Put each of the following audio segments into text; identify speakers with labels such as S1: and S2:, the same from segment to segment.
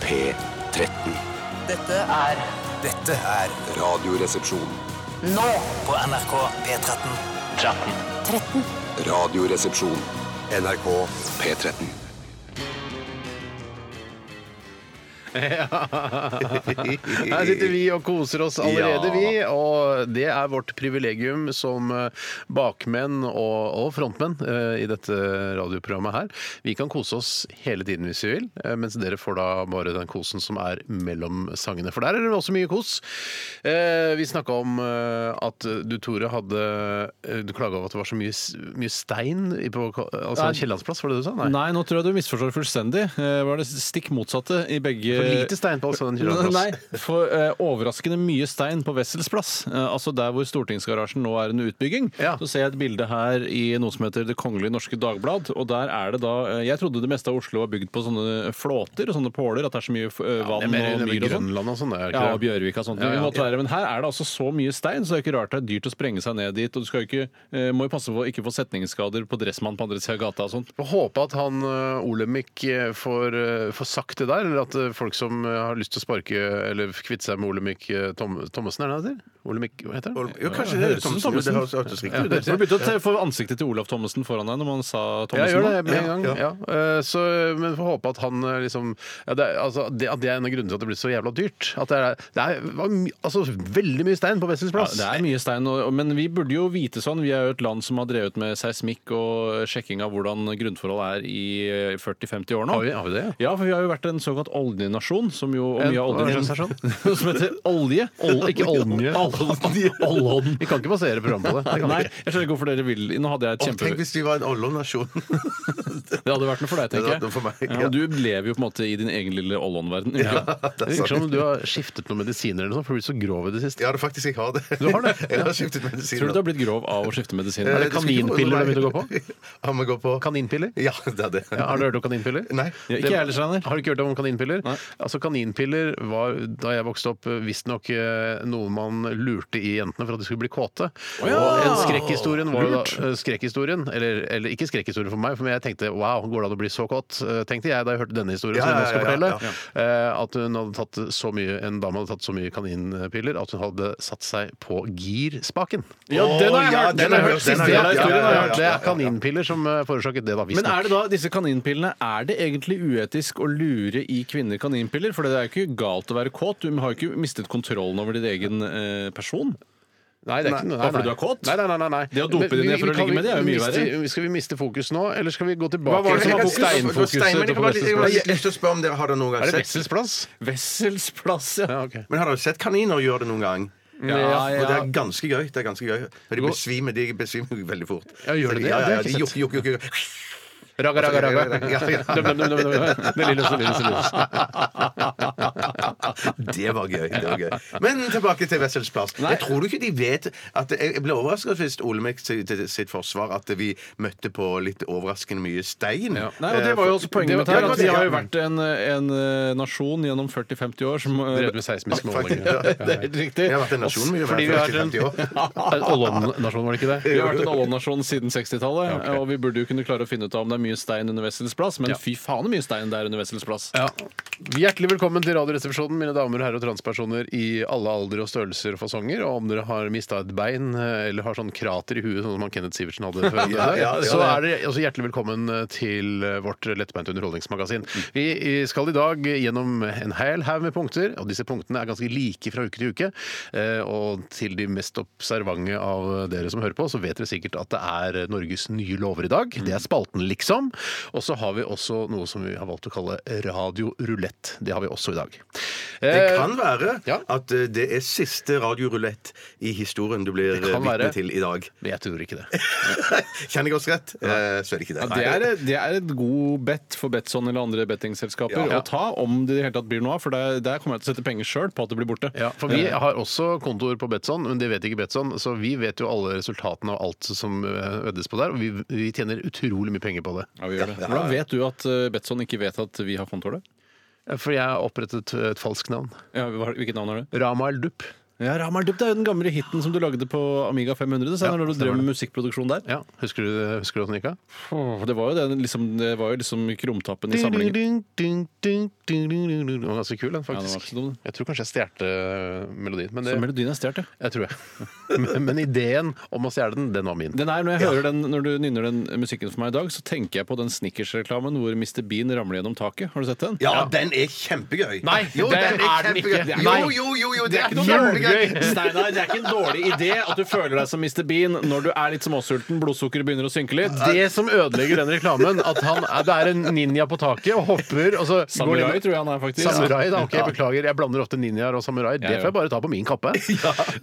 S1: P13.
S2: Dette er
S3: Dette er
S1: Radioresepsjon.
S2: nå
S3: på NRK P13.
S1: Radioresepsjon. NRK P13.
S4: Her sitter vi og koser oss allerede, vi. Og det er vårt privilegium som eh, bakmenn og, og frontmenn eh, i dette radioprogrammet her. Vi kan kose oss hele tiden hvis vi vil, eh, mens dere får da bare den kosen som er mellom sangene. For der er det også mye kos. Eh, Vi snakka om eh, at du, Tore, hadde eh, Du klaga over at det var så mye, s- mye stein i på altså,
S5: Nei.
S4: Kiellandsplass, var det du sa?
S5: Nei. nå tror jeg du misforstår fullstendig. Eh, Var det stikk motsatte i begge
S4: For lite stein på Alexander Kiellands plass.
S5: Nei, for eh, overraskende mye stein på Wessels plass. Eh, altså der hvor Stortingsgarasjen nå er under utbygging.
S4: Ja.
S5: Så ser jeg et bilde her i noe som heter Det kongelige norske dagblad. Og der er det da eh, Jeg trodde det meste av Oslo var bygd på sånne flåter og sånne påler. At det er så mye eh,
S4: Det er
S5: vann
S4: mer, det er
S5: og
S4: mer
S5: myr og sånn.
S4: Grønland og sånn. det er ikke
S5: Ja,
S4: det?
S5: og Bjørvika og sånt.
S4: Ja, ja.
S5: Vi måtte være, men her er det altså så mye stein, så det er ikke rart det er dyrt å sprenge seg ned dit. Og du skal jo ikke, eh, må jo passe på å ikke få setningsskader på Dressmann på andre sida av gata og sånt.
S4: Får håpe at han eh, Olemic eh, får, eh, får sagt det der, eller at eh, folk som eh, har lyst til å sparke eller kvitte seg med Olemic eh, Tom, Thommessen, er det han heter? Olemic, hva heter han?
S6: Jo, kanskje det er Thomsen.
S5: Thomsen.
S6: Det høres hørtes riktig ut.
S5: Du burde bytte ut for ansiktet til Olav Thommessen foran deg når man sa
S4: Ja,
S5: Thommessen.
S4: gjør det
S5: nå.
S4: med en gang.
S6: Ja,
S4: Ja. Eh, Så, men får håpe at han eh, liksom ja, det, er, altså, det, at det er en av grunnene til at det blir så jævla dyrt. At det er, det er var my, altså, veldig mye stein på Wessels
S5: Ja,
S4: plass.
S5: det er mye stein, og- og- men vi burde jo vite sånn. Vi er jo et land som har drevet med seismikk og sjekking av hvordan grunnforhold er i eh, 40-50 år nå.
S4: Har vi- har vi det,
S5: Ja, for vi har jo vært en såkalt oljenasjon, som jo og
S4: En-
S5: mye av
S4: hva er det
S5: oljen
S4: som er
S5: Som heter olje.
S4: Ol- ikke olje.
S5: Olje. Oljen.
S4: Vi kan ikke basere programmet på det. det kan vi
S5: Nei,
S4: ikke.
S5: jeg skjønner ikke hvorfor dere vil Nå hadde jeg et
S6: Åh,
S5: kjempe...
S6: Tenk hvis vi var en ollonasjon.
S5: Det hadde vært noe for deg,
S6: Det
S5: tenker
S6: hadde
S5: jeg.
S6: vært noe for meg,
S5: Ja,
S6: ja.
S5: og du lever jo på en måte i din egen lille ollon-verden. gjør du ikke?
S4: Det virker som om du har skiftet noen medisiner eller noe, sånt, for du blir så grov i det siste.
S6: Ja, det faktisk jeg har det.
S4: Du har det?
S6: Jeg har skiftet medisin.
S5: Tror du du har blitt grov av å skifte medisin?
S4: Er Eh, det kaninpiller du begynte å gå på?
S6: Ja, vi går på
S4: Kaninpiller?
S6: Ja, det er det.
S4: Ja, har du hørt om kaninpiller?
S6: Nei.
S5: Ja, ikke jeg heller, Steinar.
S4: Har du ikke hørt om kaninpiller?
S5: Nei.
S4: Altså Kaninpiller var, da jeg vokste opp, visstnok eh, noe man lurte i jentene for at de skulle bli kåte. Og en skrekkhistorien var jo da eh, skrekkhistorien, eller, eller ikke skrekkhistorien for meg, for jeg tenkte wow, går det an å bli så kåt? Eh, Tenkte jeg da jeg hørte denne historien
S6: Ja,
S4: som jeg
S6: ja,
S4: nå skal
S6: ja, ja,
S4: fortelle.
S6: ja.
S4: eh, At hun hadde tatt så mye, en dame hadde tatt så mye kaninpiller at hun hadde satt seg på girspaken.
S5: Ja, den har jeg
S6: Å, ja,
S5: hørt.
S4: Den har jeg hørt
S6: den
S4: sist.
S6: har
S4: Det
S6: jeg
S4: er
S6: hørt, ja,
S4: historien,
S6: ja, ja,
S4: har jeg hørt. Det
S6: ja, ja,
S4: er kaninpiller som eh, forårsaket det, da,
S5: Men er
S4: visstnok.
S5: det da disse kaninpillene Er det egentlig uetisk å lure i kvinner kaninpiller? For det er jo ikke galt å være kåt. Du har jo ikke mistet kontrollen over din egen eh, person.
S4: Nei, det er ikke noe.
S5: Bare fordi du er kåt?
S4: Nei, nei, nei, nei, nei.
S5: Det å dope
S4: Men
S5: det
S4: vi-
S5: ned for
S4: vi
S5: å
S4: kan
S5: ligge med det er jo mye
S4: miste-
S5: verre.
S4: Skal vi miste fokus nå, eller skal vi gå tilbake?
S5: Hva var det som var
S4: til
S5: fokus?
S4: steinfokuset
S6: Stein, men jeg
S4: på
S6: kan bare- jeg
S4: Wessels plass?
S6: kan bare- jeg har lyst til å spørre om dere har det noen gang
S4: Er det
S6: sett
S4: Wessels plass?
S5: Wessels plass, ja.
S4: Ja, ok.
S6: Men har dere sett kaniner gjøre det noen gang?
S5: Ja, ja.
S6: Og det er ganske gøy. det er ganske gøy Og De besvimer de besvimer jo veldig fort.
S4: Ja, gjør de det?
S6: Ja,
S4: Det
S6: ja, ja,
S4: har
S6: de
S4: jeg ikke
S6: juk, juk, juk, juk.
S4: Raga, raga, raga.
S6: Ja, ja.
S4: Dum, dum, dum, dum, dum. Det er lille, så lille, så lille.
S6: Det var gøy. det var gøy Men tilbake til Wessels plass. Jeg tror du ikke de vet at Jeg jeg ble overrasket hvis Olemic sitt, sitt forsvar at vi møtte på litt overraskende mye stein.
S5: Nei, og Eh, Det var jo også poenget
S4: Det var-
S5: mitt her.
S4: det var-
S5: At vi har jo vært en, en eh, nasjon gjennom 40-50 år som eh,
S4: Drevet med seismiske
S6: Faktisk,
S4: målinger.
S6: ja.
S5: Det er helt riktig.
S6: Vi har vært en nasjon mye
S4: Fordi vi har en-
S6: 40-50 år.
S4: Ollon-nasjon, var det ikke
S5: Vi
S4: det?
S5: har vært en oljernasjon siden 60-tallet,
S4: Ja, ok.
S5: og vi burde jo kunne klare å finne ut av om det er mye stein under Wessels plass, men
S4: Ja.
S5: fy faen så mye stein det er under Wessels plass.
S4: Ja. Hjertelig velkommen til Radioresepsjonen, mine damer og herrer og transpersoner i alle aldre og størrelser og fasonger. Og om dere har mista et bein eh, eller har sånn krater i huet, sånn som han Kenneth Sivertsen hadde før,
S6: Ja, ja, ja,
S4: så
S6: ja.
S4: er dere også hjertelig velkommen eh, til vårt lettbeinte underholdningsmagasin. Vi eh, skal i dag gjennom en hel haug med punkter, og disse punktene er ganske like fra uke til uke. Eh, Og til de mest observante av dere som hører på, så vet dere sikkert at det er Norges nye lover i dag. Det er spalten, liksom. Og så har vi også noe som vi har valgt å kalle radiorulett. Det har vi også i dag.
S6: Det
S4: Eh,
S6: kan være
S4: ja.
S6: at eh, det er siste radiorulett i historien du blir eh,
S4: kan være.
S6: vitne til i dag.
S4: Men jeg tror ikke det.
S6: Kjenner jeg oss rett, eh, så er det ikke det.
S5: Ja, det, er, det er et god bet for Betson eller andre bettingselskaper
S6: Ja.
S5: å ta, om det i det hele tatt blir noe av, for der, der kommer jeg til å sette penger sjøl på at det blir borte.
S4: Ja, for Vi har også kontor på Betson, men det vet ikke Betson. Så vi vet jo alle resultatene av alt som eh, veddes på der, og vi, vi tjener utrolig mye penger på det.
S5: Ja, vi gjør det. Hvordan vet du at eh, Betson ikke vet at vi har kontor der?
S4: For jeg har opprettet et falskt navn.
S5: Ja, hva- hvilket navn er det?
S4: Rama El Dupp.
S5: Ja, Ramardup, det er jo den gamle hiten som du lagde på Amiga 500. Det,
S4: Ja,
S5: når du drev med musikkproduksjon der.
S4: Ja, Husker du, husker du hvordan det gikk? da?
S5: Åh, Det var jo den, liksom, det var jo liksom krumtappen i samlingen.
S4: Ding, ding, ding, ding, ding, ding, ding. Den var ganske kul, den,
S5: Ja, den var
S4: faktisk.
S5: ikke så dum, den.
S4: Jeg tror kanskje jeg stjal eh, melodien. Men
S5: Så
S4: det,
S5: melodien er stjålet, ja.
S4: jeg tror jeg. Men, men ideen om å stjele den, den var min.
S5: Den er, når, jeg hører den, når du nynner den musikken for meg i dag, så tenker jeg på den Snickers-reklamen hvor Mr. Bean ramler gjennom taket. Har du sett den?
S6: Ja, den er kjempegøy.
S5: Nei,
S6: jo,
S5: det
S6: den
S5: er
S6: er
S5: den
S6: kjempegøy.
S5: ikke. Nei.
S6: Jo, jo, jo, jo, det er ikke noe kjempegøy.
S5: Kjempegøy! Steinar, det er ikke en dårlig idé at du føler deg som Mr. Bean når du er litt småsulten, blodsukkeret begynner å synke litt.
S4: Det som ødelegger den reklamen, at han er, det er en ninja på taket og hopper og så går
S5: Samurai
S4: det-
S5: tror jeg han er, faktisk.
S4: Samurai, da. Ok, beklager. Jeg blander ofte ninjaer og samurai. Det
S5: Jeg
S4: får jeg bare ta på min kappe.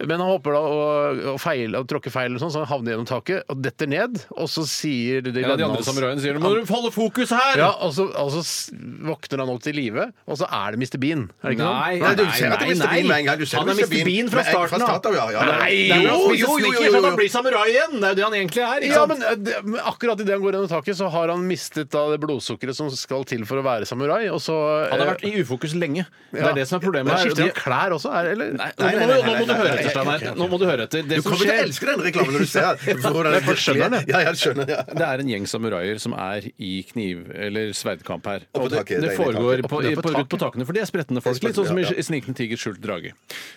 S4: Men han hopper da og, og, feil, og tråkker feil, og sånn, så han havner gjennom taket og detter ned. Og så sier de,
S5: En av de andre samuraiene sier Må du holde fokus her!
S4: Ja, og så, og så s- våkner han opp til live, og så er det Mr. Bean. Er det ikke
S5: Nei,
S6: Nei,
S4: sånn?
S6: du ser at det er Mr. Bean med en gang. Du ser
S5: Han er
S6: Mr.
S5: Mr. Bean fra
S6: med-
S5: starten
S6: Fra
S5: av.
S6: starten av, ja. ja.
S5: Det er jo, jo,
S6: jo,
S5: jo, jo,
S6: jo,
S5: liksom. Han
S6: jo.
S5: blir samurai igjen! Det er jo det han egentlig er.
S4: Ja, men eh, det, men akkurat idet han går gjennom taket, så har han mistet da, det blodsukkeret som skal til for å være samurai. Og så
S5: Han har
S4: eh,
S5: vært i ufokus lenge. Det
S4: ja.
S5: er det som er problemet
S4: Men
S5: her.
S4: Skifter
S5: og
S4: han klær også? Er, eller?
S5: Nei,
S6: Nei,
S5: nå
S6: nei,
S5: må, du- nå må
S6: nei,
S5: du
S6: nei,
S5: høre
S6: nei,
S5: etter,
S6: nei,
S5: Steinar. Nå må du høre etter. Det
S6: Du
S5: som
S6: kommer til å
S5: skjer,
S6: elske den reklamen når du ser hvordan det
S4: folk skjønner
S6: virkelig er.
S4: det.
S6: Ja, jeg skjønner ja.
S5: det er en gjeng samuraier som er i kniv- eller sverdkamp her.
S6: Oppå
S5: det,
S6: taket,
S5: det
S6: det er
S5: foregår
S6: taket.
S5: på,
S4: Oppå-
S5: i,
S4: oppå
S5: på, rundt på takene, for de er spretne folk. Litt sånn som i
S6: Ja, ja.
S5: Snikende tiger skjult drage.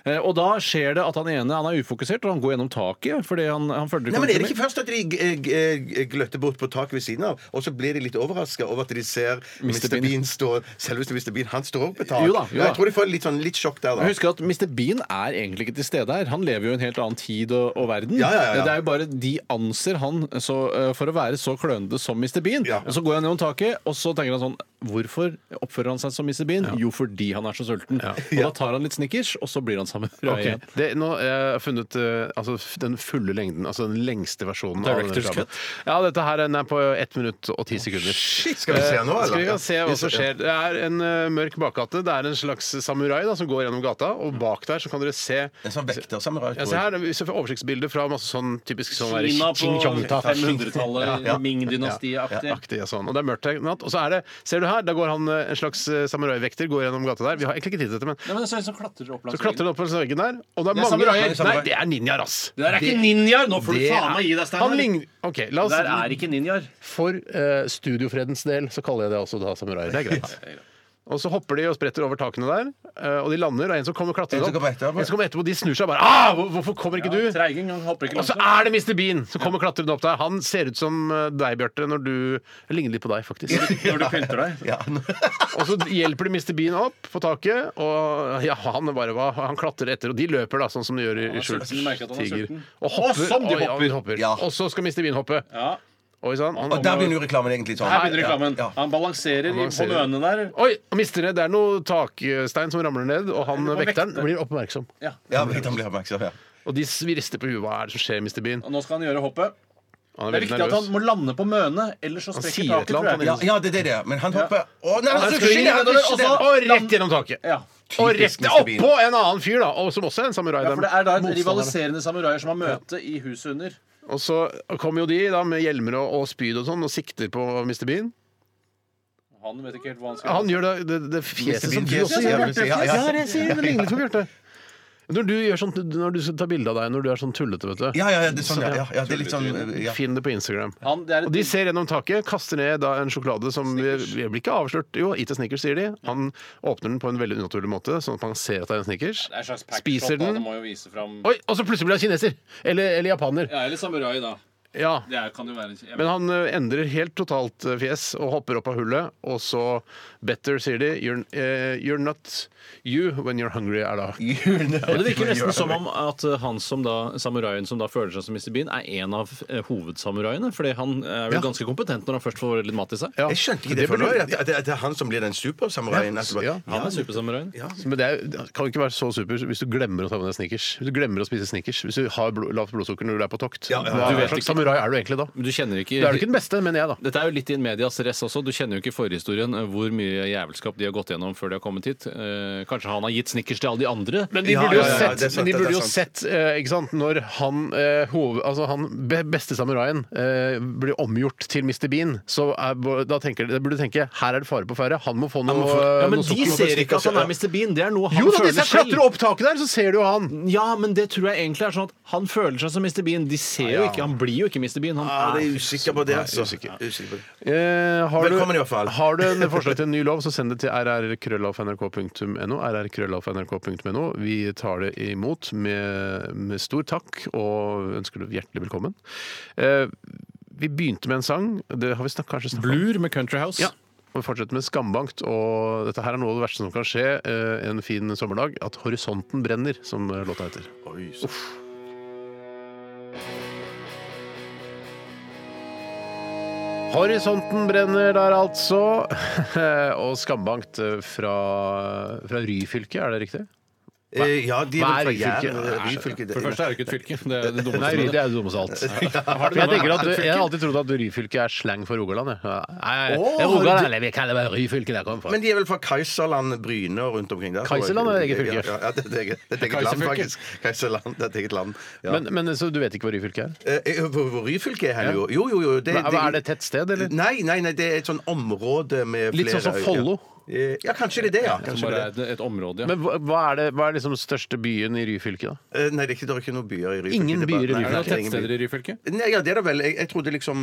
S5: Eh, Og da skjer det at han ene han er ufokusert, og han går gjennom taket fordi han, han følger
S6: Nei, men Er det ikke først at de eh, g- g- g- gløtter bort på taket ved siden av, og så blir de litt overraska over at de ser Mr.
S5: Bean.
S6: Bean stå Selveste Mr. Bean, han står også på tak.
S5: Jo da, jo da.
S6: Ja, Jeg tror de får litt, sånn, litt sjokk der,
S5: Men
S6: da.
S5: Husk at Mr. Bean er egentlig ikke til stede her. Han lever jo i en helt annen tid og, og verden.
S6: Ja, ja, ja, ja.
S5: Det er jo bare De anser han så, eh, for å være så klønete som Mr. Bean.
S6: Ja.
S5: Og Så går han gjennom taket, og så tenker han sånn Hvorfor oppfører han seg som Mr. Bean? Jo, fordi han er så sulten. Og da tar han litt Snickers, og så blir han sammen.
S4: Ok. Det, nå har jeg funnet eh, altså, f- den fulle lengden, altså den lengste versjonen. av denne
S5: Director's
S4: reklamen. Ja, dette her den er på 1 minutt og 10 sekunder.
S6: Skal vi se nå,
S4: Eh,
S6: eller?
S4: Skal vi
S6: Ja.
S4: se hva som skjer. Det er en eh, mørk bakgate. Det er en slags samurai da, som går gjennom gata,
S6: Mm.
S4: og bak der så kan dere se
S7: En sånn vektersamurai.
S4: ja, se her, vi ser oversiktsbilder fra masse sånn typisk sånn der
S8: Kina på
S4: Qing Chong-ta.
S8: 500-tallet, Ming-dynastiet-aktig.
S4: Ja, aktig, ja, sånn. Og det er mørkt her. natt. Og så er det, ser du her, da går han eh, en slags eh, samuraivekter går gjennom gata der. Vi har egentlig ikke tid til dette, men
S8: Nei, men det ser ut som klatrer opp
S4: så
S8: langs
S4: klatrer
S8: veggen.
S4: han opp på den veggen der, og
S8: Det
S4: det er,
S8: er
S4: mange
S8: samuraier.
S4: Nei, det er ninjaer, ass!
S8: Det der er ikke ninjaer! Nå får du faen meg gi deg, Steinar.
S4: Han ligner OK, la
S8: Det der er
S4: oss
S8: ikke ninjaer.
S4: For eh, studiofredens del så kaller jeg det også da samuraier. Det er greit. Og så hopper de og spretter over takene der, eh, og de lander, og en som kommer
S7: En
S4: klatrende
S7: som
S4: opp.
S7: kommer etterpå.
S4: En som kommer etterpå, de snur seg bare ah, hvor- Hvorfor kommer ikke du?
S8: Treiging, han hopper ikke
S4: Og så
S8: langt.
S4: er det Mr. Bean som kommer klatrende opp der. Han ser ut som eh, deg, Bjarte, når du jeg ligner litt på deg, faktisk.
S8: Når du pynter deg.
S7: Ja, nå-
S4: Og så hjelper de Mr. Bean opp på taket, og ja, han er bare hva? Han klatrer etter, og de løper da, sånn som de gjør i
S8: er
S4: i Skjult
S8: sulten, de merker at han er
S4: tiger.
S8: sulten.
S4: Og hopper.
S8: Å, sånn de
S4: Oi, ja,
S8: hopper.
S7: Ja.
S4: Og så skal Mr. Bean hoppe.
S8: Ja.
S4: Oi sånn. sann. han-
S7: Og der begynner jo reklamen egentlig sånn.
S8: Her begynner reklamen.
S7: Ja, ja.
S8: Han balanserer i- på
S4: balanserer.
S8: mønene der.
S4: Oi, han mister det. Det er noe takstein som ramler ned, og han
S8: Eller på
S4: vekteren
S8: vekter.
S4: blir oppmerksom.
S8: Ja.
S7: Ja, men han blir oppmerksom, ja.
S4: Og de s- vi rister på huet. Hva er det som skjer, Mr. Bean?
S8: Og nå skal han gjøre hoppet.
S4: Han
S8: Det er viktig at han må lande på mønene, ellers så
S4: sier
S8: sprekker
S4: et
S8: taket,
S4: eller
S8: tror
S4: annet,
S8: jeg.
S7: Ja, ja, det er det det er. Men altså- han hopper Å, nei, han
S8: Han
S7: skal
S8: sklir
S7: ikke det!
S8: nedover, og så- altså,
S7: Han
S4: Og rett gjennom taket!
S8: Ja.
S4: Og rett
S7: Typisk Mr. Bean.
S4: oppå en annen fyr, da, og som også er en samurai.
S8: Ja, for det er da en
S4: Motstander.
S8: rivaliserende samuraier som har møte i huset under.
S4: Og så kommer jo de da med hjelmer og, og spyd og sånn og sikter på Mr. Bean.
S8: Han vet ikke helt hva han skal
S4: Han gjør det, det, det fjeset som
S7: Bean
S4: du
S7: fjeset,
S4: også
S7: ja,
S4: gjør.
S7: ja,
S4: Bjarte.
S7: ja, ja.
S4: Ja, det ser- det ligner litt på Bjarte. Når du, gjør sånt, når du tar bilde av deg når du er sånn tullete, vet du.
S7: Ja, ja, ja, det er sånn, ja. ja, ja det er litt sånn ja.
S4: Finn det på Instagram.
S8: Han, det er et
S4: Og de ser gjennom taket, kaster ned da en sjokolade som vi- vi blir ikke avslørt. Jo, eat a Snickers, sier de. Han åpner den på en veldig unaturlig måte, sånn at man ser at det er en Snickers.
S8: Det er en slags
S4: Spiser
S8: packshot, da. Det
S4: den.
S8: må jo vise fram
S4: Oi, og så plutselig blir han kineser! Eller, eller japaner.
S8: Ja, eller samurai, da.
S4: Ja.
S8: Det er, kan jo være jeg,
S4: Men han eh, endrer helt totalt eh, fjes og hopper opp av hullet, og så Better, sier de. You're, eh, you're not you when you're hungry, er da.
S5: Og Det virker nesten som om at eh, han som da, samuraien som da føler seg som Mr. Bean, er en av eh, hovedsamuraiene. Fordi han eh, er vel
S4: Ja.
S5: ganske kompetent når han først får litt mat i seg.
S4: Ja.
S6: Jeg skjønte ikke det før nå. at Det, det, det er han som blir den supersamuraien. etterpå.
S4: Ja.
S5: Han er supersamuraien.
S4: Men det, er, det kan jo ikke være så super hvis du glemmer å ta med deg snickers. Hvis du glemmer å spise snickers. Hvis du har blod, lavt blodsukker når du er på tokt.
S6: Ja, ja, ja.
S4: Du er
S5: Du vet
S4: en slags
S5: ikke
S4: samurai er du egentlig da?
S5: Men Du kjenner
S4: Du
S5: ikke
S4: er jo ikke den beste, mener jeg, da.
S5: Dette er jo litt in medias res også. Du kjenner jo ikke forhistorien eh, hvor mye jævelskap de har gått gjennom før de har kommet hit. Eh, kanskje han har gitt snickers til alle de andre?
S4: Men de
S6: Ja,
S4: burde jo
S6: ja, ja, ja,
S4: sett,
S6: det er sant,
S4: men de
S6: det er
S4: burde jo
S6: sant.
S4: sett eh, ikke sant, når han, eh, hoved, altså han be, beste samuraien eh, blir omgjort til Mr. Bean, så er, da tenker, de- burde du tenke her er det fare på ferde, han må få noe,
S5: ja, men
S4: noe
S5: de
S4: sukker.
S5: ser ikke at han er Mr. Bean. Det er noe han
S4: Jo da, hvis
S5: føler
S4: jeg klatrer
S5: selv.
S4: opp taket der, så ser du jo han.
S5: Ja, men det tror jeg egentlig er sånn at han føler seg som Mr. Bean. De ser
S4: Ah,
S5: jo ikke, Han blir jo ikke Mr. Bean. Han
S6: Ja, det er
S5: er
S6: usikker på det, altså.
S4: Eh, har
S6: Velkommen
S4: du,
S6: i hvert fall.
S4: Har du en forslag til en ny lov, så send det til rrkrøllalfa.nrk.no. rrkrøllalfa.nrk.no. Vi tar det imot med, med stor takk og ønsker deg hjertelig velkommen. Eh, vi begynte med en sang. Det har vi snak, kanskje snakket om.
S5: Blur med Country House.
S4: Ja. Og vi fortsetter med Skambankt. Og dette her er noe av det verste som kan skje eh, en fin sommerdag. At horisonten brenner, som eh, låta heter. Horisonten brenner der, altså. og Skambankt eh, fra, fra Ryfylke, er det riktig?
S6: Eh, Ja, de
S4: Hva er
S6: er vel fra
S4: Ryfylke?
S6: Jæren. eh, Ryfylke, det-
S5: For det første er det ikke et fylke. Det er det dummeste
S4: Nei,
S5: med
S4: Ry- det er det dummeste av alt. For Jeg, tenker at, jeg har alltid trodd at Ryfylke er slang for Rogaland. jeg. Nei,
S6: Å,
S4: Rogaland
S6: har
S4: eller vi kaller det Ryfylke der jeg kommer fra.
S6: Men de er vel fra Kaiserland, Bryne og rundt omkring der? tror jeg.
S4: Kaiserland er et eget fylke.
S6: Ja, ja, det er et eget, det er et eget land,
S5: Kaiserfylke.
S6: faktisk. Kaiserland, det er et eget land. Ja.
S4: Men, men så du vet ikke hva Ryfylke er?
S6: Eh, eh, hvor, hvor Ryfylke er hen, jo? Jo, jo, jo. Det,
S4: Men Er det et tett sted, eller?
S6: Nei, nei, nei, det er et sånn område med
S4: Litt
S6: flere
S4: sånn som
S6: øyer.
S4: Follo.
S6: Eh, Ja, kanskje det er det, ja.
S5: Som
S6: Kanskje det.
S5: bare
S6: er det.
S5: er et- et område, ja.
S4: Men hva hva er, det, hva er liksom den største byen i Ryfylke, da?
S6: Eh, Nei, det er ikke, det er ikke noen byer i Ryfylke.
S4: Ingen
S6: det er bare-
S4: byer i
S5: er det
S6: Nei, det er
S5: noen
S6: ingen byer.
S5: tettsteder i Ryfylke?
S6: Nei, ja, det er det vel. Jeg, jeg trodde liksom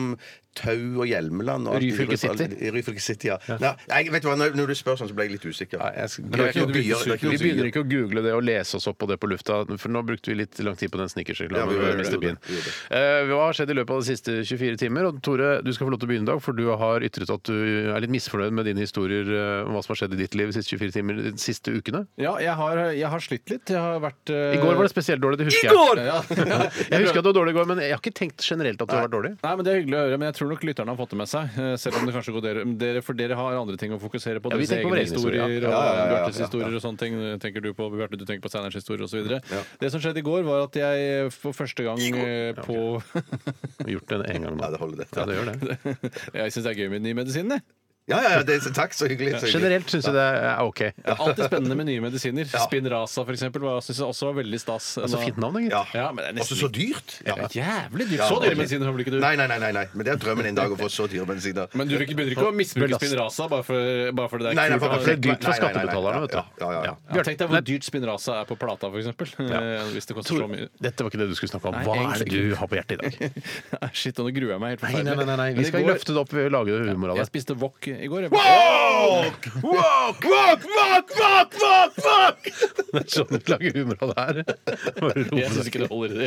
S6: Tau og Hjelmeland og alt-
S4: Ryfylke City.
S6: I Ryfylke City, ja. Nei, Nei, vet du hva, når, når du spør sånn, så ble jeg litt usikker. Men det er ikke noen byer. Det er ikke
S4: Vi
S6: noen
S4: begynner
S6: byer.
S4: ikke å google det og lese oss opp på det på lufta, for nå brukte vi litt lang tid på den
S6: Ja, vi
S4: snickersreklamen.
S6: gjorde det,
S4: Mr.
S6: vi
S4: Bean.
S6: gjorde det, vi gjorde det.
S4: Eh, Hva har skjedd i løpet av de siste 24 timer? Og Tore, du skal få lov til å begynne i dag, for du har ytret at du er litt misfornøyd med dine historier eh, om hva som har skjedd i ditt liv de siste 24 timer de siste ukene.
S5: Ja, jeg har, jeg har slitt litt. Jeg har vært
S4: I går
S6: Eh,
S4: var det spesielt dårlig, det husker jeg.
S5: Ja.
S4: Jeg husker at du var dårlig i går, men jeg har ikke tenkt generelt at du har vært dårlig.
S5: Nei, men Det er hyggelig å høre, men jeg tror nok lytterne har fått det med seg. eh, Selv om det kanskje går dere, dere For dere har andre ting å fokusere på.
S4: Ja, vi
S5: Deres
S4: tenker på våre
S5: egne
S4: egne
S5: historier
S4: historier,
S5: og
S4: ja. Ja, ja, ja,
S5: Bjartes historier og sånne ting. Tenker du på Bjarte, du tenker på Steiners historier osv. Det som skjedde i går, var at jeg for første gang eh, på
S4: Jeg har gjort det en gang
S6: Ja, det
S4: nå.
S6: holder, det.
S4: Ja, det gjør det.
S5: Jeg syns det er gøy med nye medisiner. jeg.
S6: Ja, ja, ja, det, er- takk, så hyggelig. Så hyggelig.
S4: Generelt syns jeg det er OK.
S5: Det er alltid spennende med nye medisiner. Spinraza for eksempel, var- synes jeg også var veldig stas.
S4: Så Altså, fint navn, egentlig.
S6: Ja.
S5: Ja, men det er
S6: Også
S5: nesten
S6: så dyrt. Ja.
S5: Jævlig dyrt.
S6: Ja,
S5: Så dyre
S6: ok.
S5: medisiner har vel ikke du?
S6: Nei, nei, nei, nei, nei. Men det er drømmen en dag å få så dyre medisiner.
S5: Men du begynner ikke å misbruke Spinraza bare for, bare for det der
S6: Nei, nei,
S5: kult å ha-
S6: for-
S4: Det er dyrt for
S6: Nei, nei, nei, nei.
S4: skattebetalerne, vet du.
S6: Ja, ja, ja, ja.
S5: Ja, tenk deg hvor dyrt Spinraza er på plata, for eksempel. Eh, Hvis det koster så mye.
S4: Dette var ikke det du skulle snakke om.
S5: Nei,
S4: Hva er
S5: egentlig
S4: det du har på hjertet i dag?
S5: Nei, Shit, nå gruer jeg meg helt
S4: Nei, nei,
S5: forferdelig.
S4: nei, nei, nei. Vi
S5: Men i
S4: skal
S5: går-
S4: løfte det opp ved å lage humor av det.
S5: Jeg spiste wok i går. jeg.
S4: Det er sånn vi lager humor av det her. Bare rope
S5: Jeg syns
S4: det.
S5: ikke det holder i det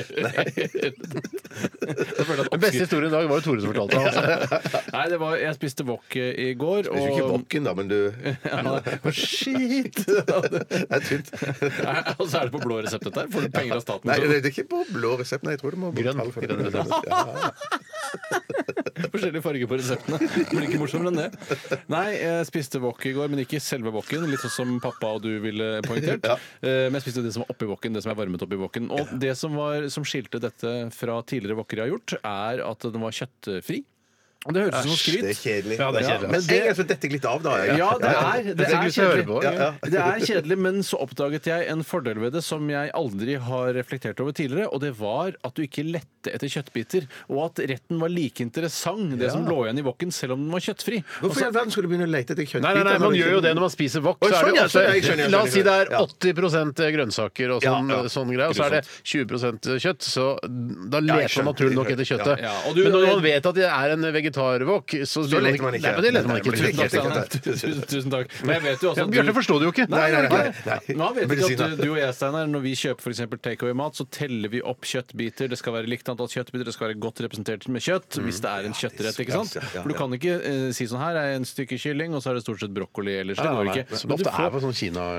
S5: Jeg føler at
S4: Den beste historien i dag var jo Tore som fortalte det. Altså.
S5: oppskrift- Nei, det var, jeg spiste wok eh, i går,
S6: Du er ikke
S5: og
S6: brokken, da, men du Det
S5: ja, nei, Shit!
S6: er tynt.
S5: Nei, Og så er det på blå resept, dette her. Får du penger av staten?
S6: Nei,
S5: så-
S6: det er ikke på blå resept. Nei, jeg tror det må
S4: Grønn.
S6: betale for det.
S4: Grønn
S5: Forskjellig farge på reseptene. Det blir ikke morsommere enn det. Nei, jeg spiste wok i går, men ikke selve woken. Litt sånn som pappa og du ville poengtert. Eh, Men jeg spiste det som var oppi woken, det som er varmet opp i woken. Og det som, var, som skilte dette fra tidligere woker jeg har gjort, er at den var kjøttfri. Og det høres ut som
S6: Det er
S5: skryt.
S6: kjedelig.
S4: Ja, det er
S5: kjedelig.
S6: Men det er altså dette litt av, da. jeg.
S5: Ja, det er, det
S4: Jeg tenker
S5: er
S4: vi skal høre
S5: kjedelig.
S4: på det.
S5: Ja, ja. Det er kjedelig, men så oppdaget jeg en fordel ved det som jeg aldri har reflektert over tidligere, og det var at du ikke lette etter kjøttbiter, og at retten var like interessant, det som lå igjen i woken, selv om den var kjøttfri.
S6: Hvorfor i all verden skulle du begynne å lete etter kjøttbiter?
S4: Altså- Nei, nei, nei,
S6: når
S4: man
S6: du
S4: gjør
S6: ikke-
S4: jo det når man spiser wok. Så
S6: Oi,
S4: er
S6: sånn, ja,
S4: det
S6: sånn, jeg skjønner,
S4: ofte,
S6: jeg
S4: la oss si det er
S6: skjønner.
S4: 80 eh, grønnsaker og sånn,
S6: Ja, ja.
S4: sånn greie, og så er det 20 kjøtt, så da
S6: jeg
S4: leter
S6: skjønner.
S4: man naturlig nok etter kjøttet.
S5: Ja, ja. Og du-
S4: Men når man vet at det er en vegetarwok, så,
S6: Så
S4: begynner
S6: leter man ikke.
S4: Nei, men det leter man ikke.
S6: Nei,
S5: Tusen
S6: Helt
S5: takk,
S6: riktig.
S5: Steinar. Tusen, tusen takk. Men jeg vet jo også
S4: Ja,
S5: at
S4: Bjarte
S5: du
S4: forstår det jo ikke.
S5: Nei, nei, nei,
S6: nei, nei.
S5: Nå vet jeg ikke
S6: Medisiner.
S5: at du og jeg, Steinar, når vi kjøper for eksempel take takeaway-mat, så teller vi opp kjøttbiter. Det skal være likt antall kjøttbiter, det skal være godt representert med kjøtt hvis det er en kjøttrett. ikke sant?
S6: ja, ja,
S5: For du kan ikke eh, si sånn her er en stykke kylling, og så er det stort sett brokkoli ellers. Det
S4: Nei,
S5: går
S4: nei,
S5: ikke.
S4: nei. Som
S5: Men, du
S4: ofte er
S5: får,
S4: på sånn kina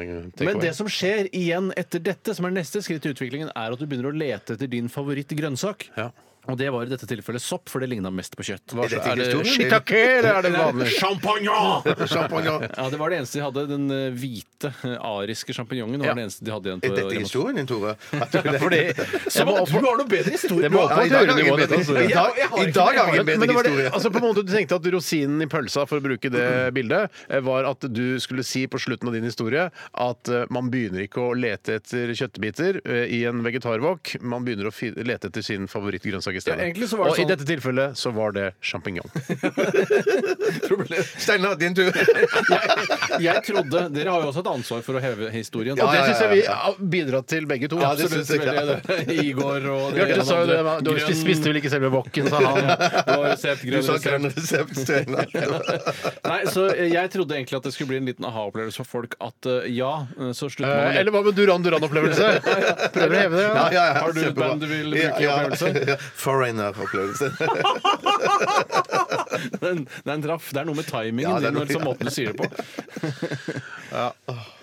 S5: men det som skjer igjen etter dette, som er neste skritt i utviklingen, er at du begynner å lete etter din favorittgrønnsak.
S4: Ja.
S5: Og det var i dette tilfellet sopp, for det ligna mest på kjøtt.
S4: Hva,
S6: dette
S4: er det
S6: historien?
S4: shiitake, eller er det vanlig?
S6: Champagne! Champagne.
S5: Ja, Det var det eneste de hadde. Den eh, hvite eh, ariske sjampinjongen var
S4: Ja.
S5: det eneste de hadde igjen.
S6: Er
S5: på
S6: dette
S5: Rema.
S6: historien din, Tore? At du-
S4: Fordi-
S5: Så man- du har noe bedre historie!
S4: Det må
S5: nå.
S4: opp på
S6: Ja, i
S4: et
S6: dag har
S4: høyere
S6: jeg
S4: nivå.
S6: en
S4: dette,
S6: bedre-
S4: altså.
S6: I dag- i dag har jeg
S4: Men
S6: en bedre
S4: det var det,
S6: historie.
S4: altså på en måte Du tenkte at rosinen i pølsa, for å bruke det bildet, eh, var at du skulle si på slutten av din historie at eh, man begynner ikke å lete etter kjøttbiter eh, i en vegetarwok, man begynner å fi- lete etter sin favorittgrønnsak i
S5: Ja,
S4: stedet.
S5: egentlig så var
S4: Og i
S5: det sånn-
S4: dette tilfellet så var det sjampinjong.
S6: Steinar, din tur.
S5: Jeg, jeg trodde, Dere har jo også et ansvar for å heve historien.
S4: Og det
S6: ja, ja,
S4: syns jeg
S6: ja.
S4: vi har bidratt til begge to.
S6: Ja, det
S5: Absolutt.
S6: synes jeg, ja.
S5: veldig, det. Igor og det
S4: Bjarte
S5: ene
S4: sa jo
S5: og
S4: det,
S5: andre.
S4: da- du
S5: Grønn-
S4: spiste vel ikke selve wokken, sa han.
S5: Det var resept,
S6: Du
S5: grønn
S6: sa
S5: resept.
S6: grønn resept, Steinar.
S5: Nei, så eh, Jeg trodde egentlig at det skulle bli en liten aha-opplevelse for folk at eh, ja, eh, så slutter man å
S4: Eh,
S5: lete
S4: Eller hva med Duran Duran-opplevelse? Prøver å heve det.
S6: Ja,
S4: Ja.
S6: ja, ja,
S5: Har du et
S6: kjempebra.
S5: band du vil bruke i opplevelse?
S6: ja. Foreigner-opplevelse.
S5: Den, den traff. Det er noe med timingen
S6: Ja, det er
S5: din
S6: noe-
S5: og liksom måten du sier det på.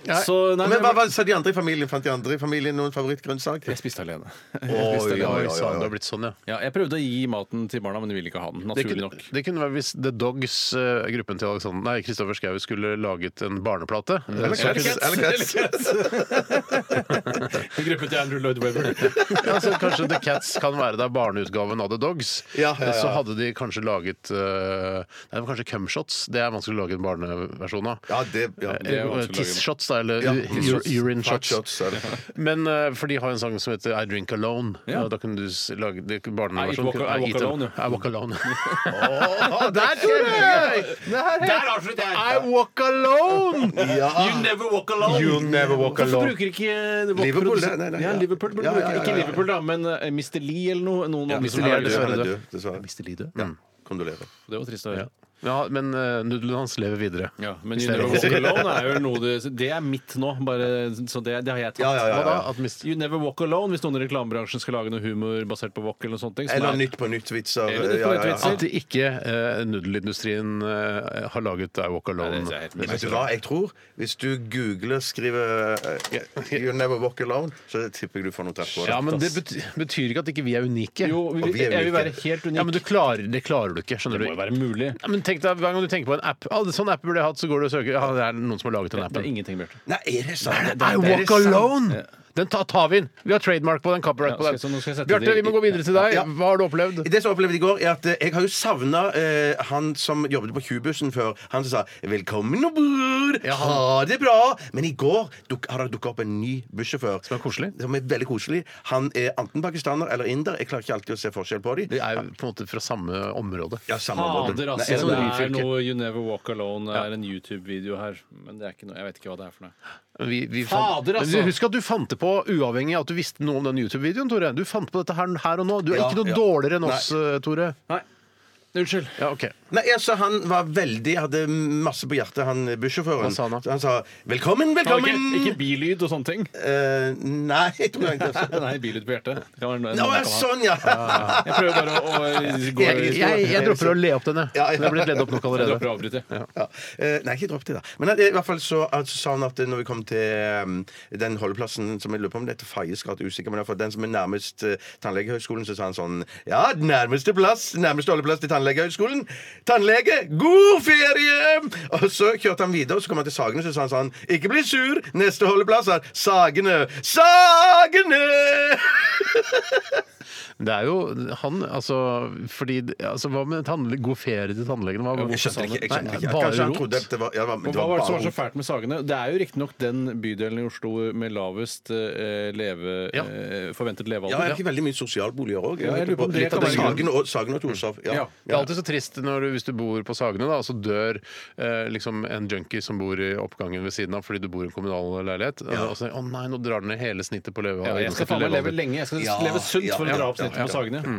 S4: Nei.
S5: Så, nei,
S6: Men
S5: men
S6: hva,
S5: jeg,
S6: hva sa de andre i familien? Fant de andre i familien noen favorittgrønnsak?
S5: jeg spiste alene.
S4: Oi, oi,
S6: oi, oi,
S4: oi,
S6: oi.
S4: sånn, det har blitt sånn, ja.
S5: Ja, jeg prøvde å gi maten til barna, men de ville ikke ha den.
S4: Det
S5: Naturlig
S4: kunne,
S5: nok.
S4: det kunne være hvis The Dogs, eh, gruppen til Alexander Nei, Kristoffer Schou skulle laget en barneplate. Eh, så
S6: Eller
S4: kunne-
S6: Cats. Eller Cats.
S5: Gruppen til Andrew Lloyd Webber.
S4: Ja, så altså, kanskje The Cats kan være der barneutgaven av The Dogs. Eh,
S6: Ja, ja, ja.
S4: Så hadde de kanskje laget eh, Nei, det var kanskje Cumshots. Det er vanskelig å lage en barneversjon av.
S6: Ja, det ja.
S5: er vanskelig å lage.
S4: Tissshots, da, eller
S6: Ja,
S4: Eh, u-
S6: tissshots.
S4: urine
S6: Fart
S4: shots.
S6: shots, er det.
S4: Men eh, for de har en sang som heter I Drink Alone.
S5: Ja.
S4: Og Da kan du s- lage det-
S5: I Eat
S4: barneversjonen.
S5: Walk- I Walk
S4: Eat Al-
S5: Alone,
S4: I Walk Alone.
S5: Ah,
S6: Å, der tror jeg!
S5: Der avsluttet jeg!
S4: I Walk Alone!
S5: You never walk alone!
S6: You never walk
S5: Hvorfor
S6: alone.
S5: bruker ikke
S6: Liverpool,
S5: produsent-
S6: nei, nei,
S5: ja,
S6: ja.
S5: Liverpool burde
S6: Ja, ja,
S5: bruke-
S6: ja, ja,
S5: Ikke
S6: ja.
S5: Liverpool, da, men eh, Mr. Lee eller noe. Noen andre som
S4: Lee
S5: har
S4: er
S5: det.
S4: dessverre
S6: Dessverre
S4: død.
S6: død, dessverre.
S5: Mr. Lee død?
S6: Kondolerer.
S5: Det var trist å høre.
S4: Ja, men eh, nudlene hans lever videre.
S5: Ja, men You Never Walk Alone er jo noe du Det er mitt nå, bare, så det, det har jeg tatt.
S6: Ja, ja, ja,
S4: Hva da?
S6: ja.
S4: At Mr.
S5: You Never Walk Alone, hvis noen i reklamebransjen skal lage noe humor basert på walk eller noe sånt.
S6: Eller Nytt på nytt-vitser.
S5: Eller Nytt på nytt-vitser.
S4: At ikke eh, nudelindustrien eh, har laget I Walk Alone.
S5: Nei, det er helt
S6: Vet du hva, jeg tror Hvis du googler skriver eh, You never walk alone, så tipper jeg du får noe treff på det.
S4: ja, men det bety- betyr ikke at ikke vi er unike.
S5: Jo, vi,
S6: Og vi er
S5: jeg vil
S6: unike.
S5: være helt unik.
S4: Ja, men du klarer, Det klarer du ikke. skjønner
S5: det
S4: du?
S5: må jo være mulig.
S4: Ja, men tenk deg, Hver gang du tenker på en app ah, Sånn app burde jeg hatt, så går du og søker. Ja, det er noen som har laget den
S5: Det er
S4: appen.
S5: ingenting, Bjarte.
S6: Nei, er det
S4: I
S6: sant? Er det
S4: Walk
S6: sant?
S4: Alone! Den ta- tar vi inn. Vi har trademark på den.
S5: Ja,
S4: Copyright på den.
S5: skal jeg- så nå skal jeg sette
S4: Bjarte,
S5: det i-
S4: vi må gå videre til deg.
S6: Ja.
S4: Hva har du opplevd?
S6: Det som jeg opplevde i går, er at eh, jeg har jo savna eh, han som jobbet på Q-bussen før. Han som sa 'Velkommen og bror, ha det bra'. Men i går duk, har det dukka opp en ny bussjåfør.
S4: Som er koselig?
S6: Som er veldig koselig. Han er enten pakistaner eller inder. Jeg klarer ikke alltid å se forskjell på dem.
S4: Det er jo på en måte fra samme område.
S6: Ja, samme område.
S5: Fader,
S6: Nei,
S5: altså.
S6: jeg-
S4: sånn
S5: Det er
S4: rifylke.
S5: noe You Never Walk Alone Det er en YouTube-video her, men det er ikke noe Jeg vet ikke hva det er for noe.
S4: Vi, vi
S5: Fader,
S4: fant-
S5: altså!
S4: Men Husk at du fant det på uavhengig av at du visste noe om den YouTube-videoen, Tore. Du fant på dette her, her og nå. Du er
S6: Ja,
S4: ikke noe
S6: ja.
S4: dårligere enn oss, eh, Tore.
S5: Nei. Unnskyld.
S4: Ja, ok.
S6: Nei, altså Han var veldig hadde masse på hjertet, han bussjåføren.
S4: Hva sa han da?
S6: Så han sa 'velkommen, velkommen'.
S5: Ikke, ikke bilyd og sånne ting.
S6: Eh, nei, jeg tror ikke det.
S5: Nei, bilyd på hjertet. Det kan være noe-
S6: Nå,
S5: noe man kan ha.
S6: sånn, ja!
S5: Jeg prøver bare å å gå
S4: Jeg, jeg, jeg dropper å le opp denne.
S6: Ja, ja.
S4: Den er blitt ledd opp nok
S5: Jeg
S4: allerede.
S5: dropper å avbryte.
S6: Ja. Eh, Nei, ikke dropp det, da. Men at- i hvert fall så altså, sa han at når vi kom til um, den holdeplassen som jeg lurer på om det heter Faies gate, usikker, men i hvert fall den som er nærmest eh, tannlegehøgskolen, så sa han sånn Ja, nærmeste plass, nærmeste holdeplass til tannlegehøgskolen. Tannlege, god ferie! Og så kjørte han videre, og så kom han til Sagene, så sa han sånn Ikke bli sur, neste holdeplass er Sagene. Sagene!
S4: Det er jo han, altså Fordi altså, Hva med tannle god ferie til tannlegen? Hva,
S6: Jeg skjønte det ikke. jeg skjønte det ikke.
S4: Nei, bare
S6: Kanskje han
S4: rot.
S6: trodde at det var, ja, det var,
S5: Og
S6: det
S5: hva
S6: var
S5: var det som
S6: bare
S5: var så
S6: rot.
S5: fælt med Sagene? Det er jo riktignok den bydelen i Oslo med lavest eh, leve,
S4: Ja.
S5: eh, forventet
S6: Ja, jeg
S5: levealder.
S6: har ikke veldig mye sosialboliger òg.
S5: Ja, jeg lurer på om det kan være
S6: Sagen og, Sagen og Torshov. Ja.
S5: Ja.
S4: Det er alltid så trist når du, hvis du bor på Sagene, da, og så dør eh, liksom en junkie som bor i oppgangen ved siden av fordi du bor i en kommunal leilighet. Og så, å nei, nå drar den ned hele snittet på leve.
S5: Ja, jeg skal faen meg leve lenge. Jeg skal
S6: Ja,
S5: leve sunt for
S6: ja,
S5: å dra opp
S6: ja,
S5: snittet
S6: ja.
S5: på Sagene.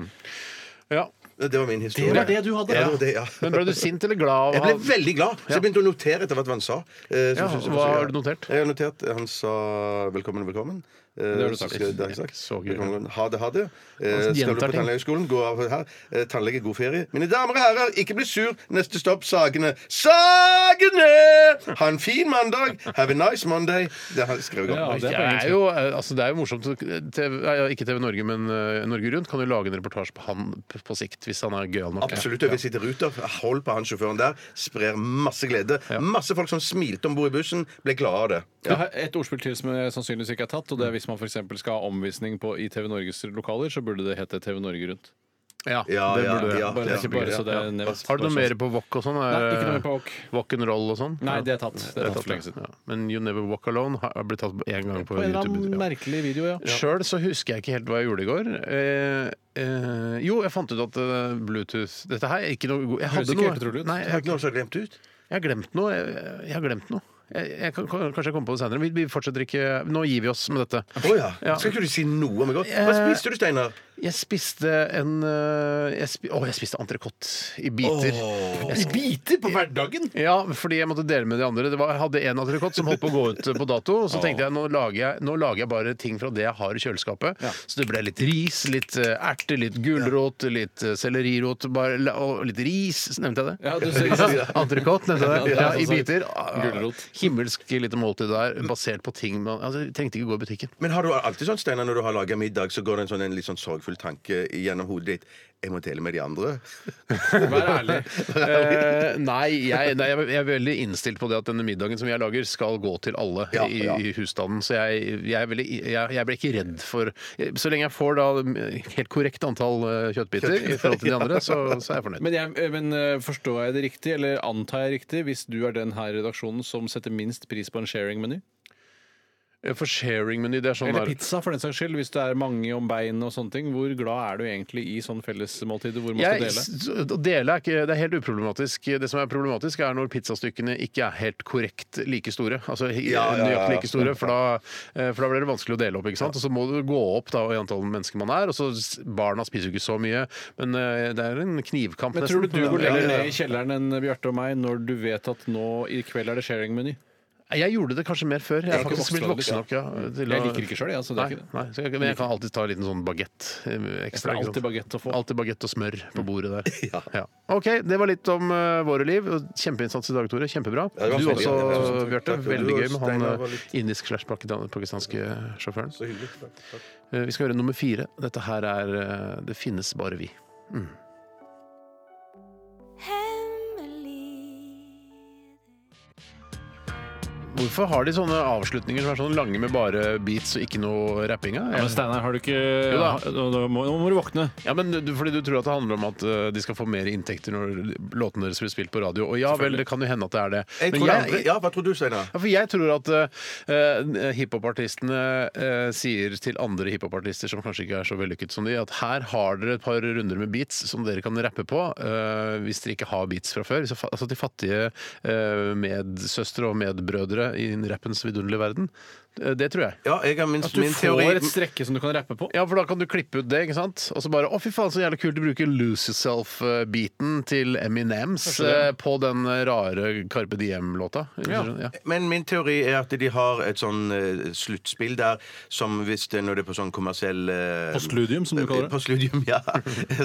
S4: Ja.
S6: Det var min historie.
S5: Det var det du hadde?
S6: Ja, det var det, ja.
S4: Men ble du sint eller glad?
S6: Jeg
S4: av
S6: ble
S4: han?
S6: veldig glad, så jeg begynte å notere etter hvert hva han sa. Eh, så
S4: Ja,
S6: synes jeg-
S4: hva har du notert?
S6: Jeg har notert Han sa 'velkommen, velkommen'. Det
S5: har du sagt.
S6: Det har jeg sagt.
S4: Så gøy.
S6: Du kan gå- Ha det, ha det. Eh,
S4: Altså,
S6: Skal du
S4: gjentar
S6: på
S4: ting.
S6: tannlegeskolen, gå av her. Eh, Tannlege, god ferie. Mine damer og herrer, ikke bli sur. Neste stopp Sagene. Sagene! Ha en fin mandag. Have a nice Monday. Det har jeg skrevet
S5: Ja, det
S6: godt.
S4: Det
S5: er på
S4: er,
S5: engelsk.
S4: jo, altså det er jo morsomt. TV, ja, ikke TV Norge, men eh, Norge Rundt kan jo lage en reportasje på han p- på sikt, hvis han er gøyal nok.
S6: Absolutt. Og vi sitter ruter. Hold på han sjåføren der. Sprer masse glede. Masse folk som smilte om bord i bussen, ble glade av det.
S5: Jeg har et ordspill til som jeg sannsynligvis ikke er tatt. og det er Hvis man for eksempel skal ha omvisning på, i TV Norges lokaler, så burde det hete TV Norge Rundt.
S4: Ja,
S6: Ja,
S4: det
S6: ja,
S4: burde det.
S6: ja,
S4: Bare-
S6: ja.
S4: det er kjempegøy.
S5: Bare så det er
S4: Ja.
S5: nevnt.
S4: Har du noe
S5: Bare
S4: mer
S5: så-
S4: på wok og sånn?
S5: Nei, ikke noe mer på wok.
S4: Walk and roll og sånn?
S5: Nei,
S4: Ja.
S5: det er tatt. Det er tatt for lenge siden.
S4: Ja. Men You Never Walk Alone har blitt tatt én gang på,
S5: På en eller
S4: YouTube.
S5: annen
S4: Ja.
S5: merkelig video, ja.
S4: Sjøl så husker jeg ikke helt hva jeg gjorde i går. Eh, eh, jo, jeg fant ut at eh, Bluetooth Dette her er ikke noe god Jeg
S5: Høres
S4: hadde
S5: ikke helt utrolig
S4: noe
S5: ut.
S4: Nei, jeg
S6: Har ikke noen som har glemt ut?
S4: Jeg har glemt noe. Jeg, jeg har glemt noe. Jeg, jeg kan, kan- kanskje jeg kommer på det senere. Vi, vi fortsetter ikke Nå gir vi oss med dette.
S6: Å ja.
S4: Ja.
S6: Skal ikke du si noe om i går? Hva
S4: Eh,
S6: spiste du, Steinar?
S4: Jeg spiste en øh, jeg spi, Å, jeg spiste entrecôte i biter. Jeg sp-
S5: Biter på hverdagen!
S4: ja, fordi jeg måtte dele med de andre. Det var, jeg hadde en entrecôte som holdt på å gå ut på dato. Så tenkte jeg nå lager jeg, nå lager jeg bare ting fra det jeg har i kjøleskapet. Så det ble litt ris, litt øh, erter, litt gulrot, litt øh, sellerirot bare, la- og litt ris. Nevnte jeg det?
S5: Ja, du ser det.
S4: Entrecôte, nevnte jeg det.
S5: Ja,
S4: Ja, I
S5: sånn sagt.
S4: biter.
S5: Gulrot.
S4: Himmelsk lite måltid der, basert på ting man altså, jeg Trengte ikke gå i butikken.
S6: Men har du alltid sånn, Steinar, når du har laga middag, så går det en, sånn, en litt sånn sorgfull tanke gjennom hodet ditt? Jeg må dele med de andre.
S5: Vær ærlig.
S4: Eh, nei, jeg, nei, jeg jeg er veldig innstilt på det at denne middagen som jeg lager, skal gå til alle
S6: Ja,
S4: i,
S6: ja.
S4: i husstanden. Så jeg, jeg, er veldig, jeg, jeg ble ikke redd for Så lenge jeg får da eh, helt korrekt antall eh, kjøttbiter i forhold til de andre, så, så er jeg fornøyd.
S5: Men, jeg, men eh, forstår jeg det riktig, eller antar jeg riktig, hvis du er den her i redaksjonen som setter minst pris på en sharing-meny?
S4: For sharing-meny, det er sånn
S5: Eller
S4: der
S5: pizza, for den saks skyld, hvis det er mange om beinet og sånne ting. Hvor glad er du egentlig i sånn fellesmåltider hvor man skal
S4: jeg,
S5: dele?
S4: s- å dele er ikke, det er helt uproblematisk. Det som er problematisk, er når pizzastykkene ikke er helt korrekt like store. Altså he-
S6: Ja, ja, ja, ja.
S4: nøyaktig like store, for da, eh, for da blir det vanskelig å dele opp. ikke sant? Og Så må du gå opp da, i antall mennesker man er. og så s- Barna spiser jo ikke så mye, men eh, det er en knivkamp.
S5: Men tror du du går
S4: Ja,
S5: lenger
S4: ja, ja.
S5: ned i kjelleren enn Bjarte og meg når du vet at nå i kveld er det sharing-meny?
S4: Jeg gjorde det kanskje mer før. Jeg
S5: er
S4: har
S5: ikke
S4: faktisk blitt
S5: voksen
S4: voksen nok. Ja, til
S5: Jeg
S4: å-
S5: liker ikke sjøl, jeg. Altså, det
S4: Nei,
S5: er ikke det.
S4: nei, så jeg, men jeg kan alltid ta en liten sånn bagett eh,
S5: For
S4: ekstra.
S5: det er
S4: ikke sant?
S5: alltid bagett å få.
S4: Alltid bagett og smør på
S6: Mm.
S4: bordet der. Ja. OK, det var litt om eh, våre liv. Kjempeinnsats i dag, Tore. Kjempebra.
S6: det var
S4: du
S6: veldig
S4: også,
S6: gøy. Ja, tusen takk.
S4: Bjarte.
S6: Takk. Du
S4: Veldig
S6: og
S4: gøy med han
S6: Steinar
S4: eh,
S6: var litt-
S4: indisk slash pakitan- pakistanske sjåføren. Eh, Vi skal høre nummer fire. Dette her er eh, Det finnes bare vi. Hvorfor har de sånne avslutninger som er sånn lange med bare beats og ikke noe rappinga?
S5: Ja, men Steinar, har du ikke
S4: da.
S5: Ja, nå, nå må, nå må du våkne.
S4: Ja, men du, Fordi du tror at det handler om at eh, de skal få mer inntekter når låtene deres blir spilt på radio. Og ja vel, det kan jo hende at det er det.
S6: Jeg
S4: Men
S6: tror det
S4: jeg-
S6: andre. Ja, hva tror du, Steinar?
S4: Ja, for jeg tror at uh, hiphopartistene eh, sier til andre hiphopartister som kanskje ikke er så vellykket som de, at her har dere et par runder med beats som dere kan rappe på eh, hvis dere ikke har beats fra før. Så, fa- altså til fattige eh, medsøstre og medbrødre i den rappens vidunderlige verden. Eh, det tror jeg.
S6: Ja, jeg har minst
S5: At du
S6: min
S5: får
S6: teori
S5: et strekke som du kan rappe på.
S4: Ja, for da kan du klippe ut det, ikke sant? Og så bare Å, fy faen, så jævlig kult å bruke Lose Yourself-beaten til Eminems eh, på den rare Carpe Diem-låta.
S5: Ja.
S4: Ja.
S6: Men min teori er at de har et sånn eh, sluttspill der som hvis det når det er på sånn kommersiell eh,
S5: Postludium, som du kaller det.
S6: På studium, ja.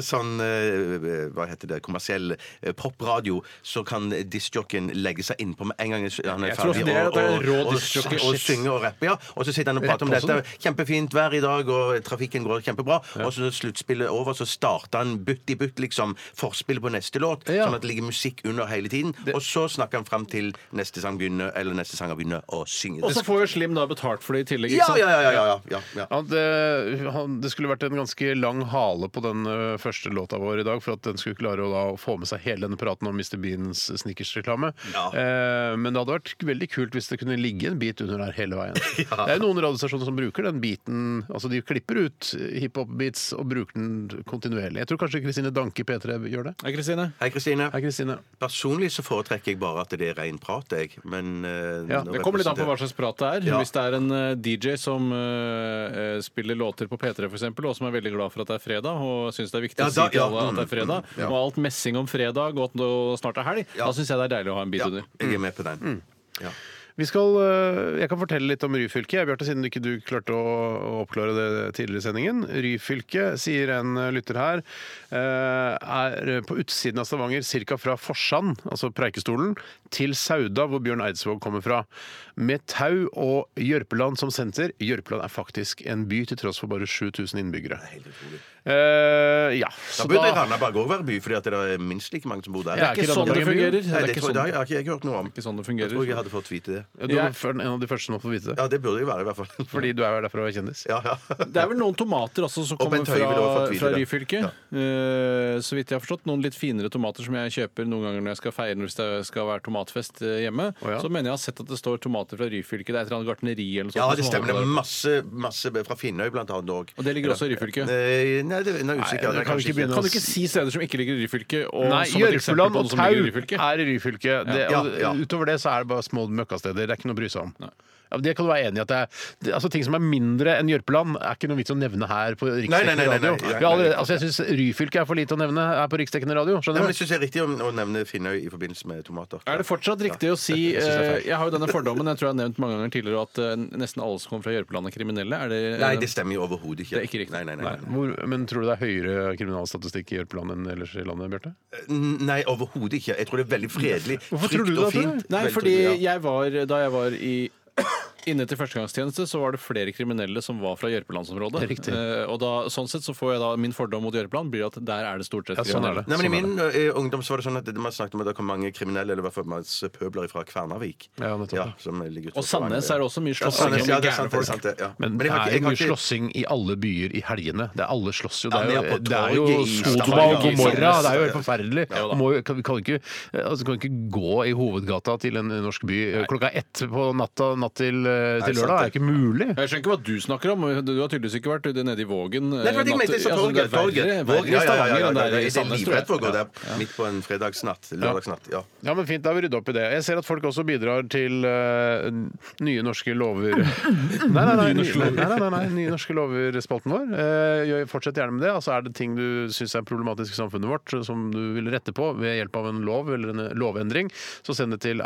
S6: Sånn eh, hva heter det, kommersiell eh, popradio, så kan diskjocken legge seg innpå med en gang han er
S5: Jeg tror
S6: ferdig.
S5: også det er at det er rå
S6: og,
S5: diskjockey.
S6: og, og synge og rappe, ja. Og så sitter han og prater om
S4: Rappe også,
S6: dette. Kjempefint vær i dag, og trafikken går kjempebra. Og så når sluttspillet er over, så starter han butt i butt, liksom, forspillet på neste låt.
S4: Ja.
S6: Sånn at det ligger musikk under hele tiden. Og så snakker han fram til neste sang begynner, eller neste sanger begynner å synge.
S5: Og så får jo Slim da betalt for det i tillegg.
S6: ja,
S5: Ikke sant?
S6: ja, ja, ja, ja, ja, ja.
S4: Ja, det, han, det skulle vært en ganske lang hale på den ø, første låta vår i dag for at den skulle klare å da få med seg hele denne praten om Mr. Beans snickersreklame.
S6: Ja.
S4: Eh, men det hadde vært veldig kult hvis det kunne ligge en bit under der hele veien. Det er jo noen radiostasjoner som bruker den biten Altså de klipper ut hiphop-beats og bruker den kontinuerlig. Jeg tror kanskje Kristine Danke i P3 gjør det.
S5: Hei, Kristine.
S6: Hei, Kristine.
S4: Hei, Kristine.
S6: Personlig så foretrekker jeg bare at det er ren prat, jeg. Men eh,
S4: Ja,
S6: nå
S5: Det kommer litt an på hva
S6: representerer-
S5: slags prat det er.
S6: Ja.
S5: Hvis det er en eh, DJ som eh, eh, spiller låter på P3 f.eks., og som er veldig glad for at det er fredag, og syns det er viktig
S6: Ja,
S5: å
S6: da-
S5: si til
S6: ja,
S5: alle at det er
S6: mm,
S5: fredag,
S6: mm, ja.
S5: og alt messing om fredag og at det snart er Mm. helg, da syns jeg det er deilig å ha en bit under.
S6: Ja, jeg er med på den. Ja.
S4: Vi skal, eh, jeg kan fortelle litt om Ryfylke, jeg, Bjarte, siden ikke du klarte å å oppklare det tidligere i sendingen. Ryfylke, sier en eh, lytter her, eh, er på utsiden av Stavanger, ca. fra Forsand, altså Preikestolen, til Sauda, hvor Bjørn Eidsvåg kommer fra. Med Tau og Jørpeland som senter. Jørpeland er faktisk en by, til tross for bare 7000 innbyggere. Eh, ja, så
S6: Da burde Randaberg òg være by, fordi at det er minst like mange som bor der.
S4: Det er ikke sånn det fungerer.
S5: Det
S6: Nei,
S5: er
S6: det
S5: ikke
S6: tror,
S5: sånn
S6: det har jeg- har ikke jeg hørt noe om.
S5: ikke sånn det
S6: Jeg tror
S5: fungerer.
S6: jeg hadde fått vite det.
S4: Du er en av de første som får vite det.
S6: Ja, det burde jeg være, i hvert fall.
S4: Fordi du er jo derfra og er kjendis.
S6: Ja, ja.
S5: Det er vel noen tomater også som
S6: Og
S5: kommer
S6: Bent Høie
S5: fra,
S6: ville også fått vite
S5: fra
S6: det.
S5: Ryfylke. Eh, så vidt jeg har forstått. Noen litt finere tomater som jeg kjøper noen ganger når jeg skal feire hvis det skal være tomatfest eh, hjemme.
S4: Å, ja.
S5: Så mener jeg har sett at det står tomater fra Ryfylke. Det er et eller annet gartneri eller noe sånt.
S6: ja, det
S5: som
S6: stemmer.
S5: holder
S6: Det er
S5: der.
S6: masse, masse fra Finnøy, blant annet òg.
S5: Og det ligger også i Ryfylke.
S6: Nei, nei, det nå er jeg
S4: Nei,
S6: usikker. Det er
S4: du kan
S6: kanskje
S4: ikke begynne
S5: Kan du ikke si steder som ikke ligger i Ryfylke? Og
S4: Nei,
S5: som et eksempel
S4: Jørpeland
S5: på
S4: og
S5: noe som
S4: Tau
S5: ligger i Ryfylke?
S4: er i Ryfylke. Det,
S6: Ja,
S4: og
S6: ja.
S4: Utover det så er det bare små møkkasteder. Det er ikke noe å bry seg om. Ja, men det kan du være enig i at det er, det, altså Ting som er mindre enn Jørpeland, er ikke noe vits å nevne her på
S6: nei, nei,
S4: riksdekkende
S6: nei, nei,
S4: radio.
S6: nei,
S4: Vi har allerede, altså Jeg syns Ryfylke er for lite å nevne her på riksdekkende radio.
S6: Nei, men
S4: Skjønner
S6: jeg
S4: du?
S6: syns det er riktig å å nevne Finnøy i forbindelse med tomater.
S5: Er det fortsatt riktig å si
S4: jeg synes det er
S5: eh,
S4: feil.
S5: Jeg har jo denne fordommen, jeg tror jeg har nevnt mange ganger tidligere, at eh, nesten alle som kommer fra Jørpeland, er kriminelle. Er det, eh,
S6: Nei, det stemmer jo overhodet ikke.
S5: Det er ikke riktig.
S6: Nei, nei, nei, nei.
S4: Hvor, men tror du det er høyere kriminalstatistikk i Jørpeland enn ellers i landet, Bjarte?
S6: nei overhodet ikke. Jeg tror det er veldig fredelig.
S4: Hvorfor
S6: trygt
S4: tror du det,
S6: og
S4: tror du?
S6: fint.
S5: Nei,
S6: Veldig
S5: fordi
S6: trygt, ja.
S5: jeg var, da jeg var i Inne til førstegangstjeneste så var det flere kriminelle som var fra Jørpelandsområdet.
S4: Riktig.
S5: Eh, og da, sånn sett så får jeg da min fordom mot Jørpeland blir at der er det stort sett
S4: Ja, sånn er
S5: kriminelle.
S4: det.
S6: Nei, men I
S4: Sånn er
S6: min eh, ungdom så var det sånn at det- man snakket om at det kom mange kriminelle, eller i hvert fall masse pøbler fra Kvernavik.
S4: Ja, nettopp.
S6: som ligger utenfor
S5: Og Sandnes er
S6: Stavanger, ja.
S5: det også mye
S6: Ja,
S5: slåssing
S6: Sandnes,
S5: og
S6: ja,
S5: mye
S6: det er sant,
S5: gærne
S6: det er
S5: folk.
S6: sant, det. Ja.
S4: Men,
S6: jeg
S4: det
S6: har
S4: er
S6: ikke- jeg
S4: jo
S6: har
S4: mye
S6: ikke-
S4: slåssing i alle byer i helgene. Det er Alle slåss jo. Det
S6: Ja,
S4: er
S6: men
S4: jo,
S6: jeg er på
S4: det er jo
S6: torget i
S4: Sodoma
S6: Stavanger.
S4: og Gomorra. Det er jo helt
S6: Ja.
S4: forferdelig. Du Må, jo- kan, vi kan, ikke, altså, kan ikke gå i hovedgata til en norsk by klokka ett på natta natt til, eh, til
S6: sant
S4: lørdag. Det er ikke mulig.
S5: Jeg skjønner ikke hva du snakker om. Du har tydeligvis ikke vært nede i Vågen. eh,
S6: Nei, for jeg
S5: natt-
S6: mente jeg sa
S4: altså,
S5: Ja, sånn,
S6: torget.
S5: Det er
S6: torget.
S5: verre- verre i Stavanger enn det er i
S6: Jeg er
S5: Sandnes, tror jeg.
S6: livredd for å gå der midt på en fredagsnatt. Lørdagsnatt. Ja.
S4: Ja, men Fint, da har vi rydda opp i det. Jeg ser at folk også bidrar til eh, nye norske lover Nei, nei, nei. Nye, nei, nei, nei, nei, nye norske lover-spalten vår. Eh, gjør- Fortsett gjerne med det. Altså, Er det ting du syns er problematisk i samfunnet vårt, som du vil rette på ved hjelp av en lov eller en lovendring, så send det til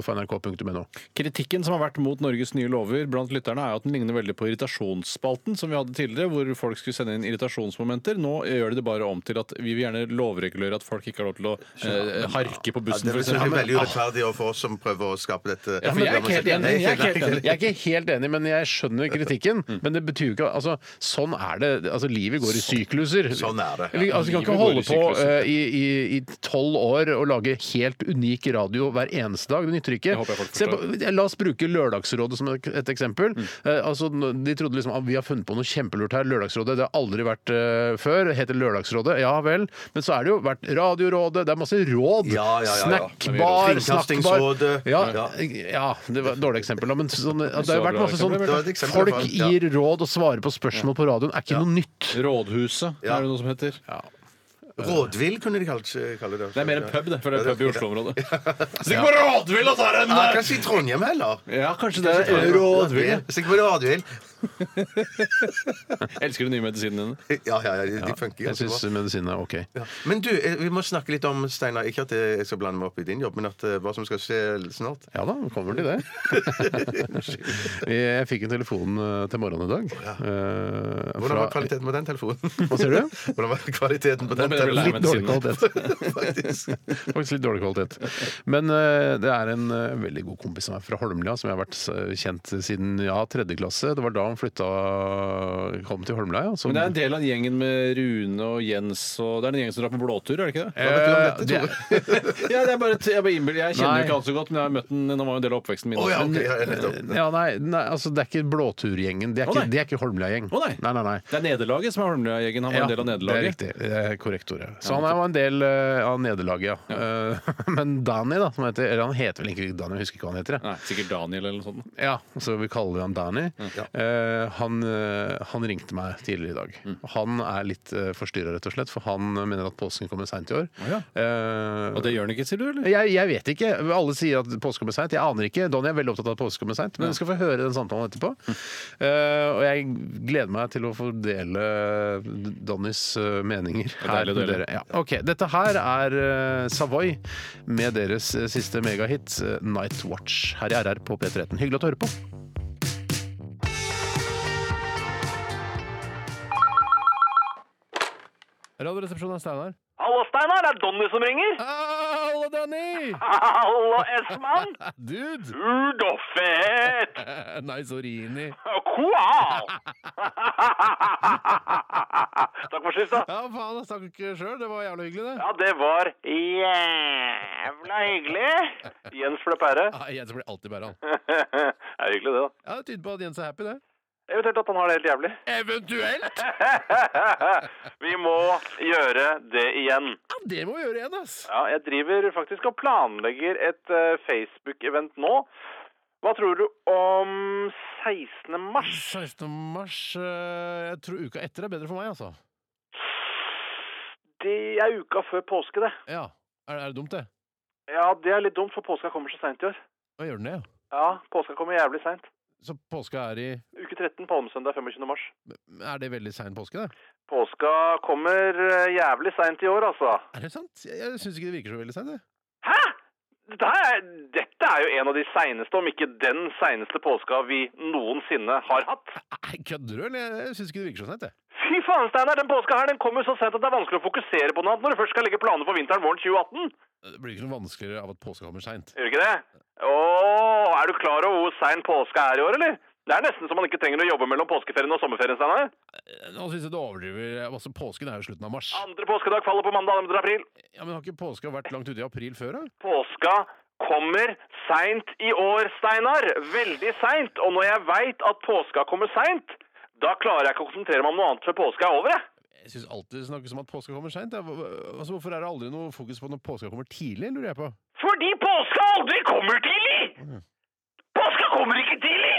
S4: rrkrøllalfa.nrk.no.
S5: Kritikken som har vært mot Norges nye lover blant lytterne, er jo at den ligner veldig på irritasjonsspalten som vi hadde tidligere, hvor folk skulle sende inn irritasjonsmomenter. Nå gjør de det bare om til at vi vil gjerne lovregulere at folk ikke har lov til å eh, harke på bussen, for
S6: Ja, det blir selvfølgelig
S5: eksempel.
S6: veldig urettferdig overfor oss som prøver å skape dette
S4: Ah. Ja, men jeg, er ikke helt enig,
S6: Nei,
S4: jeg, er ikke
S6: nei,
S4: helt enig. jeg er ikke helt enig, men jeg skjønner kritikken. Men det betyr jo ikke altså, Sånn er det. Altså, livet går i sykluser.
S6: Sånn er det.
S4: Vi altså, vi kan
S5: Livet
S4: ikke
S5: går i
S4: holde på
S5: sykluser.
S4: eh, i, i, i tolv år og lage helt unik radio hver eneste dag. Det nytter
S5: håper jeg
S4: ikke.
S5: folk
S4: Se på, la oss bruke Lørdagsrådet som et et eksempel. Eh, altså, de trodde liksom at vi har funnet på noe kjempelurt her. Lørdagsrådet det har aldri vært eh, før. Det heter Lørdagsrådet. Ja vel. Men så er det jo vært Radiorådet. Det er masse råd.
S6: Ja, ja, ja, ja.
S4: Snackbar. snackbar.
S6: Kringkastingsrådet.
S4: Ja,
S6: Ja.
S4: ja, det var et dårlig eksempel. da, Men sånn, det har jo vært masse sånn
S6: Det var et eksempel,
S4: Folk
S6: i hvert fall, ja.
S4: gir råd og svarer på spørsmål på radioen. Er ikke noe nytt.
S5: Rådhuset,
S6: Ja.
S5: er det noe som heter?
S6: Rådvill kunne de kanskje kalle det.
S5: Det er mer en pub, det. For det er en pub i Oslo-området.
S6: Stikk på Rådvill og ta den! Kanskje i Trondheim heller.
S5: Ja, kanskje det er
S6: Rådvill. Stikk på Rådvill.
S5: Elsker du nye medisinen dine?
S6: Ja, ja, ja, de funker
S4: Jeg
S6: ganske
S4: syns
S6: bra.
S4: medisinen er OK.
S6: Ja. Men du, eh, vi må snakke litt om Steinar. Ikke at jeg skal blande meg opp i din jobb, men at eh, hva som skal skje snart.
S4: Ja da, vi kommer til det. Jeg fikk en telefon eh, til morgenen i dag. eh,
S6: Hvordan var
S4: fra-
S6: kvaliteten på den telefonen?
S4: Hva sier du?
S6: Hvordan var kvaliteten på den
S5: ble jeg vel lei
S6: telefonen?
S4: Litt
S5: meg.
S4: dårlig kvalitet.
S6: Faktisk.
S4: Faktisk litt dårlig kvalitet. Men eh, det er en eh, veldig god kompis av meg fra Holmlia, som jeg har vært eh, kjent siden ja, tredje klasse. Det var da han flytta kom til Holmlia. Ja, som-
S5: Men det er en del av gjengen med Rune og Jens og Det er en gjeng som drar på blåtur, er det ikke det?
S4: Eh, det-
S5: Ja, det er bare, jeg, bare innbiller- jeg kjenner
S4: Nei.
S5: jo ikke alt så godt, men jeg har møtt den, den var jo en del av oppveksten min.
S6: Å ja,
S5: også.
S6: ok, ja, nettopp.
S4: Eh, Ja, nei, nei, altså det er ikke Blåturgjengen. Det er
S5: Å,
S4: ikke,
S5: nei.
S4: det er ikke Holmlia-gjeng.
S5: Å, nei.
S4: Nei, nei, nei.
S5: Det er nederlaget som er Holmlia-gjengen. Han var en del av
S4: det er
S5: nederlaget.
S4: riktig. Det er korrekt ordet. Så han er jo en del eh, av nederlaget, ja. Eh, Men Dani, da, som heter Eller han heter vel egentlig ikke Dani, jeg husker ikke hva han heter. jeg.
S5: Nei, sikkert Daniel eller noe sånt.
S4: Ja, så vi kaller han Dani. Eh, Eh, han, eh, han ringte meg tidligere i dag.
S5: Mm.
S4: Han er litt uh, forstyrra, rett og slett, for han eh, mener at påsken kommer seint i år.
S5: ja.
S4: Eh,
S5: Og det gjør den ikke, sier du? eller?
S4: jeg, jeg vet ikke. Alle sier at påske kommer seint. Jeg aner ikke. Donny er veldig opptatt av at påske kommer seint, men vi skal få høre den samtalen etterpå. Eh, og jeg gleder meg til å få dele Donnys eh, meninger her
S5: deilig å
S4: med
S5: dele.
S4: dere. Ja. Ok, Dette her er eh, Savoy med deres eh, siste megahit, eh, 'Night Watch', her i RR på P13. Hyggelig at du hører på. Radioresepsjonen er Steinar.
S9: Hallo, Steinar. Det er Donny som ringer.
S4: Hallo, Danny!
S9: Hallo, S-mann. eh,
S4: Dude!
S9: Ud og fett.
S4: Nei, så Rini.
S9: Koal. Takk for sist, da.
S4: Ja, faen, jeg stakk ikke sjøl. Det var jævla hyggelig, det.
S9: Ja, det var jævla hyggelig. Jens ble pære.
S4: Nei, Jens blir alltid bæra, han.
S9: det er hyggelig, det, da.
S4: Ja, Det tyder på at Jens er happy, det.
S9: Eventuelt at han har det helt jævlig.
S4: Eventuelt!
S9: Vi må gjøre det igjen.
S4: Ja, det må vi gjøre igjen, ass.
S9: Ja, jeg driver faktisk og planlegger et eh, Facebook-event nå. Hva tror du om 16. mars?
S4: 16. mars eh, Jeg tror uka etter er bedre for meg, altså.
S9: Det er uka før påske, det.
S4: Ja. Er, er det dumt, det?
S9: Ja, det er litt dumt, for påska kommer så seint i år.
S4: Hva gjør den det, ja?
S9: Ja, påska kommer jævlig seint.
S4: Så påska er i
S9: Uke 13, palmesøndag 25. mars.
S4: Er det veldig sein påske, det?
S9: Påska kommer eh, jævlig seint i år, altså.
S4: Er det sant? Jeg, jeg syns ikke det virker så veldig seint, det.
S9: Hæ?! Dette er, dette er jo en av de seineste, om ikke den seineste påska vi noensinne har hatt.
S4: Nei, kødder du, eller? Jeg- Jeg syns ikke det virker så seint, jeg.
S9: Fy faen, Steinar, den påska her den kommer så sent at det er vanskelig å fokusere på noe annet når du først skal legge planer for vinteren våren 2018.
S4: Det blir ikke noe vanskeligere av at påska kommer seint.
S9: Gjør det ikke det? Åh, er du klar over hvor sein påska er i år, eller? Det er nesten så man ikke trenger å jobbe mellom påskeferien og sommerferien, Steinar.
S4: Nå syns jeg du overdriver. Altså, Påsken er jo slutten av mars.
S9: Andre påskedag faller på mandag 2. april.
S4: Ja, Men har ikke påska vært langt ute i april før, da?
S9: Påska kommer seint i år, Steinar. Veldig seint. Og når jeg veit at påska kommer seint, da klarer jeg ikke å konsentrere meg om noe annet før påska er over. jeg.
S4: Jeg syns alltid det snakkes om at påska kommer seint. Altså, hvorfor er det aldri noe fokus på når påska kommer tidlig, lurer jeg på.
S9: Fordi påska aldri kommer tidlig! Påska kommer ikke tidlig!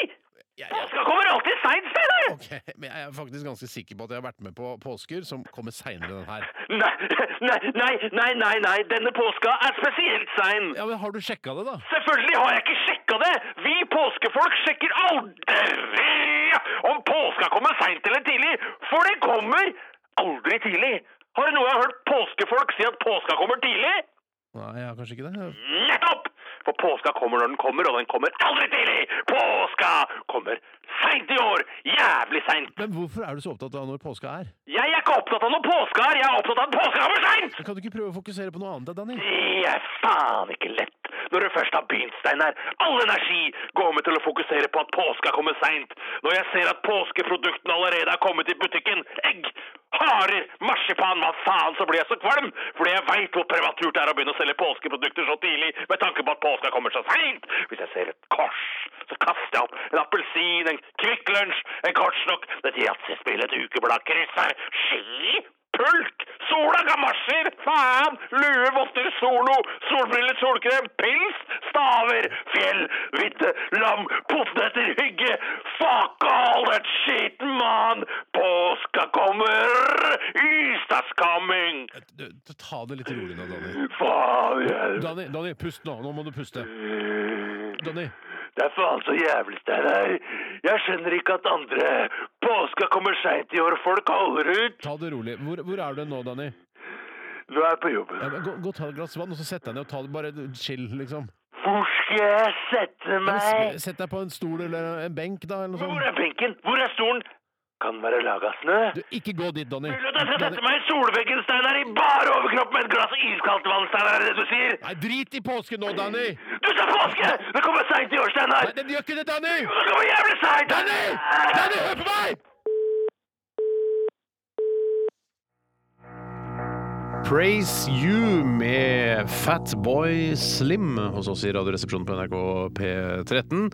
S4: Jeg, jeg,
S9: Påska kommer alltid seint, Steinar!
S4: ok, men jeg er faktisk ganske sikker på at jeg har vært med på påsker som kommer seinere enn den her.
S9: Nei, nei, nei, nei, nei, nei. Denne påska er spesielt sein.
S4: Ja, men Har du sjekka det, da?
S9: Selvfølgelig har jeg ikke sjekka det! Vi påskefolk sjekker aldri om påska kommer seint eller tidlig, for den kommer aldri tidlig. Har du noe jeg har hørt påskefolk si at påska kommer tidlig?
S4: Nei, jeg har kanskje ikke det.
S9: Nettopp! For påska kommer når den kommer, og den kommer aldri tidlig! Påska kommer seint i år! Jævlig seint!
S4: Men hvorfor er du så opptatt av når påska er?
S9: Jeg er ikke opptatt av noe påske her, jeg er opptatt av at påska kommer seint!
S4: Kan du ikke prøve å fokusere på noe annet, da, Danny?
S9: Det er faen ikke lett når du først har begynt, Steinar. All energi går med til å fokusere på at påska kommer seint. Når jeg ser at påskeproduktene allerede har kommet i butikken. Egg, harer, marsipan, hva faen, så blir jeg så kvalm. Fordi jeg veit hvor prematurt det er å begynne å selge påskeprodukter så tidlig med tanke på at påska kommer så seint. Hvis jeg ser et kors, så kaster jeg opp en appelsin, en Kvikk Lunsj, en kortsnokk, et yatzyspill, et ukeblad, kryssar, ski Pulk, sola, gamasjer, faen, lue, votter, solo, solbriller, solkrem, pils, staver, fjell, hvitte, lam, poteter, hygge, fuck all that shit, man! Påska kommer, Ystads coming!
S4: Du, du, ta det litt rolig nå, Danny.
S9: Faen, jævlig.
S4: Danny, Danny, pust nå. Nå må du puste. Danny.
S9: Det er faen så jævlig, Steinar. Jeg skjønner ikke at andre påska kommer seint i år, folk holder ut.
S4: Ta det rolig. Hvor, hvor er du nå, Danny?
S9: Nå er jeg på jobben.
S4: Ja, men gå, gå og ta et glass vann, og så sett deg ned og ta det bare chill, liksom.
S9: Hvor skal jeg sette
S4: Ja, men
S9: meg?
S4: s- Sett deg på en stol eller en benk, da, eller
S9: Hvor
S4: noe sånt.
S9: er benken? Hvor er stolen? Kan den være laga av snø?
S4: Du, ikke gå dit, Donny.
S9: Vil du at jeg skal sette meg i solveggen, Steinar, i bar overkropp med et glass iskaldt vann, Steinar, er det det du sier?
S4: Nei, drit i påsken nå, Danny!
S9: Du sa påske! Det kommer seint i år, Steinar!
S4: Nei, den gjør ikke det, Danny!
S9: Det kommer jævlig seint!
S4: Danny! Danny, hør på meg! Praise You med Fatboy Slim hos oss i Radioresepsjonen på NRK P13.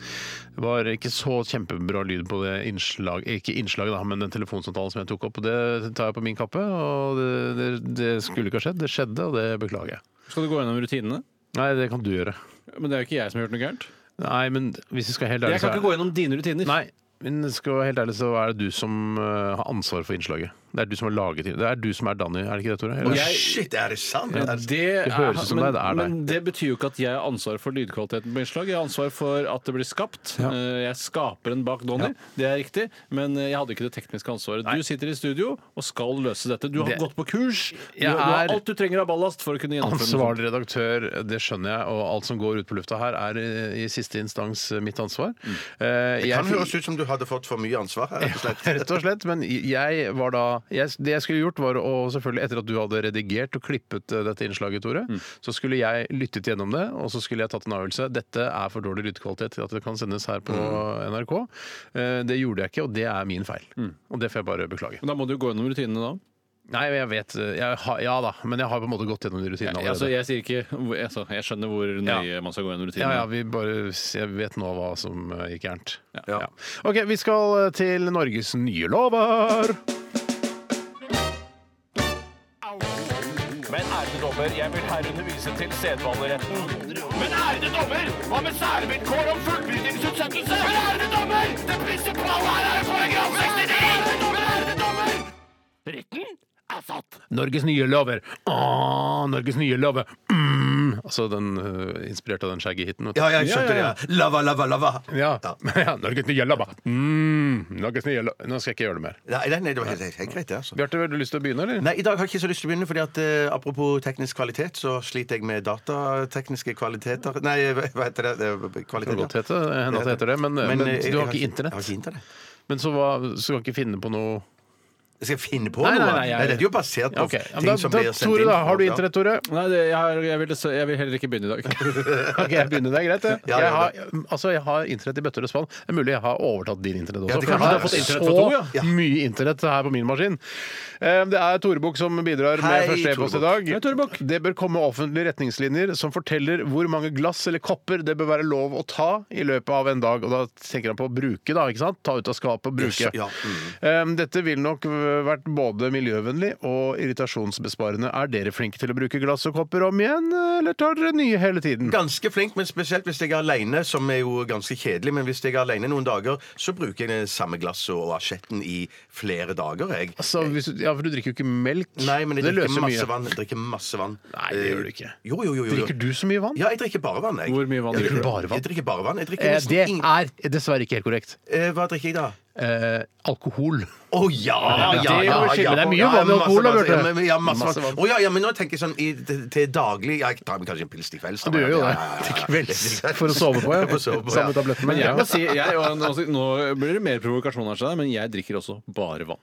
S4: Det var ikke så kjempebra lyd på det innslag, ikke innslaget, da, men den telefonsamtalen som jeg tok opp. og Det tar jeg på min kappe, og det, det, det skulle ikke ha skjedd. Det skjedde, og det beklager jeg.
S5: Skal du gå gjennom rutinene?
S4: Nei, det kan du gjøre.
S5: Men det er jo ikke jeg som har gjort noe gærent.
S4: Nei, men hvis vi skal helt
S5: Jeg
S4: ærlig,
S5: kan ikke gå gjennom dine rutiner.
S4: Nei, Men skal jeg være helt ærlig, så er det du som eh, har ansvar for innslaget. Det er du som har laget det. Det er du som er Danny, er det ikke det, Tore? Eller?
S5: jeg-
S6: Shit, er det sant?
S5: Ja,
S6: Er
S5: det,
S6: det-
S5: er-
S4: høres ut som
S5: men,
S4: det er deg.
S5: men det betyr jo ikke at jeg har ansvar for lydkvaliteten på innslag. Jeg har ansvar for at det blir skapt.
S4: Ja.
S5: Eh, Jeg skaper en bak Donny, det er riktig, men eh, jeg hadde ikke det tekniske ansvaret. Du sitter i studio og skal løse dette. Du har
S4: Det-
S5: gått på kurs. Du,
S4: Jeg
S5: du har
S4: er-
S5: alt du trenger av ballast for å kunne gjennomføre noe sånt.
S4: Ansvarlig redaktør, det skjønner jeg, og alt som går ut på lufta her, er eh, i siste instans eh, mitt ansvar. Eh, jeg
S6: Mm. kan
S4: fikk-
S6: høres ut som du hadde fått for mye ansvar. her, Rett og slett.
S4: Rett og slett, men jeg var da jeg, Det jeg skulle gjort, var å selvfølgelig Etter at du hadde redigert og klippet eh, dette innslaget, Tore,
S6: Mm.
S4: så skulle jeg lyttet gjennom det, og så skulle jeg tatt en avgjørelse. Dette er for dårlig lydkvalitet til at det kan sendes her på
S6: Mm.
S4: NRK. Eh, Det gjorde jeg ikke, og det er min feil. Og det får jeg bare beklage.
S5: Men Da må du jo gå gjennom rutinene da.
S4: Nei, jeg vet eh, jeg har, Ja da, men jeg har på en måte gått gjennom de rutinene allerede.
S5: Altså, jeg sier ikke hvor- altså, Jeg skjønner hvor nøye man skal gå gjennom
S4: Ja,
S5: rutinene.
S4: ja, vi bare jeg vet nå hva som eh, gikk gærent. Ja. OK, vi skal eh, til Norges nye lover.
S9: Men ærede dommer, jeg vil herunder vise til sedvaneretten. Men ærede dommer, hva med særvilkår om fullbyrdingsutsettelse? Men ærede dommer, det prinsipale her er paragraf 69! Men ærede dommer! Retten er satt.
S4: Norges nye lover. Åh, Norges nye lover. Mm. Altså den eh, inspirert av den shaggy-hiten. vet du.
S6: Ja, jeg skjønte det. ja. Lava, lava, lava.
S4: Ja. ja. Norges nye lover. Mm. Norges nye lover. Nå skal jeg ikke gjøre det mer.
S6: Nei, nei, nei, det var helt, helt greit, det. altså.
S4: Bjarte, har du lyst til å begynne, eller?
S6: Nei, I dag har jeg ikke så lyst til å begynne, fordi at eh, apropos teknisk kvalitet, så sliter jeg med datatekniske kvaliteter Nei, hva hva heter det? det?
S4: Det kan godt
S6: Kvaliteter.
S4: hete, hende at det heter det, men, men,
S6: eh, jeg
S4: du har ikke
S6: Jeg har
S4: internett.
S6: ikke internett.
S4: Men så, hva, så kan du ikke finne på noe
S6: Jeg skal finne på
S4: Nei, nei,
S6: noe.
S4: nei, jeg-
S6: Dette er jo basert på
S4: Ja, ok. Ja, men
S6: ting
S4: da,
S6: som
S4: da,
S6: blir sendt
S4: Tore,
S6: inn.
S4: da. Har du internett, Tore?
S5: Nei, det, jeg, har- jeg, vil, jeg vil heller ikke begynne i dag.
S4: Ok, jeg begynner. Det er greit, det.
S6: Ja, ja,
S4: Jeg har, altså, jeg har internett i bøtter og spann. Det er mulig jeg har overtatt din internett også.
S6: det
S4: for
S6: kan
S4: jeg
S6: være.
S4: har fått internett
S5: Så
S4: fra to, ja. mye internett her på min maskin. Eh, Det er Tore Bukk som bidrar
S6: Hei,
S4: med første e-post i dag.
S5: Hei, Tore Bukk.
S4: Det bør komme offentlige retningslinjer som forteller hvor mange glass eller kopper det bør være lov å ta i løpet av en dag. Og da tenker han på å bruke, da. ikke sant? Ta ut av skapet og bruke.
S6: Ja, mm.
S4: Eh, Dette ville nok vært både miljøvennlig og irritasjonsbesparende. Er dere flinke til å bruke glass og kopper om igjen, eller tar dere nye hele tiden?
S6: Ganske flink, men spesielt hvis jeg er aleine, som er jo ganske kjedelig. Men hvis jeg er aleine noen dager, så bruker jeg det samme glasset og asjetten i flere dager, jeg.
S4: Altså, hvis du, ja, for du drikker jo ikke melk.
S6: Eh, Nei, men jeg
S4: det
S6: drikker
S4: løser
S6: masse
S4: mye.
S6: vann. Jeg drikker masse vann. Eh,
S4: Nei, det gjør du ikke.
S6: Jo, jo, jo. jo.
S4: Drikker du så mye vann?
S6: Ja, jeg drikker bare vann, jeg.
S5: Hvor mye vann
S6: Jeg
S5: drikker du?
S4: Bare vann?
S6: Jeg drikker bare vann. Jeg drikker
S4: Eh,
S6: nesten
S4: det
S6: ingen-
S4: er dessverre ikke helt korrekt.
S6: Eh, Hva drikker jeg da?
S4: Eh, alkohol.
S6: Å ja, ja,
S4: det
S6: ja,
S4: må
S6: ja,
S4: vi skille. Det er mye
S6: Ja,
S4: vann i
S6: masse
S4: alkohol, da,
S6: vann.
S4: Bjarte.
S6: Ja, men- ja, masse
S4: Masse
S6: vann.
S4: vann.
S6: Å ja, ja, men nå tenker jeg sånn i, til, til daglig ja, Jeg tar meg kanskje en pils til kvelds. da,
S4: Du
S6: men-
S4: gjør jo
S6: ja,
S4: det.
S6: ja, ja, ja.
S4: Til kvelds. For å sove på, ja.
S6: For å sove på, ja.
S4: Samme tabletten.
S5: Men jeg
S4: ja.
S5: må si, jeg, og nå, nå blir det mer provokasjon her, men jeg drikker også bare vann.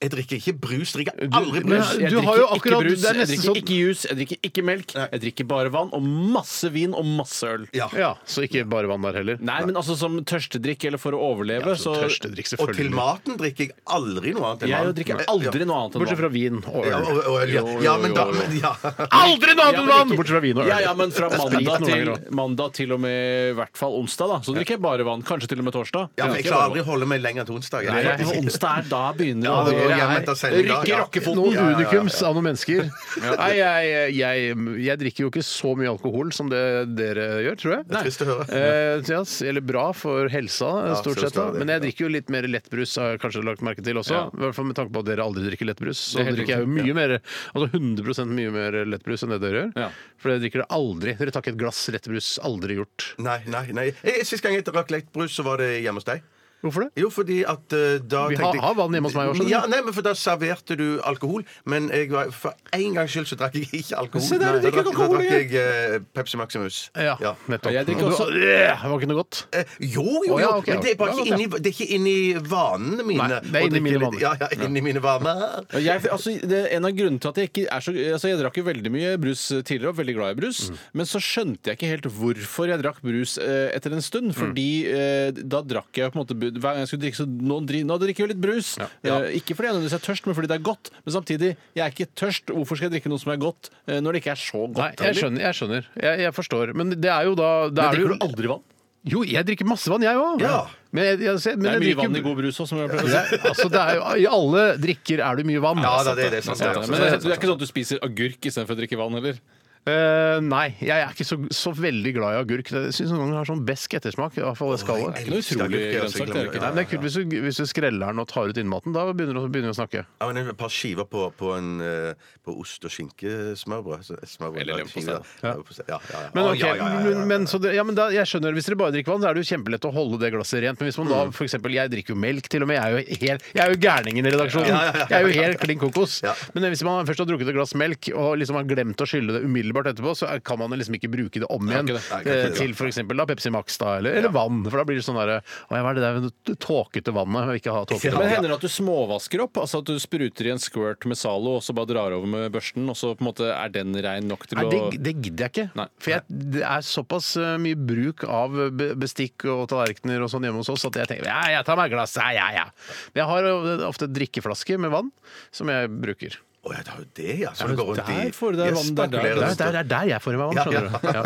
S6: Jeg drikker ikke brus. Drikker aldri
S4: men-
S6: brus.
S5: Jeg
S4: du har
S5: drikker
S4: jo akkurat-
S5: ikke brus,
S4: det er
S5: jeg
S4: nesten
S5: drikker
S4: sånn-
S5: ikke juice, jeg drikker ikke melk. Jeg drikker bare vann og masse vin og masse øl.
S6: Ja.
S4: ja, Så ikke bare vann der heller.
S5: Nei, men altså som tørstedrikk eller for å overleve,
S4: Ja, så
S5: så
S4: tørstedrikk,
S6: Og til
S4: selvfølgelig.
S6: maten drikker jeg aldri noe annet enn
S5: Jeg
S6: vann.
S5: jo drikker
S6: Ja.
S5: aldri noe annet enn
S4: Bortsett
S5: vann.
S4: fra vin og
S6: Ja,
S4: øl.
S6: og- og øl, ja. ja, men da men, ja.
S4: Aldri noe annet enn vann!
S5: ikke-
S4: Bortsett fra vin og øl.
S5: Ja, ja, men fra
S4: Sprit
S5: mandag
S4: noen
S5: til,
S4: ganger også.
S5: mandag til og med i hvert fall onsdag, da. Så drikker jeg bare vann. Kanskje til og med torsdag.
S6: ja, men Jeg klarer aldri å holde meg lenger til onsdag.
S5: Nei,
S6: Jeg-
S5: men onsdag er da begynner
S6: Ja, det går
S5: dere
S6: hjem
S5: er-
S6: etter sending, da.
S5: Rykker
S6: Ja.
S5: rockefoten.
S4: Noen unikums av noen mennesker. Nei, jeg, jeg, jeg drikker jo ikke så mye alkohol som det dere gjør, tror jeg.
S6: er trist å høre.
S4: Eh, ja, s- eller bra for helsa, eh,
S6: Ja,
S4: stort
S6: så
S4: sett.
S6: skal
S4: da.
S6: det,
S4: Men jeg drikker jo litt mer lettbrus, har jeg kanskje lagt merke til også.
S5: Ja.
S4: I hvert fall med tanke på at dere aldri drikker lettbrus. Så
S5: Det er helt
S4: drikker jeg jo mye
S5: riktig,
S4: mer, altså 100 mye mer lettbrus enn det dere gjør.
S5: Ja.
S4: For dere drikker det aldri. Dere tar ikke et glass lettbrus. Aldri gjort.
S6: Nei, nei, nei. Eh, Sist gang jeg drakk lettbrus, så var det hjemme hos deg.
S4: Hvorfor det?
S6: Jo, fordi at eh, da
S4: Vi
S6: tenkte
S4: har-
S6: jeg-
S4: har vann hjemme hos meg også, skjønner du.
S6: Ja, nei, men for da serverte du alkohol. Men jeg var, for en gangs skyld så drakk jeg ikke alkohol.
S5: Se der, du
S6: Nei, da
S5: drikker
S6: drakk-
S5: alkohol
S6: Da drakk jeg eh, Pepsi Maximus.
S4: Ja,
S6: Ja.
S4: nettopp.
S5: Jeg drikker
S4: Og du-
S5: også-
S4: Eh, Det var ikke noe godt.
S6: Eh, Jo, jo, jo,
S4: Å, ja, ok,
S6: men det er bare
S4: ja.
S6: ikke inni, det er ikke inni vanene mine.
S4: Nei, det er
S6: å
S4: inni
S6: drikke
S4: mine
S6: litt-
S4: vaner.
S6: Ja, ja, inni mine vaner.
S5: Ja, Jeg, altså, det er en av grunnene til at jeg ikke er så altså, Jeg drakk jo veldig mye brus tidligere, og veldig glad i brus. Men så skjønte jeg ikke helt hvorfor jeg drakk brus eh, etter en stund. Fordi eh, da drakk jeg på en måte bu- Hver gang jeg skulle drikke, så nå, dri, nå drikker jeg jo litt brus. Eh, ikke fordi jeg nødvendigvis er tørst, men fordi det er godt. Men samtidig, jeg er ikke tørst. Hvorfor skal jeg drikke noe som er godt, eh, når det ikke er så godt?
S4: Nei, jeg
S5: heller?
S4: skjønner. Jeg, skjønner. jeg, jeg forstår. Men det er jo da da er
S5: Men
S4: det
S5: drikker du
S4: jo,
S5: aldri vann?
S4: jo, jeg drikker masse vann, jeg òg.
S6: Ja.
S4: Men jeg, jeg, jeg, men
S5: Det er
S4: jeg
S5: mye
S4: drikker-
S5: vann i god brus òg, som jeg pleier å si.
S4: Det er- altså, det er jo, I alle drikker er det mye vann. altså.
S6: Ja da, det er det. Sant, det,
S5: Ja,
S6: er sant,
S5: men
S6: det,
S5: det
S6: er
S5: er
S6: sant.
S5: ikke sånn at du spiser agurk istedenfor å drikke vann heller.
S4: Eh, nei, jeg er ikke så, så veldig glad i agurk. Jeg syns noen ganger har sånn besk ettersmak. I hvert fall det skallet.
S5: Det er noe utrolig grønnsak. Det er ikke
S4: Nei, men det er kult hvis du, hvis du skreller den og tar ut innmaten. Da begynner du, begynner du å snakke.
S6: Ja, men Et par skiver på, på, en, eh, på ost- og skinkesmørbrød. så- smørbrød,
S5: Eller
S6: da,
S5: leverpostei.
S6: skiver.
S4: Ja.
S6: Leverpostei, Ja, ja, ja.
S4: Men,
S6: Å,
S4: ok,
S6: ja, ja, ja, ja, ja.
S4: men- men, så det, ja, men da, jeg skjønner, Hvis dere bare drikker vann, så er det jo kjempelett å holde det glasset rent. Men hvis man da for eksempel, Jeg drikker jo melk, til og med. Jeg er jo, helt, jeg er jo gærningen i redaksjonen.
S6: Mm. Ja, ja, ja, ja,
S4: Jeg er jo helt klin kokos.
S6: Ja.
S4: Men hvis man først har drukket et glass melk og liksom har glemt å skylle det umiddelbart etterpå, så er- kan man liksom ikke bruke det om igjen
S5: ikke det.
S6: Nei, kan ikke
S4: eh,
S6: det.
S4: til f.eks. Pepsi Max da, eller, eller vann. For da blir det sånn derre Å ja, hva er det der med det tåkete vannet? Jeg vil ikke ha tåkete
S5: Men
S4: vann.
S5: hender det at du småvasker opp? Altså At du spruter i en squirt med Zalo og så bare drar over med børsten, og så på en måte er den rein nok til
S4: Nei,
S5: å
S4: det, det gidder jeg ikke.
S5: Nei.
S4: For jeg, det er såpass eh, mye bruk av be- bestikk og tallerkener og sånn hjemme hos oss at jeg tenker ja, jeg tar meg et glass. Ja, ja, ja. Men jeg har eh, ofte drikkeflasker med vann som jeg bruker.
S6: Å ja, det er jo det, ja. Så du går rundt i
S5: der får du deg
S6: Jeg
S5: vann, der, der,
S4: Det
S6: spekulerer
S4: er
S6: litt.
S4: der, der, der jeg får i meg vann, skjønner du. Ja.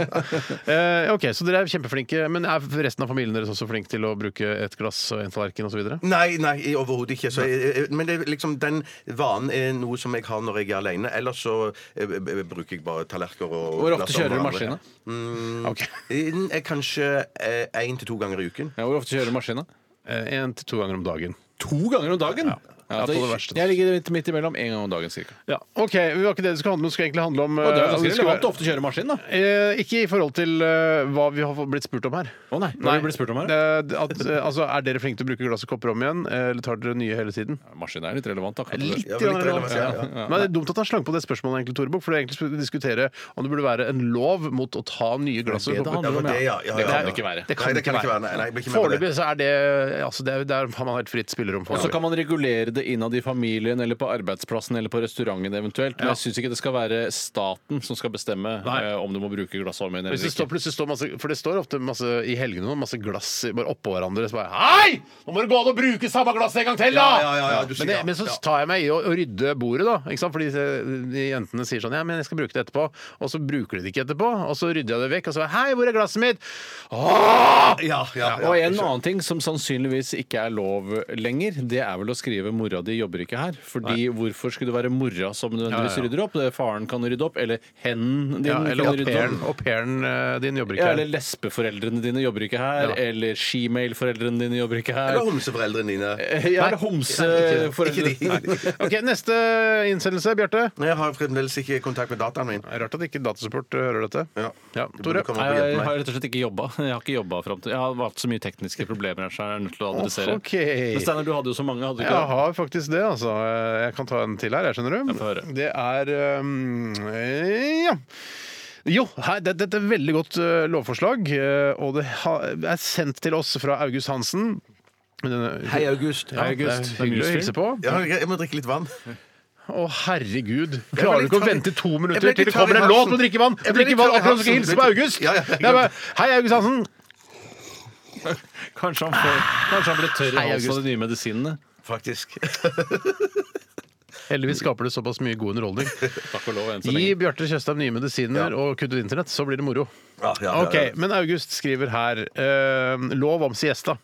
S4: Eh, ok, Så dere er kjempeflinke. Men er resten av familien deres også flink til å bruke et glass og en tallerken osv.?
S6: Nei, nei, overhodet ikke. Så, jeg- jeg- men det, er liksom, den vanen er noe som jeg har når jeg er alene. Ellers så eh, b- b- bruker jeg bare tallerkener og
S5: Hvor
S6: glass
S5: ofte
S6: om
S5: kjører du maskina?
S6: hverandre.
S4: Mm.
S6: Innen, eh, Kanskje én til to ganger i uken.
S5: Ja, hvor ofte kjører du maskina?
S4: Én Eh, til to ganger om dagen.
S5: To ganger om dagen?
S4: Ja, på det verste. altså.
S5: jeg ligger midt, midt imellom en gang om dagen cirka.
S4: Ja, ok, men Det var ikke det det skulle handle om. Det skulle egentlig handle om
S5: Og det er
S4: eh,
S5: jo ganske
S4: det skulle
S5: relevant
S4: være-
S5: å ofte kjøre maskin, da.
S4: Eh, ikke i forhold til eh, hva vi har blitt spurt om her.
S5: Å nei, hva har vi blitt spurt om her?
S4: Eh, d- at, eh, altså, er dere flinke til å bruke glass og kopper om igjen, eh, eller tar dere nye hele tiden?
S5: Maskin er litt relevant, da. kanskje
S4: Litt
S5: det.
S6: Ja,
S4: grann
S6: litt relevant, ja,
S4: relevant, ja. Men Det er dumt at han slang på det spørsmålet, egentlig, Torebok, for det er egentlig skulle diskutere om det burde være en lov mot å ta nye glass og
S5: Det det
S4: kopper.
S5: handler om,
S6: det var det, ja, ja,
S5: Det
S6: ja,
S5: kan
S6: ja.
S5: det ikke være.
S4: Det
S6: Nei,
S4: kan
S6: det
S4: det ikke
S6: kan ikke
S4: være.
S6: være. Nei, nei, jeg blir ikke med på det.
S4: Foreløpig så er det altså, det er, Der har man helt fritt spillerom. for
S5: Og så
S4: det.
S5: kan man regulere det innad i familien eller på arbeidsplassen eller på restauranten eventuelt. Men jeg syns ikke det skal være staten som skal bestemme
S4: Nei.
S5: eh, om du må bruke glassholmen eller
S4: Hvis det står,
S5: ikke.
S4: plutselig står masse, for det står ofte masse, i helgene nå, masse glass i- bare oppå hverandre. Så bare Hei! Nå må du gå an og bruke samme glass en gang til, da!
S6: Ja, ja, ja, ja, du
S4: men,
S6: sier
S4: det,
S6: ja,
S4: men så
S6: ja.
S4: tar jeg meg i å, å rydde bordet, da. Ikke sant? Fordi eh, de jentene sier sånn Ja, men jeg skal bruke det etterpå. Og så bruker de det ikke etterpå. Og så rydder jeg det vekk. Og så Hei, hvor er glasset mitt? Åh!
S6: Ja, ja,
S5: Og en annen ting som sannsynligvis ikke er lov lenger, det er vel å skrive 'mora di jobber ikke her'. Fordi hvorfor skulle det være mora som nødvendigvis
S4: Ja, ja, ja.
S5: rydder opp? Det er Faren kan rydde opp, eller hennen din
S4: Ja, eller
S5: kan
S4: au
S5: rydde
S4: pairen.
S5: opp.
S4: Au pairen eh, din jobber ikke
S5: Ja,
S4: her.
S5: eller lesbeforeldrene dine jobber ikke her,
S4: Ja.
S5: eller shemale-foreldrene dine jobber ikke her.
S6: Eller homseforeldrene dine.
S5: Ja, eller
S6: Ikke
S5: homseforeldrene.
S6: de.
S4: OK, neste innsendelse. Bjarte.
S6: Nei, Jeg har fremdeles ikke kontakt med dataen min.
S4: Rart at ikke Datasupport eh, hører dette.
S6: Ja.
S4: Ja,
S6: Du
S4: Tore.
S6: burde komme opp og
S5: Jeg
S6: hjelpe
S5: har
S6: meg.
S5: rett og slett ikke jobba. Jeg har ikke jobbet frem til Jeg har hatt så mye tekniske problemer her, så jeg er nødt til å adressere.
S4: Ok.
S5: Men Steinar, du hadde jo så mange, hadde du
S4: Jeg
S5: ikke? det?
S4: har faktisk det, altså. Jeg kan ta en til her, jeg, skjønner du.
S5: Jeg får høre.
S4: Det er um, Ja. Jo, her, det- dette er et veldig godt uh, lovforslag, uh, og det ha, er sendt til oss fra August Hansen. Hei,
S6: August.
S4: Ja, det er
S5: August.
S4: hyggelig å hilse på.
S6: Ja, jeg jeg må drikke litt vann.
S4: Å, herregud.
S6: Jeg ble
S4: Klarer du
S6: litt
S4: ikke å
S6: tørr i-
S4: vente to
S6: Jeg
S4: minutter
S6: ble litt
S4: til det
S6: tørr i
S4: kommer en
S6: halsen.
S4: låt med drikkevann?
S6: Jeg ble litt
S4: Drikkevann
S6: tørr
S4: akkurat
S6: i
S4: som du skal
S6: halsen.
S4: hilse på August!
S6: Ja, ja,
S4: Det er bare, Hei, August Hansen!
S5: Kanskje han, får, kanskje han ble tørr i
S4: Hei,
S5: halsen av
S4: August.
S5: de nye medisinene.
S6: Faktisk.
S4: Heldigvis skaper det såpass mye god underholdning.
S5: Takk og lov enn så
S4: Gi
S5: lenge.
S4: Bjarte Tjøstheim nye medisiner og kutt ut internett, så blir det moro.
S6: Ja, ja, ja,
S4: Ok,
S6: ja.
S4: Men August skriver her eh, lov om siesta.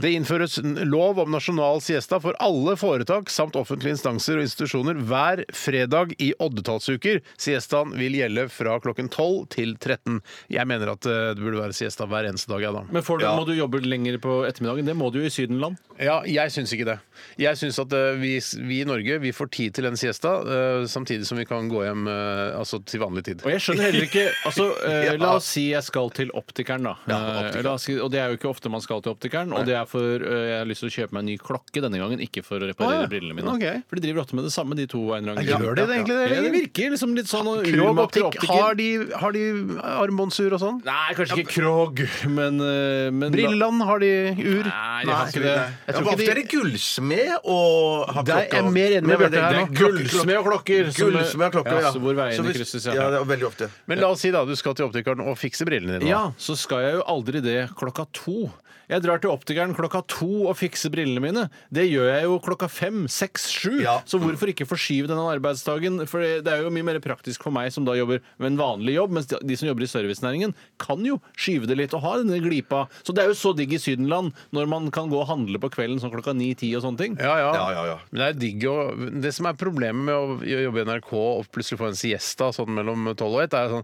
S4: Det innføres n- lov om nasjonal siesta for alle foretak samt offentlige instanser og institusjoner hver fredag i oddetallsuker. Siestaen vil gjelde fra klokken 12 til 13. Jeg mener at eh, det burde være siesta hver eneste dag. Ja, da.
S5: Men får du, må du jobbe lenger på ettermiddagen? Det må du jo i Sydenland.
S4: Ja, jeg syns ikke det. Jeg syns at eh, vi, vi i Norge vi får tid til en siesta, eh, samtidig som vi kan gå hjem eh, altså til vanlig tid.
S5: Og jeg skjønner heller ikke altså, eh, La oss si jeg skal til optikeren, da. Eh, La oss si, og det er jo ikke ofte man skal til optikeren. Og det er for eh, jeg har lyst til å kjøpe meg en ny klokke denne gangen, ikke for å reparere
S4: Å, ja.
S5: brillene mine.
S4: Ok.
S5: For de driver ofte med det samme, de to. av en eller annen
S4: Gjør
S5: grunn.
S4: de det egentlig, det,
S5: Ja, det
S4: eller?
S5: virker liksom litt sånn og
S4: Krog
S5: urmaker
S4: optikk, har de, har de armbåndsur og sånn?
S5: Nei, kanskje ikke Krog, men, eh, men
S4: Brilleland, har de ur?
S5: Nei, de har ikke
S4: eh,
S5: det.
S4: Jeg
S6: Ja,
S4: tror
S6: men
S4: ikke
S6: ofte er
S4: de
S6: det gullsmed og har
S4: Der er jeg mer enig med
S6: Men
S4: Bjarte
S6: det-
S4: her
S6: det
S4: nå.
S6: er klokke-
S5: Gullsmed og klokker. som- eh,
S6: Gullsmed og klokker,
S5: ja.
S6: ja.
S5: så Hvor veiene
S6: Så hvis-
S5: krysses,
S6: Ja, det er veldig ofte.
S4: Men la oss si da, du skal til optikeren og fikse brillene dine. da.
S5: Ja, så skal jeg jo aldri det klokka to. Jeg drar til optikeren klokka to og fikser brillene mine. Det gjør jeg jo klokka fem, seks, sju.
S6: Ja.
S5: Så hvorfor ikke forskyve denne arbeidsdagen? For det er jo mye mer praktisk for meg som da jobber med en vanlig jobb, mens de- de som jobber i servicenæringen, kan jo skyve det litt og ha denne glipa. Så det er jo så digg i Sydenland når man kan gå og handle på kvelden sånn klokka ni-ti og sånne ting.
S4: Ja, ja.
S6: Ja, ja, ja.
S4: Men det er digg å Det som er problemet med å jobbe i NRK og plutselig få en siesta sånn mellom tolv og ett, er sånn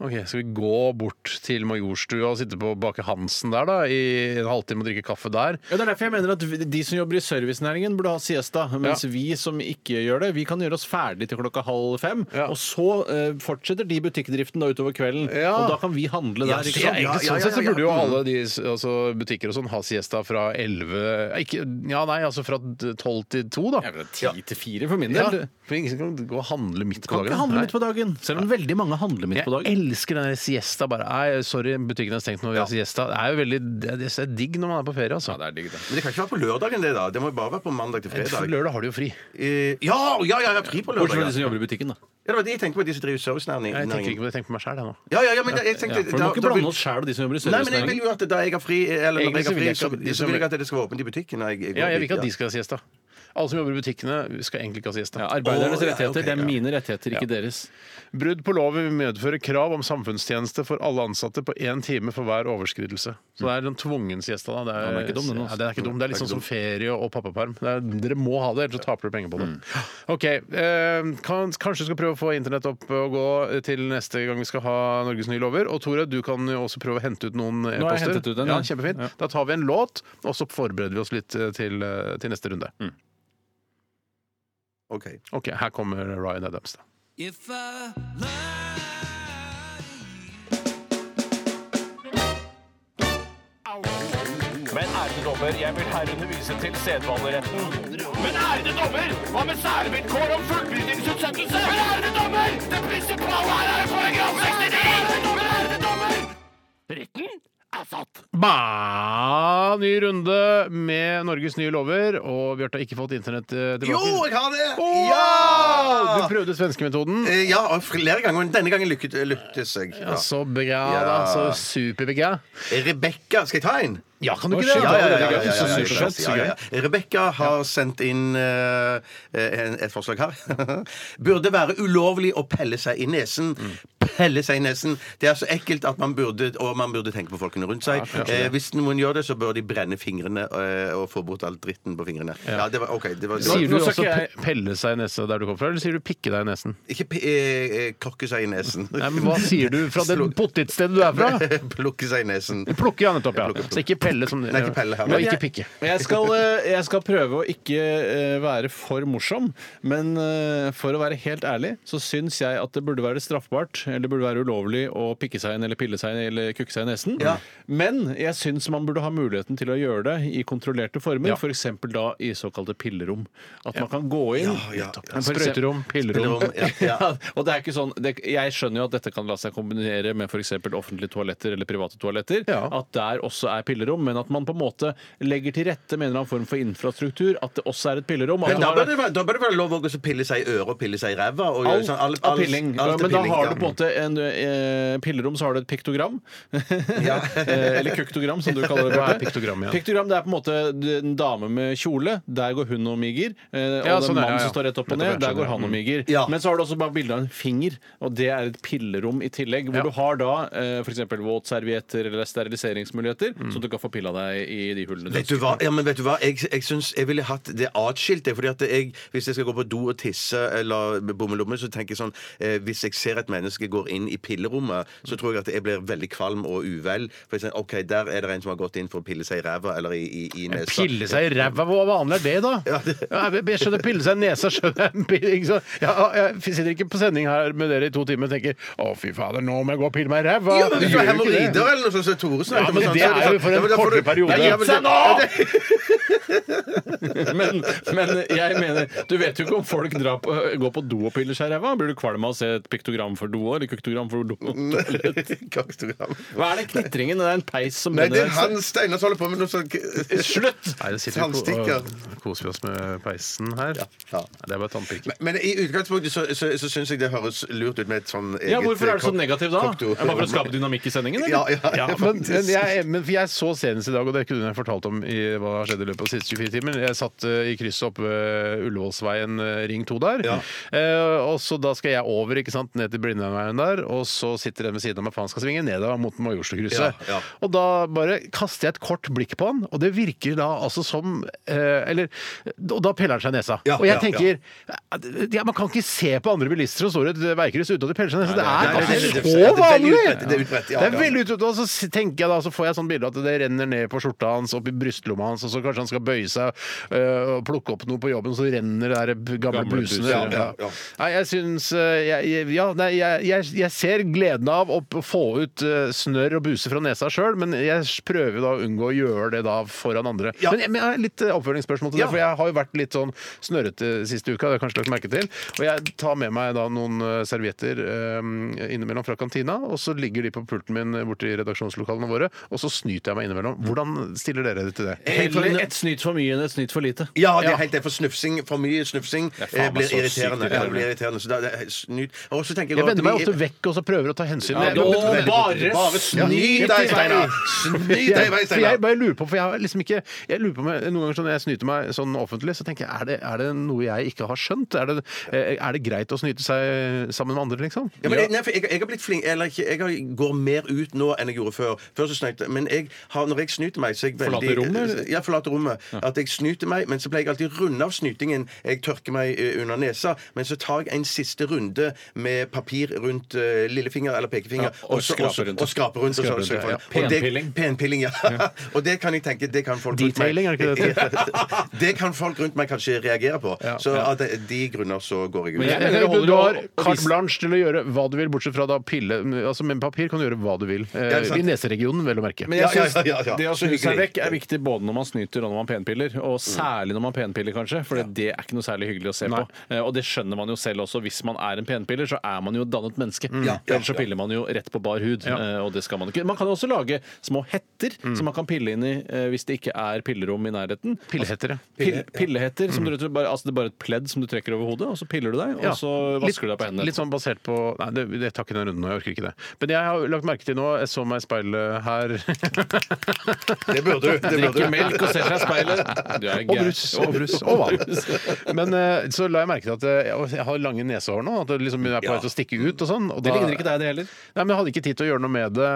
S4: OK, skal vi gå bort til Majorstua og sitte på Baker Hansen der, da, i en halvtime og drikke kaffe der?
S5: Ja, Det er derfor jeg mener at vi- de som jobber i servicenæringen, burde ha siesta. Mens
S4: Ja.
S5: vi som ikke gjør det, vi kan gjøre oss ferdig til klokka halv fem.
S4: Ja.
S5: Og så eh, fortsetter de butikkdriften da utover kvelden.
S4: Ja.
S5: Og da kan vi handle der. ikke
S4: Så
S5: sant?
S4: egentlig, sånn sett så burde jo alle de altså, butikker og sånn ha siesta fra 11 ikke, Ja, nei, altså fra 12 til 2, da.
S5: Ti til fire for min
S4: Ja,
S5: del.
S4: for ingen kan gå og handle midt på
S5: Kan
S4: dagen.
S5: ikke handle
S4: Nei.
S5: midt på dagen. Selv om veldig mange handler midt
S4: Jeg
S5: på dagen.
S4: elsker den der siesta. bare, Nei, Sorry, butikken er stengt når vi har siesta. Det er jo veldig, det det er digg når man er på ferie. altså.
S5: det er digg, det.
S6: Men det kan ikke være på lørdagen, det, da. Det må jo bare være på mandag til
S4: For
S6: fredag.
S4: lørdag har du jo fri.
S6: Eh, Ja, ja, ja, ja, fri på lørdag.
S5: Bortsett fra
S6: Ja.
S5: de som jobber i butikken, da.
S6: Ja, det var det jeg tenkte på, de som driver servicenæringen.
S4: Nei, Jeg tenker ikke på det, jeg tenker på meg sjæl nå.
S6: Ja, ja, ja, men da- jeg tenkte
S5: Ja, for Du
S6: da-
S5: må ikke
S6: da vil-
S5: blande oss sjæl og de som jobber i
S6: Nei, men jeg vil
S5: servicenæringen.
S6: jo at da jeg har fri, eller når
S4: Egentlig
S6: jeg
S4: så
S6: har
S4: vil
S6: fri,
S4: jeg
S6: så,
S4: ikke at de
S6: så vil
S4: som-
S6: jeg at det skal være åpent i butikken. når Jeg, jeg går
S4: Ja, jeg vil
S6: dit,
S4: ikke at
S6: ja.
S4: de skal ha siesta. Alle som jobber i butikkene, skal egentlig ikke ha siesta.
S5: Ja, arbeidernes
S6: Å, ja,
S5: rettigheter.
S6: ok,
S5: det er
S6: ja.
S5: mine rettigheter, ikke deres.
S4: Brudd på lov vil medføre krav om samfunnstjeneste for alle ansatte på én time for hver overskridelse. Så det er den tvungen siesta. da. Det er,
S5: den er ikke dum, den, altså.
S4: ja, den er ikke dum. Det er litt sånn som ferie og pappaperm. Det er, dere må ha det, ellers så taper dere penger på
S5: Mm.
S4: det. Ok, eh, kan, Kanskje vi skal prøve å få internett opp og gå til neste gang vi skal ha Norges nye lover. Og Tore, du kan jo også prøve å hente ut noen e-poster.
S5: har jeg hentet ut en,
S4: ja,
S5: ja.
S4: kjempefint.
S5: Ja.
S4: Da tar vi en låt, og så forbereder vi oss litt eh, til, eh, til neste runde.
S6: Ok.
S4: Ok, Her kommer Ryan Adams. da. Ba, ny runde med Norges nye lover. Og Bjarte har ikke fått internett eh, tilbake.
S6: Jo, jeg har det!
S4: Wow! Du
S6: Ja!
S4: prøvde svenskemetoden.
S6: Eh, Ja, og flere ganger. men Denne gangen lykket, lyktes jeg. Ja.
S4: Ja, så bra,
S6: Ja.
S4: da. Så superbra.
S6: Rebekka Skal jeg ta en?
S4: Ja, kan du
S5: Å,
S4: ikke det?
S5: shit,
S4: da?
S5: ja, ja, ja, ja,
S4: Det
S5: ja,
S4: er
S5: ja, ja,
S4: så superfett, så gøy.
S6: Rebekka har sendt inn eh, en, et forslag her. burde være ulovlig å pelle seg i nesen.
S4: Mm.
S6: Pelle seg i nesen. Det er så ekkelt at man burde, og man burde tenke på folkene rundt seg. eh, hvis noen gjør det, så bør de brenne fingrene eh, og få bort all dritten på fingrene. Ja, det var, ok, det var, det var
S4: Sier du
S5: Nå skal
S4: også
S5: ikke jeg-
S4: pe- pelle seg i nesen der du kommer fra, eller sier du pikke deg i nesen?
S6: Ikke p- eh, eh, kokke seg i nesen.
S4: Nei, men Hva sier du fra det potetstedet du er fra?
S6: Plukke seg i nesen.
S4: Plukke, ja, nettopp. ja. Så ikke pelle som
S6: Nei, ikke pelle, ja.
S4: Og ikke pikke.
S5: Men Jeg skal, eh, jeg skal prøve å ikke eh, være for morsom, men eh, for å være helt ærlig så syns jeg at det burde være straffbart, eller det burde være ulovlig å pikke seg inn eller pille seg inn eller kukke seg i nesen. Men jeg syns man burde ha muligheten til å gjøre det i kontrollerte former,
S4: Ja.
S5: for f.eks. da i såkalte pillerom. At man kan gå inn
S6: ja.
S5: Men for eksempel-
S4: Sprøyterom, pillerom.
S6: Rom, ja, ja.
S5: ja, og det er ikke sånn, det, Jeg skjønner jo at dette kan la seg kombinere med f.eks. offentlige toaletter eller private toaletter.
S4: Ja.
S5: At der også er pillerom, men at man på en måte legger til rette med en eller annen form for infrastruktur. At det også er et pillerom. At
S6: Men
S5: du
S6: da
S5: har-
S6: bør det være, da bør det være lov å gå og pille seg i øret og pille seg i ræva. og gjøre
S5: Alt
S6: sånn- alt-
S5: av
S6: alt-
S5: pilling.
S6: alt er
S5: men da
S6: pilling,
S5: har
S6: ja.
S5: du på en måte en eh, pillerom, så har du et piktogram. Eh, Eller kuktogram, som du kaller det.
S4: Hva er
S5: Bjarte.
S4: piktogram igjen?
S5: Piktogram det er på en måte en dame med kjole. Der går hun og miger. eh, Og
S4: Ja,
S5: den
S4: sånn er det, ja.
S5: mannen som står rett opp og
S4: Nettopp, jeg Mm.
S5: ned, der
S4: skjønner,
S5: går
S4: ja.
S5: han og miger.
S6: Ja.
S5: Men så har du også bare bilde av en finger, og det er et pillerom i tillegg. Hvor
S4: Ja.
S5: du har da eh, f.eks. våtservietter eller steriliseringsmuligheter,
S4: Mm.
S5: så du kan få pilla deg i de hullene. du
S6: Vet du
S5: ønsker.
S6: hva? Ja, men vet du hva? Jeg, jeg syns jeg ville hatt det atskilt. det, Fordi at jeg, hvis jeg skal gå på do og tisse eller bommelomme, så tenker jeg sånn eh, Hvis jeg ser et menneske går inn i pillerommet, så tror jeg at jeg blir veldig kvalm og uvel. For jeg tenker, OK, der er det en som har gått inn for å pille seg i ræva eller i, i, i nesa.
S4: Pille seg i ræva, hvor vanlig er det, da? Ja, jeg- jeg skjønner pille seg i nesa, skjønner jeg. Pille- ikke sant? Ja, jeg sitter ikke på sending her med dere i to timer og tenker å, fy fader, nå må jeg gå og pille meg i ræva.
S6: Ja, men
S4: Du
S6: hvis du har
S4: gjør jo ikke det.
S6: hemoroider eller noe sånt som Tore
S4: Ja,
S6: snakket om,
S4: men
S6: sånn,
S4: det
S6: så
S4: er jo
S6: sånn-
S4: for en
S6: Ja, men da får du-
S4: kortere periode.
S6: Ja, ja, men
S4: Gitt seg
S6: det-
S4: nå!
S6: Ja, det-
S5: Men, men jeg mener, du vet jo ikke om folk drar på, går på do og piller seg i ræva. Blir du kvalm av å se et piktogram for do eller kaktogram for do.
S6: Mm. Kaktogram.
S5: Hva er det knitringen? Det er en peis som
S6: Nei, det
S5: brenner
S6: er han Steinar som holder på med noe sånt
S5: Slutt!
S4: Nei, det sitter vi ko-
S6: Tannstikker.
S4: og koser vi oss med peisen her.
S6: ja.
S4: Nei, Det er bare tannpirking.
S6: Men, men i utgangspunktet så, så, så syns jeg det høres lurt ut med et sånn eget
S5: Ja, hvorfor er det så
S6: kok-
S5: negativ da? Er
S6: koktor-
S5: det Bare for å skape dynamikk i sendingen? eller?
S6: Ja, ja,
S4: Ja, men,
S6: faktisk.
S4: men, jeg, men for jeg så senest i dag, og det kunne jeg fortalt om i, hva som har skjedd i løpet av de siste 24 timer. Jeg satt eh, i krysset oppe ved Ullevålsveien eh, ring 2 der.
S6: Ja.
S4: Eh, og så da skal jeg over, ikke sant, ned til Blindheimveien der, og så sitter den ved siden av meg, for han skal svinge nedover mot Majorstukrysset.
S6: Ja, ja.
S4: Og da bare kaster jeg et kort blikk på han, og det virker da altså som eh, Eller Og da peller han seg i nesa.
S6: Ja,
S4: og jeg
S6: ja,
S4: tenker ja, Man kan ikke se på andre bilister som står i et veikryss uten at de peller seg i nesa.
S6: Nei,
S4: det
S6: det-
S4: er
S6: det- det-
S4: altså
S6: det
S4: så
S6: er veldig
S4: vanlig!
S6: utbredt, det er utbredt, ja,
S4: Det er
S6: ja.
S4: veldig ut, og så s- tenker jeg da, så får jeg sånn bilde at det renner ned på skjorta hans, opp i brystlomma hans, og så kanskje han skal bøye seg øh, og plukke opp noe på jobben, så renner det der b- gamle,
S5: Gamle
S4: blusene.
S5: bluser,
S4: Ja, ja.
S5: ja,
S6: ja.
S4: Nei, jeg syns øh, jeg, jeg- Ja, nei, jeg, jeg, jeg ser gleden av å p- få ut øh, snørr og buser fra nesa sjøl, men jeg s- prøver jo da å unngå å gjøre det da foran andre.
S6: Ja.
S4: Men, jeg- men jeg har litt øh, oppfølgingsspørsmål til det,
S6: Ja.
S4: for jeg har jo vært litt sånn snørrete siste uka, det har jeg kanskje lagt merke til. Og jeg tar med meg da noen øh, servietter øh, innimellom fra kantina, og så ligger de på pulten min borti redaksjonslokalene våre, og så snyter jeg meg innimellom. Hvordan stiller dere dere til det?
S5: Heller et snytt for mye enn et snytt for lite.
S6: Ja, det
S4: Ja.
S6: er helt det. For snufsing, for mye snufsing
S5: faen
S6: eh,
S5: meg
S6: blir
S5: så
S6: irriterende.
S5: sykt
S6: Ja, det blir irriterende. Så da, det er snyt. Og så tenker jeg
S4: Jeg
S6: også at
S4: vender meg
S6: vi-
S4: ofte vekk og så prøver å ta hensyn.
S5: Ja,
S4: Jeg-
S5: da-
S4: men-
S5: Å, bare
S6: Bare
S4: sny
S6: sny
S4: deg i
S6: deg, Steinar! Sny
S4: jeg,
S6: deg i vei,
S4: for jeg
S6: Steinar!
S4: bare lurer på, for jeg har liksom ikke jeg lurer på om jeg, Noen ganger sånn, når jeg snyter meg sånn offentlig, så tenker jeg er det, er det noe jeg ikke har skjønt? Er det, eh, er det greit å snyte seg sammen med andre, liksom?
S6: Ja, men jeg, nei, for jeg, jeg har blitt flink Eller ikke, jeg har, går mer ut nå enn jeg gjorde før. Før så snøyt, Men jeg har, når jeg snyter meg, så er jeg veldig
S5: Forlater rommet, eller?
S6: Ja, forlater rommet. At jeg snyter meg, men så pleier jeg alltid å runde av snytingen. Jeg tørker meg eh, under nesa, men så tar jeg en siste runde med papir rundt eh, lillefinger eller pekefinger.
S5: Ja, og
S6: så-
S5: skraper
S6: så-
S5: rundt.
S6: Og skraper rundt. Og så,
S4: Skraper rundt,
S6: så,
S4: ja.
S6: og det-
S5: Penpilling.
S6: Penpilling, ja. og det kan jeg tenke Det kan folk rundt
S4: Detailing, er det ikke det det
S6: meg Det kan folk rundt meg kanskje reagere på.
S4: Ja.
S6: Så av de, de grunner så går jeg ut.
S5: Men jeg-
S4: Jeg
S5: dere
S4: mener,
S5: holder
S4: du har
S5: å- å
S4: carte
S5: vise-
S4: blanche til å gjøre hva du vil, bortsett fra da pille Altså Med papir kan du gjøre hva du vil.
S6: Ja,
S4: Eh,
S6: ikke sant.
S4: I neseregionen, vel å merke.
S5: Men jeg
S6: Ja, ja,
S5: synes
S6: ja, ja, ja.
S5: det å
S6: Så
S5: snu seg
S6: hyggelig.
S5: vekk er viktig både når man snyter og når man penpiller. Og særlig når man penpiller, kanskje, for det er ikke noe særlig hyggelig å se
S4: Nei.
S5: på. Eh, Og det skjønner man jo selv også. Hvis man er en penpiller, så er man jo et dannet menneske.
S6: Ja, ja,
S5: Ellers så
S6: ja.
S5: piller man jo rett på bar hud,
S4: Ja.
S5: eh, og det skal man ikke. Man kan jo også lage små hetter som man kan pille inn i eh, hvis det ikke er pillerom i nærheten.
S4: Pillehetter, ja.
S5: Pill, pillehetter. Som du, rett og slett bare, altså det er bare et pledd som du trekker over hodet, og så piller du deg, og så vasker du deg på hendene.
S4: Litt sånn basert på Nei, det, det tar ikke den runden nå. Jeg orker ikke det. Men jeg har lagt merke til nå Jeg så meg i speilet her.
S6: Det burde du. Det burde
S5: Drikker
S6: du.
S5: melk og ser seg i speilet. Du er
S4: Og
S5: gæren.
S4: brus. Og brus. Og vann. Men eh, så la jeg merke til at eh, jeg- jeg har lange nesehår nå. At det liksom er på vei til å stikke ut og sånn. Og
S5: Det
S4: da-
S5: ligner ikke deg, det heller.
S4: Nei, men Jeg hadde ikke tid til å gjøre noe med det.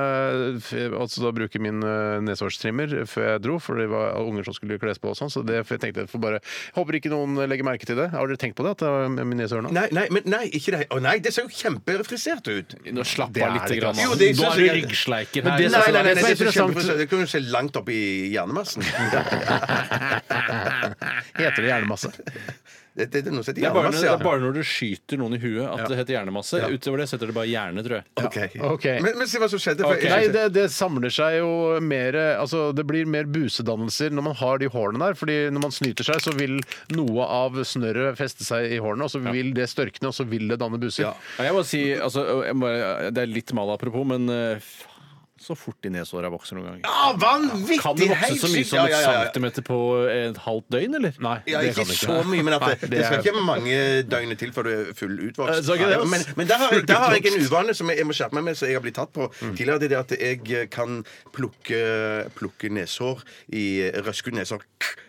S4: f- Altså da bruke min eh, nesehårstrimmer før jeg dro, for det var unger som skulle kles på og sånn. Så det, for jeg tenkte jeg får bare Håper ikke noen legger merke til det. Har dere tenkt på det? At det er min nesehår nå?
S6: Nei, nei, men nei, ikke det. Å nei, det ser jo kjemperefrisert ut.
S5: Nå slapp
S4: Det
S5: av
S4: er
S5: litt.
S4: det ikke,
S5: Grann,
S4: altså.
S5: da.
S6: Jo, det
S5: Nå
S6: synes
S5: er du
S6: jeg-
S5: ryggsleiker
S4: Men
S5: her.
S4: det
S6: Nei, nei, nei,
S4: Det
S6: nei,
S4: som er
S6: det, ser
S4: interessant-
S6: kjemperefrisert- det kan jo se langt opp i hjernemassen.
S4: Heter det hjernemasse?
S6: Det, det, det er noe som heter
S5: Det er, bare når,
S6: hjernemasse,
S5: det
S6: ja.
S5: er bare når du skyter noen i huet at det heter hjernemasse. Utover det så heter det bare hjerne, tror jeg.
S6: Ok.
S4: Ok.
S6: Men, men si hva som skjedde. For
S5: Ok.
S4: Nei, det, det samler seg jo mer Altså, det blir mer busedannelser når man har de hårene der. Fordi når man snyter seg, så vil noe av snørret feste seg i hårene, og så vil det størkne, og så vil det danne buser.
S6: Ja.
S5: Ja, Jeg må si, altså, jeg må bare, Det er litt mal apropos, men eh, faen, så fort de neshåra vokser noen ganger.
S6: ah, vanvittig!
S5: Kan det vokse
S6: helt
S5: så mye
S6: sykt.
S5: som
S6: Ja,
S5: et
S6: ja, ja, ja.
S5: centimeter på et halvt døgn, eller? Nei,
S6: Ja, ikke så mye, men at det, det, skal ikke mange døgnene til før du er full
S5: Eh,
S6: utvokst.
S5: så ikke det,
S6: Nei,
S5: ass.
S6: men men der, har, jeg- der har jeg en uvane som jeg, jeg må skjerpe meg med, som jeg har blitt tatt på tidligere. Det er det at jeg kan plukke, plukke neshår i Røske neshår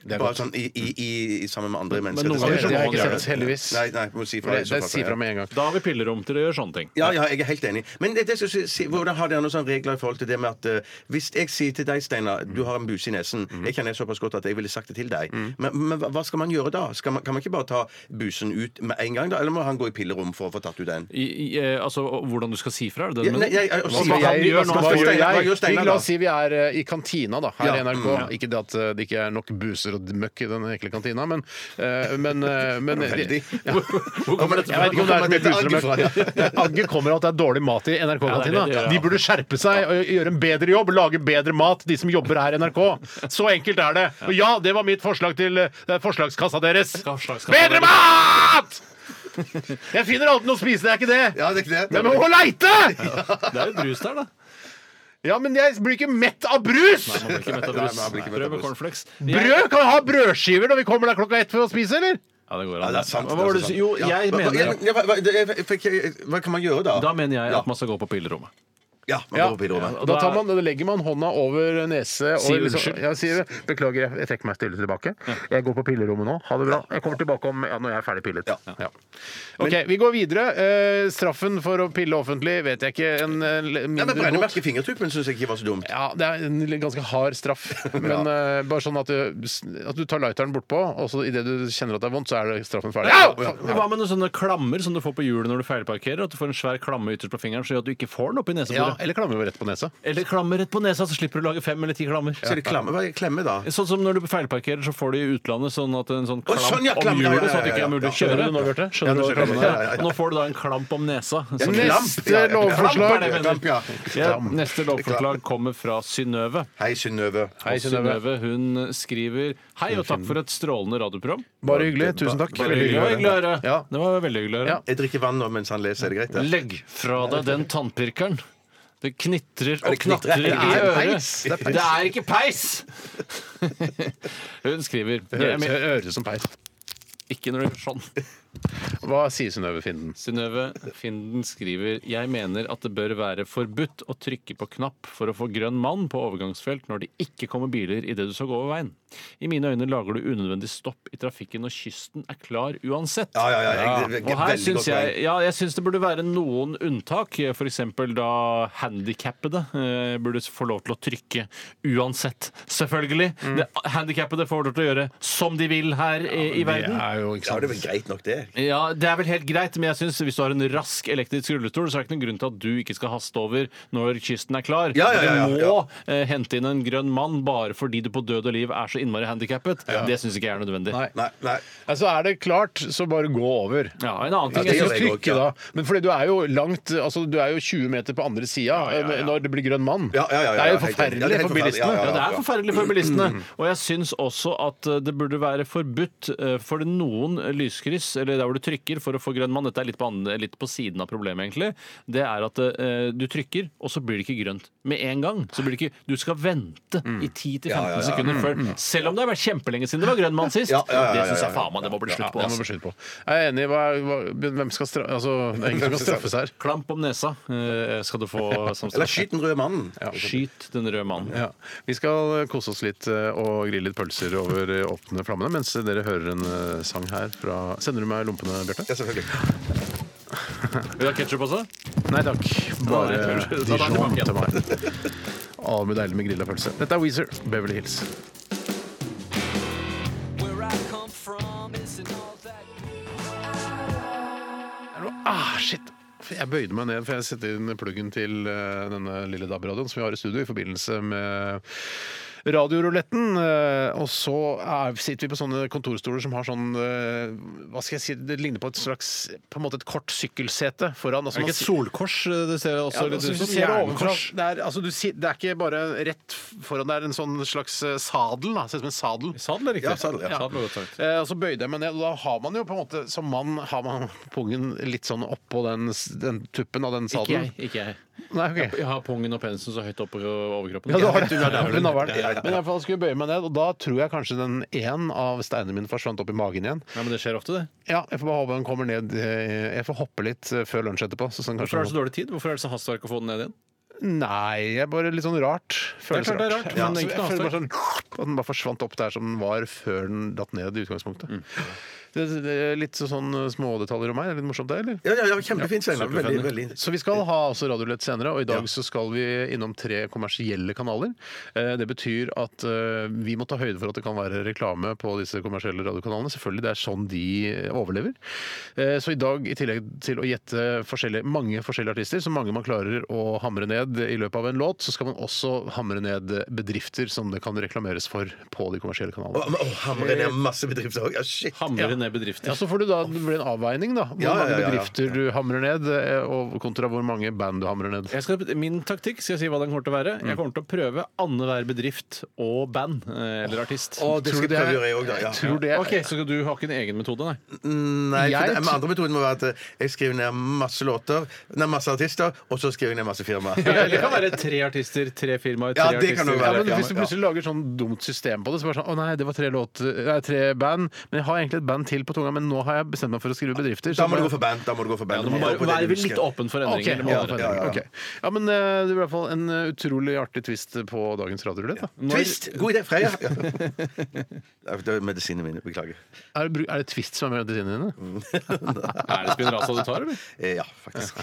S6: bare sånn i, i, i, i sammen med andre mennesker.
S5: noen ganger så
S6: Det skal jeg
S5: må
S6: ikke
S5: man
S6: gjøre.
S5: gjøre
S4: heldigvis.
S6: Nei, nei, må si fra.
S4: Det, det sier fra med en gang.
S5: Da har vi pillerom til å gjøre sånne ting.
S6: Ja, ja, jeg er helt enig. Men det, det, skal jeg si, hvordan har dere noen sånne regler i forhold til det med at eh, Hvis jeg sier til deg, Steinar, du har en buse i nesen
S5: Mhm.
S6: Jeg kjenner det såpass godt at jeg ville sagt det til deg. Men, men hva- hva skal man gjøre da? Skal man, kan man ikke bare ta busen ut med en gang, da? Eller må han gå i pillerom for å få tatt ut den?
S5: I, i, eh, altså, hvordan du skal si fra? Er det det
S6: Ja,
S5: du
S6: nei,
S5: mener?
S6: jeg- jeg-
S5: Hva
S6: si-
S5: skal
S6: jeg-
S5: han gjøre
S6: hva
S5: nå?
S6: skal
S5: Hva gjør
S6: Steinar-
S5: jeg?
S6: hva gjør
S4: Vi,
S6: Steinar
S4: la
S6: da?
S4: oss si vi er eh, i kantina, da, her
S6: Ja,
S4: i NRK. Ikke det at eh, det ikke er nok buser og møkk i den ekle kantina, men, eh, men, eh, men
S6: Veldig.
S4: Ja.
S5: Hvor kommer dette
S4: Jeg vet ikke om det er så mye buser og møkk. Agget kommer av at det er dårlig mat i
S5: Ja,
S4: NRK-kantina.
S5: det er det, ja.
S4: De burde skjerpe seg og gjøre en bedre jobb, lage bedre mat, de som jobber her i NRK. Så enkelt er det. Og ja, det var mitt forslag til eh, forslagskassa deres.
S5: Forslagskassa
S4: Bedre mat! Jeg finner alltid noe å spise, det er ikke det!
S6: Ja, det er ikke det.
S4: Men man må leite!
S5: Det er jo brus der, da.
S4: Ja, men jeg blir ikke mett av brus!
S5: Man blir ikke mett av
S6: Nei,
S5: brus.
S6: man blir ikke
S5: Prøv
S6: mett av
S5: med
S6: brus.
S5: cornflakes.
S4: Brød? Kan vi ha brødskiver når vi kommer der klokka ett for å spise, eller?
S5: Ja, det går
S6: Ja,
S5: an.
S6: det er sant.
S5: Hva var det du sa?
S6: det er sant.
S5: Jo,
S6: Ja.
S5: jeg
S6: Hva-
S5: mener
S6: ja, men- ja, hva, hva- det- jeg fikk- jeg- hva kan man gjøre da?
S5: Da mener jeg
S6: Ja.
S5: at man skal gå på pillerommet.
S6: Ja, man går opp i rommet.
S4: Da, tar man, da legger man hånda over nese og liksom-
S5: Sier unnskyld.
S4: Ja, sier det. Beklager, jeg- jeg trekker meg stille tilbake. Jeg går på pillerommet nå. Ha det bra. Jeg kommer tilbake om, ja, når jeg er ferdig pillet. Ja. OK, vi går videre. Eh, straffen for å pille offentlig vet jeg ikke. En, eh, le-
S6: Ja, men
S4: mindre bot.
S6: Brennemerke i fingertuppen syns jeg ikke var så dumt.
S4: Ja, det er en ganske hard straff. Men eh, bare sånn at du, at du tar lighteren bortpå, og så idet du kjenner at det er vondt, så er det straffen ferdig.
S5: Ja,
S4: Au! Ja,
S5: Men Hva med noen sånne klammer som du får på hjulet når du feilparkerer? At du får en svær klamme ytterst på fingeren som gjør at du ikke får den oppi
S4: Ja,
S5: nesebordet?
S4: eller klammer vi rett på nesa.
S5: Eller klammer rett på nesa, så slipper du å lage fem eller ti klammer.
S6: Så er det klamme, hva er klemme, da?
S5: Sånn som når du feilparkerer, så får du i utlandet sånn at en sånn
S6: Å,
S5: klamp
S6: sånn, ja, klamp,
S5: om
S6: ja, ja,
S5: hjulet, sånn at det ikke
S6: ja,
S5: er mulig å
S6: ja, ja.
S5: kjøre. nå, Bjarte? Skjønner du hva
S6: skjønner jeg,
S5: klammen
S6: ja, ja,
S5: er?
S6: ja.
S5: Og nå får du da en klamp om nesa. som-
S4: Neste
S6: ja, ja.
S4: lovforslag.
S5: Klamp er det,
S6: Klamp, ja.
S5: Ja, neste lovforslag kommer fra Synnøve.
S6: Hei, Synnøve.
S4: Hei,
S5: Og Synnøve hun skriver Hei og takk for et strålende radioprogram.
S4: Bare hyggelig. Tusen takk.
S5: Det var hyggelig å høre.
S4: Ja.
S5: Det var veldig hyggelig å høre.
S4: Ja.
S6: Jeg drikker vann nå mens han leser, er det greit? det?
S5: Legg fra deg den tannpirkeren. Det knitrer og
S6: det knitrer?
S4: Er
S5: knatrer i
S4: det
S5: øret.
S4: peis?
S5: Det
S4: Det er peis.
S5: er ikke peis! Hun skriver jeg mener,
S4: Høres som peis.
S5: Ikke når du gjør sånn.
S4: Hva sier Synnøve Finden?
S5: Synnøve Finden skriver Jeg mener at det bør være forbudt å trykke på knapp for å få grønn mann på overgangsfelt når det ikke kommer biler idet du skal gå over veien. I mine øyne lager du unødvendig stopp i trafikken når kysten er klar uansett.
S6: Ja, ja, ja. Jeg, det er
S5: Og her
S6: veldig
S5: syns
S6: godt poeng.
S5: jeg, ja, jeg syns det burde være noen unntak. F.eks. da handikappede eh, burde få lov til å trykke uansett. Selvfølgelig. Det, handikappede får lov til å gjøre som de vil her eh, i, i verden.
S4: er jo ikke
S6: Ja, det er vel greit nok, det.
S5: Ja, Det er vel helt greit, men jeg synes hvis du har en rask elektrisk rullestol, så er det ikke noen grunn til at du ikke skal haste over når kysten er klar.
S6: Ja, ja, ja, ja,
S5: Du må eh, hente inn en grønn mann bare fordi du på død og liv er så innmari handikappet. Det syns ikke jeg er nødvendig.
S4: Nei.
S6: Nei, nei.
S4: Altså, er det klart, så bare gå over.
S5: Ja, en annen ting
S4: Jeg
S5: jeg
S4: synes
S6: gjør jeg
S4: trykke,
S6: også, ja.
S4: da. Men fordi du er jo langt altså, Du er jo 20 meter på andre sida når det blir grønn mann.
S6: Ja, ja, ja, ja,
S4: det er jo
S6: ja, helt enig. Ja,
S4: forferdelig
S6: det er helt
S4: for bilistene.
S5: Ja,
S6: forferdelig,
S5: det er forferdelig for bilistene. Og jeg syns også at eh, det burde være forbudt eh, for noen lyskryss, eller der hvor du trykker for å få grønn mann, dette er litt på, andre, litt på siden av problemet, egentlig, det er at eh, du trykker, og så blir det ikke grønt med en gang. Så blir det ikke, du skal vente
S6: Mm.
S5: i 10-15 sekunder før. Selv om det har vært kjempelenge siden det var grønn mann sist.
S6: Ja, ja, ja, ja,
S5: Det syns jeg
S6: ja, ja.
S5: faen meg det må bli
S4: Ja,
S5: slutt på.
S4: det må
S5: altså.
S4: bli slutt på. Jeg er enig. Hva, er- hva, hvem skal stra altså, det er ingen som kan straffes her.
S5: Klamp om nesa eh, skal du få som
S6: Eller
S5: straff.
S6: skyt den røde mannen.
S5: Skyt den røde mannen.
S4: Ja. Vi skal eh, kose oss litt eh, og grille litt pølser over eh, åpne flammene mens dere hører en eh, sang her fra Sender du meg lompene, Bjarte?
S6: Ja, selvfølgelig.
S5: Vil du ha ketsjup også?
S4: Nei takk. Bare
S5: Nei, tull. Da tar jeg
S4: Dijon
S5: tilbake igjen.
S4: til meg. Å, det blir deilig med grilla pølse. Dette er Weezer, Beverly Hills. Er det noe- Ah, shit! For Jeg bøyde meg ned, for jeg setter inn pluggen til eh, denne lille DAB-radioen som vi har i studio i forbindelse med Radioruletten. eh, Og så er, sitter vi på sånne kontorstoler som har sånn eh, Hva skal jeg si, det ligner på et slags På en måte et kort sykkelsete foran. Altså,
S5: Er
S4: man
S5: det ikke et
S4: sit-
S5: solkors? eh, Det ser også
S4: ja,
S5: litt
S4: altså,
S5: ut
S4: hvis du
S5: som.
S4: ser det ovenfra,
S5: Jernkors.
S4: det er, altså, du, si- det er ikke bare rett foran, det er en sånn slags eh, sadel. Da. Ser ut som en sadel.
S5: Sadel er riktig.
S6: Ja, sadel, ja.
S5: Sadel er godt sagt.
S4: Eh, og så bøyde jeg meg ned, og da har man jo på en måte som mann har man pungen litt sånn oppå den, s- den tuppen av den
S5: Ikke jeg.
S4: sadelen.
S5: ikke jeg.
S4: Nei, ok.
S5: Jeg har pungen og penisen så høyt oppe på overkroppen.
S4: Ja, du har
S5: Jeg
S4: det.
S5: vet er
S4: Ved
S5: vel-
S4: navlen. Men i hvert fall skulle jeg bøye meg ned, og da tror jeg kanskje den én av steinene mine forsvant opp i magen igjen.
S5: Ja, men det skjer ofte, det.
S4: Ja, jeg får bare håpe den kommer ned eh, Jeg får hoppe litt eh, før lunsj etterpå. Så sånn
S5: Hvorfor er det
S4: kanskje
S5: så dårlig tid? Hvorfor er det så hastverk å få den ned igjen?
S4: Nei, jeg er bare litt sånn rart. Føles
S5: Det er klart det er rart, men
S4: så
S5: ikke
S4: jeg
S5: noe
S4: føler bare sånn at den bare forsvant opp der som den var før den datt ned i utgangspunktet.
S5: Mm.
S4: Det, det er litt så- sånn eh, smådetaljer om meg. Det er litt morsomt, det, eller?
S6: Ja, ja, ja, kjempefint, Steinar. Veldig, veldig.
S4: Så vi
S6: Eh,
S4: skal ha også Radiolett senere, og i dag så skal vi innom tre kommersielle kanaler. Eh, Det betyr at eh, vi må ta høyde for at det kan være reklame på disse kommersielle radiokanalene. Selvfølgelig, det er sånn de overlever. Eh, Så i dag, i tillegg til å gjette forskjellige, mange forskjellige artister, så mange man klarer å hamre ned i løpet av en låt, så skal man også hamre ned bedrifter som det kan reklameres for på de kommersielle kanalene.
S6: Å, å, hamre ned masse bedrifter òg. Ja, shit.
S5: Hamre ned bedrifter.
S4: Ja, Så får du da, det blir en avveining, da. Hvor
S6: Ja, ja, ja,
S4: mange
S6: ja.
S4: bedrifter du hamrer ned, eh, og kontra hvor mange band du hamrer ned.
S5: Jeg skal, min taktikk skal jeg si hva den kommer til å være. Jeg kommer til å prøve annenhver bedrift og band eh, eller artist.
S6: Å, det
S4: Tror
S6: skal
S4: du
S6: jeg
S4: det
S6: prøve å
S4: er-
S6: gjøre, jeg òg, da. Ja.
S4: Tror det
S5: Ok, Så du har ikke en egen metode, nei?
S6: Nei, for
S4: Jeg
S6: det, men andre metoden må være at eh, jeg skriver ned masse låter, nei, masse artister, og så skriver jeg ned masse firmaer.
S5: Ja, eller det kan være tre artister, tre firmaer, tre
S6: Ja, det kan
S5: artister.
S6: det
S4: Ja,
S6: være.
S4: men Hvis du
S6: ja.
S4: plutselig lager sånn dumt system på det, så bare sånn Å nei, det var tre, låter, nei, tre band, men jeg har egentlig et band til på tunga, men nå har jeg bestemt meg for å skrive bedrifter.
S6: Da
S4: så
S6: må du
S4: bare-
S6: gå for band. Da må du gå for band.
S5: Du må
S6: Du må gå
S5: bare
S6: på det
S5: være
S6: du
S5: litt
S6: husker.
S5: åpen for
S4: Ok,
S5: endringer. det må
S4: ja,
S5: være.
S6: ja, ja.
S4: ok. ja, men eh, det blir i hvert fall en eh, utrolig artig twist på dagens radiorulett. da.
S6: Twist! God idé, Freya! Ja. Det er medisinene mine. Beklager.
S4: Er, det bru- er det twist som er medisinene dine?
S5: Er det Spinraza du tar, eller?
S6: Eh, Ja, faktisk.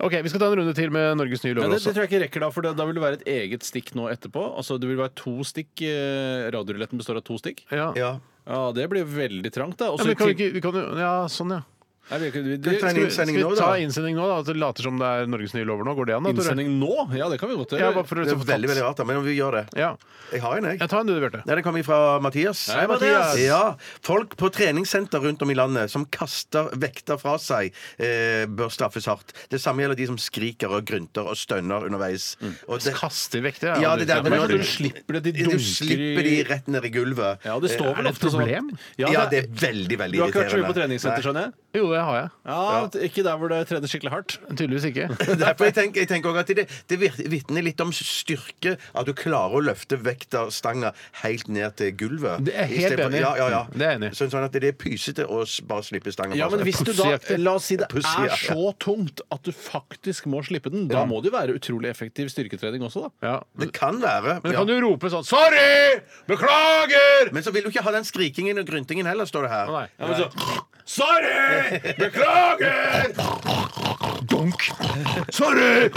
S4: Ok, vi skal ta en runde til med Norges nye
S5: Ja,
S4: lover
S5: det, det
S4: også.
S5: tror jeg ikke rekker, da, for da, da vil det være et eget stikk nå etterpå. Altså, det vil være to stikk eh, Radioruletten består av to stikk.
S4: Ja.
S6: Ja.
S5: Ja, Det blir veldig trangt, da. Og
S4: Ja,
S5: så
S4: men kan vi
S5: til-
S4: ikke, vi kan jo, ja, sånn, ja.
S5: Nei, vi kan- vi-
S6: vi ta en
S5: skal vi-
S6: Innsending
S4: Skal
S6: nå,
S4: vi ta
S6: da.
S4: innsending nå, da? At det later som det er Norges nye lover nå? Går det an? da, Tore?
S5: Innsending nå? Ja, det kan vi godt
S4: Ja,
S5: gjøre.
S4: bare for å
S6: Det er
S4: få
S6: veldig veldig
S4: tatt.
S6: rart, da, men vi gjør det.
S4: Ja.
S6: Jeg har en, jeg.
S4: ja, ta en du, Bjarte.
S6: Nei, Det kommer fra Mathias.
S4: Hei, Mathias.
S6: Ja, Folk på treningssenter rundt om i landet som kaster vekter fra seg, eh, bør straffes hardt. Det samme gjelder de som skriker og grynter og stønner underveis.
S5: Mm.
S6: Og det,
S4: Kaste vekter?
S6: Ja, det der-
S5: Men
S6: Ja,
S5: altså,
S6: du-
S5: du slipper det, de dunker
S6: du slipper de rett ned i gulvet. Eh,
S5: Ja, det står
S4: Er
S5: vel
S4: det et
S5: ofte sånn at-
S4: problem?
S5: Ja,
S6: Ja,
S5: det
S6: det er veldig, veldig
S5: du har ikke vært så mye på
S6: irriterende.
S5: treningssenter, skjønner jeg?
S4: Jo, det har jeg.
S5: Ja, Ikke der hvor det trener skikkelig hardt.
S4: Tydeligvis ikke.
S6: Derfor jeg tenker, jeg tenker også at Det, det vir- vitner litt om styrke at du klarer å løfte vekterstanga helt ned til gulvet.
S4: Det er
S6: I
S4: helt
S6: stedet for-
S4: enig.
S6: Ja, ja, ja.
S5: Mm,
S4: Det er jeg enig i.
S6: Sånn, sånn at det er pysete å s- bare slippe stanga.
S5: Ja,
S6: fra
S5: men
S6: seg.
S5: hvis du da,
S4: Pussyaktig.
S5: la oss si det er
S6: Pussyaktig.
S5: så tungt at du faktisk må slippe den, da må det jo være utrolig effektiv styrketrening også, da.
S4: Ja.
S6: Det kan være.
S4: Men
S6: ja.
S4: kan du rope sånn Sorry! Beklager!
S6: Men så vil du ikke ha den skrikingen og gryntingen heller, står det her.
S4: Nei.
S5: Ja, men så,
S4: Sorry! Beklager! Dunk. Sorry!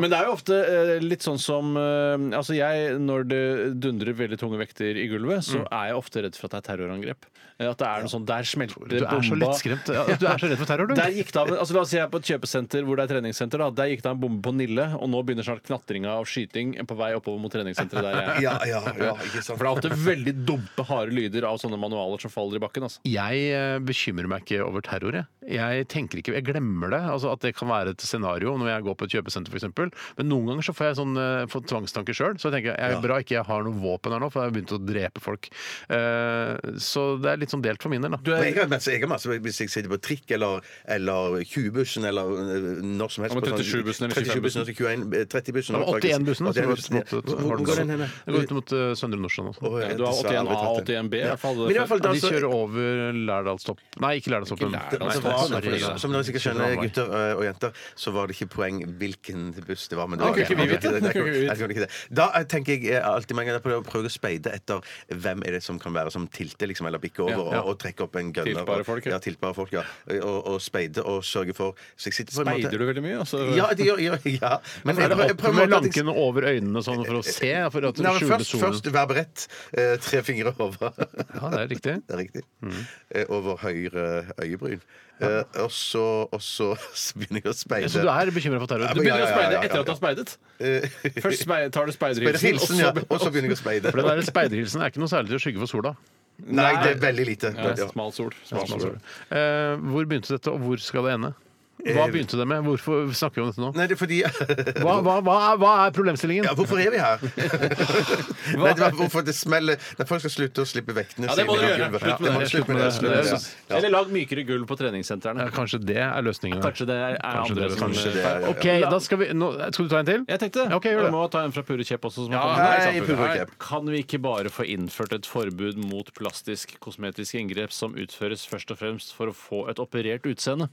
S5: Men det er jo ofte eh, litt sånn som eh, Altså jeg, når det dundrer veldig tunge vekter i gulvet,
S4: Mm.
S5: så er jeg ofte redd for at det er terrorangrep. Eh, At det er noe sånn Der smelter
S4: Du er så
S5: bomba.
S4: lettskremt. Ja, Du er så redd for terror, du.
S5: Der gikk det av, altså La oss si jeg er på et kjøpesenter hvor det er treningssenter. da Der gikk det av en bombe på Nille, og nå begynner snart knatringa av skyting på vei oppover mot treningssenteret der jeg er.
S6: Ja, ja, ja, ikke sant.
S5: For det er ofte veldig dumpe, harde lyder av sånne manualer som faller i bakken. altså
S4: Jeg eh, bekymrer meg ikke over terror. Jeg, jeg tenker ikke, jeg glemmer det. Altså At det kan være et scenario når jeg går på et kjøpesenter f.eks. Men noen ganger så får jeg sånn, eh, får tvangstanker sjøl. Så jeg tenker jeg er bra ikke jeg har noe våpen her nå, for jeg har begynt å drepe folk. Eh, så det er litt sånn delt for min del, da.
S6: Men Jeg har masse, jeg har masse Hvis jeg sitter på trikk eller, eller 20-bussen eller øh, når som helst
S5: Ja, men
S6: på sånn-
S5: 37-bussen eller
S6: 37-bussen eller 21, eh, 30-bussen.
S4: Det var 81-bussen. som går ut
S6: 81-bussen, ja.
S4: mot, eh,
S6: Hvor hvor går den hen? da?
S4: Den går ut mot eh, Søndre Nordstrand. og sånn.
S6: Å, jeg
S5: Du har 81A
S6: dessverre aldri
S5: og
S6: tatt den.
S5: 81B. i hvert fall.
S6: Men i hvert fall da
S4: De
S6: så
S4: kjører over Lærdalstopp. Nei, Altså, ikke Lærdalstoppen.
S5: Ikke Lærdalstoppen.
S4: Nei,
S6: det var,
S4: sorry, det er-
S6: Altså, som dere sikkert skjønner, gutter øh, og jenter, så var det ikke poeng hvilken buss det var. Men det
S5: Det
S6: var
S5: kunne ikke vi vite.
S6: Nei,
S5: Det kunne ikke vi
S6: jeg kunne ikke det. Da eh, tenker jeg eh, alltid mange ganger på det å prøve å speide etter hvem er det som kan være som tilter, liksom, eller bikker over,
S5: ja.
S6: og, og trekke opp en gunner.
S5: Tiltbare
S6: og-
S5: folk, ja.
S6: ja. Tiltbare folk, ja. Og, og speide og sørge for Så jeg sitter på en måte
S5: Speider du veldig mye? Altså,
S6: Ja, det gjør gjør- ja. Men
S4: Er
S6: jeg
S4: det
S6: prøver- jeg
S4: opp
S6: prøver
S4: med
S6: å alltid-
S4: lankene over øynene og sånn for å se? For at
S6: Nei, men
S4: skjule
S6: først,
S4: solen?
S6: først vær beredt. Eh, tre fingre over.
S4: Ja, det er riktig.
S6: Det er riktig. Eh, over høyre øyebryn. Eh, og så og så begynner jeg å speide.
S4: Så du er bekymra for terror?
S5: Du
S4: Du
S6: Ja,
S5: begynner
S6: ja,
S5: å
S6: ja,
S5: speide
S6: ja, ja.
S5: etter at du har speidet? Først spei- tar du
S6: Speider
S5: speiderhilsen,
S6: hilsen, ja. Og så begynner jeg å speide.
S4: For den der speiderhilsen er ikke noe særlig til å skygge for sola.
S6: Nei, det er veldig lite.
S5: Ja,
S6: Ja.
S5: smal sol. Smal sol.
S4: Eh, hvor begynte dette, og hvor skal det ende? Hva begynte det med? Hvorfor snakker vi om dette nå?
S6: Nei, det er fordi
S4: Hva, hva, hva, er, hva er problemstillingen?
S6: ja, Hvorfor er vi her? Nei, det var hvorfor det smeller Nei, folk skal slutte å slippe vektene
S5: Ja, det må
S6: sine
S5: du
S6: i
S5: gjøre.
S6: gulvet.
S5: Slutt med
S6: Ja,
S5: det.
S6: Slutt med det.
S4: Slutt
S6: Slutt
S4: med
S6: med
S4: det.
S6: det. Ja.
S5: Eller lag mykere gulv på treningssentrene.
S4: Ja, kanskje det er løsningen.
S5: Kanskje det er andre
S4: det er
S5: som
S6: Kanskje det er-
S4: Ok, da skal vi nå, Skal du ta en til?
S5: Jeg tenkte
S4: Ja, ok, gjør
S5: vi
S4: det.
S5: må ta en fra Pure Kjepp også. Som har
S4: Ja,
S5: kommet med.
S6: hei,
S5: Ikke sant, Pure
S6: Pure
S5: Kjepp?
S6: Kjepp.
S5: Kan vi ikke bare få innført et forbud mot plastisk kosmetiske inngrep som utføres først og fremst for å få et operert utseende?